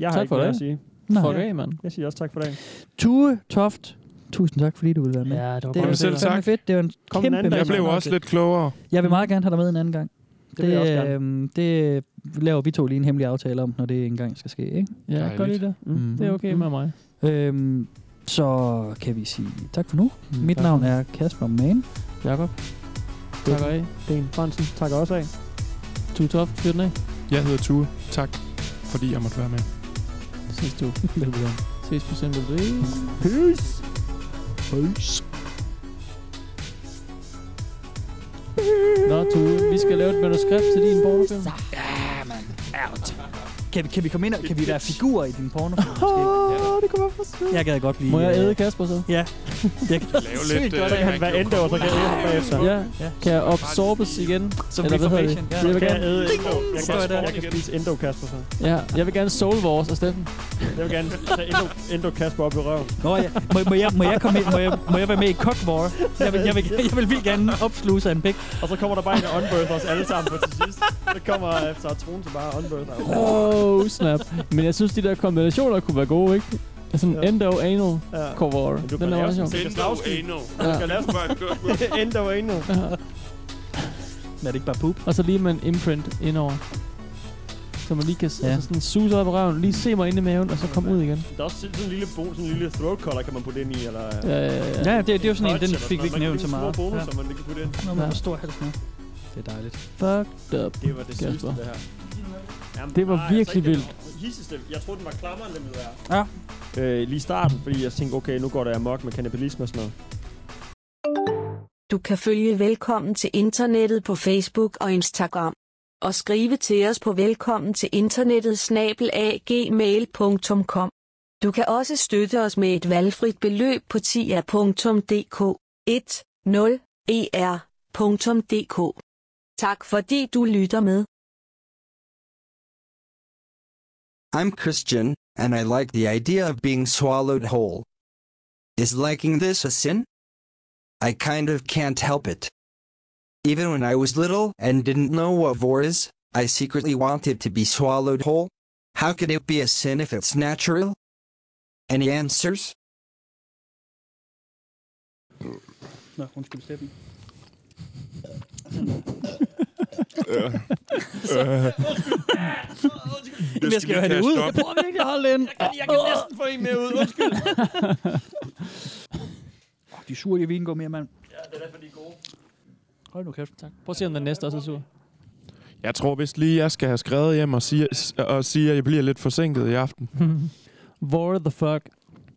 Speaker 3: Jeg har
Speaker 7: Tak
Speaker 3: ikke
Speaker 7: for
Speaker 3: mere
Speaker 7: det.
Speaker 3: at sige.
Speaker 4: Nej.
Speaker 7: Fuck af, mand.
Speaker 3: Jeg siger også tak for dagen.
Speaker 4: Tue Toft, tusind tak, fordi du ville være med. Ja,
Speaker 7: var
Speaker 4: det
Speaker 7: godt. Selv
Speaker 4: selv
Speaker 7: tak.
Speaker 4: tak. fedt. Det var en
Speaker 3: Kom en
Speaker 4: kæmpe
Speaker 3: anden dag.
Speaker 6: Jeg blev
Speaker 4: masse.
Speaker 6: også lidt klogere.
Speaker 4: Jeg vil meget gerne have dig med en anden gang. Det,
Speaker 6: vil jeg også gerne.
Speaker 4: øhm, det laver vi to lige en hemmelig aftale om, når det engang skal ske, ikke?
Speaker 7: Ja, Dejligt. gør lige det. Mm. Det er okay med mig.
Speaker 4: Øhm, så kan vi sige tak for nu.
Speaker 7: Mm,
Speaker 4: Mit
Speaker 7: tak.
Speaker 4: navn er Kasper Mann.
Speaker 7: Jakob.
Speaker 4: Tak
Speaker 7: Takker af.
Speaker 3: Dan Fransen takker også af.
Speaker 7: Tue Toft, fyr den af.
Speaker 6: Jeg hedder Tue. Tak, fordi jeg måtte være med.
Speaker 7: Ses du. Velbekomme. Ses på Simple Breeze.
Speaker 3: Peace.
Speaker 7: Peace. Nå, Tue, vi skal lave et manuskript til din pornofilm.
Speaker 4: Ja, man. Out. Kan vi, kan vi komme ind og kan vi være figurer i din pornofilm? Åh,
Speaker 7: oh, det kommer for sent.
Speaker 4: Jeg gad godt blive...
Speaker 7: Må jeg æde
Speaker 4: øh,
Speaker 7: Kasper så? [LAUGHS]
Speaker 4: Ja. Jeg gad
Speaker 7: Lave
Speaker 4: sygt
Speaker 7: lidt,
Speaker 4: godt
Speaker 7: øh,
Speaker 4: at han var
Speaker 7: rigtig
Speaker 4: endte, og så kan jeg æde ham bagefter.
Speaker 7: Ja. Kan jeg absorbes igen?
Speaker 4: Som
Speaker 7: Eller hvad hedder
Speaker 4: reformation,
Speaker 7: det?
Speaker 4: ja. Kan
Speaker 3: Jeg,
Speaker 7: Jeg vil gerne
Speaker 3: æde Endo. jeg,
Speaker 4: Står jeg
Speaker 3: kan,
Speaker 4: der?
Speaker 3: jeg kan spise Endo Kasper så.
Speaker 7: Ja, jeg vil gerne Soul Wars af Steffen.
Speaker 3: Jeg vil gerne tage Endo, Endo Kasper op i røven.
Speaker 4: Nå ja, må, må, jeg, må, jeg komme med, må, jeg, må jeg være med i Cock
Speaker 7: [LAUGHS]
Speaker 4: War? Jeg vil, jeg vil, jeg vil vildt gerne opsluse af en pik.
Speaker 3: Og så kommer der bare en og unbirther os alle sammen på til sidst. Så kommer øh, så er Troen så bare unbirther.
Speaker 7: Oh, snap. Men jeg synes, de der kombinationer kunne være gode, ikke? Sådan ja. endo anal
Speaker 3: Ja.
Speaker 7: ja. cover.
Speaker 3: Men du kan
Speaker 7: Den er
Speaker 3: lave
Speaker 7: også
Speaker 3: sådan
Speaker 7: sjov.
Speaker 3: en Tjekkoslavski.
Speaker 6: Endo anal.
Speaker 3: Du kan lave [LAUGHS]
Speaker 7: [LAUGHS]
Speaker 3: sådan en Endo anal.
Speaker 4: Men er det ikke bare poop?
Speaker 7: Og så lige med en imprint indover. Så man lige kan ja. altså sådan suse op i røven, lige se mig inde i maven, og så komme ud igen.
Speaker 3: Der er også sådan en lille, bo, sådan en lille throat collar, kan man putte ind i, eller...
Speaker 7: Ja, ja, ja.
Speaker 4: Ja, det, det er jo sådan en,
Speaker 3: Touch
Speaker 4: den
Speaker 3: eller
Speaker 4: fik vi
Speaker 3: sådan
Speaker 4: ikke nævnt
Speaker 3: noget. Man kan
Speaker 4: så
Speaker 3: lave
Speaker 4: meget.
Speaker 3: Små bonus, som man kan putte ind.
Speaker 4: Nå, man
Speaker 3: Ja.
Speaker 4: har stor hals med. Det er dejligt.
Speaker 7: Fucked up.
Speaker 3: Det var det sidste,
Speaker 7: Kasper.
Speaker 3: det her. Jamen,
Speaker 7: Det var
Speaker 3: nej, altså
Speaker 7: virkelig
Speaker 3: ikke den
Speaker 7: vildt.
Speaker 3: Hisseste. Jeg troede, den var klammeren, den ville være.
Speaker 4: Ja.
Speaker 3: Øh, lige i starten, fordi jeg tænkte, okay, nu går der amok med kannibalisme og sådan noget.
Speaker 2: Du kan følge Velkommen til Internettet på Facebook og Instagram. Og skrive til os på velkommen til internettet snabelagmail.com. Du kan også støtte os med et valgfrit beløb på tia.dk E 10er.dk. Tak fordi du lytter med.
Speaker 15: [LAUGHS] I'm Christian, and I like the idea of being swallowed whole. Is liking this a sin? I kind of can't help it. Even when I was little and didn't know what vor is, I secretly wanted to be swallowed whole. How could it be a sin if it's natural? Any answers?
Speaker 4: Nå, undskyld, Steffen.
Speaker 6: Øh, skal
Speaker 4: Jeg skal jo
Speaker 6: lige
Speaker 4: have det
Speaker 6: kaste
Speaker 4: ud.
Speaker 6: op.
Speaker 4: Jeg prøver virkelig at holde det ind.
Speaker 3: Jeg kan næsten få en med ud, undskyld.
Speaker 4: Åh, De er sure, de vingummier, mand.
Speaker 3: ja, det er derfor, de er gode.
Speaker 4: Hold nu kæft. Tak.
Speaker 7: Prøv at se, om den næste også er sur.
Speaker 6: Jeg tror vist lige, jeg skal have skrevet hjem og sige, og sige at jeg bliver lidt forsinket i aften.
Speaker 7: Hvor the fuck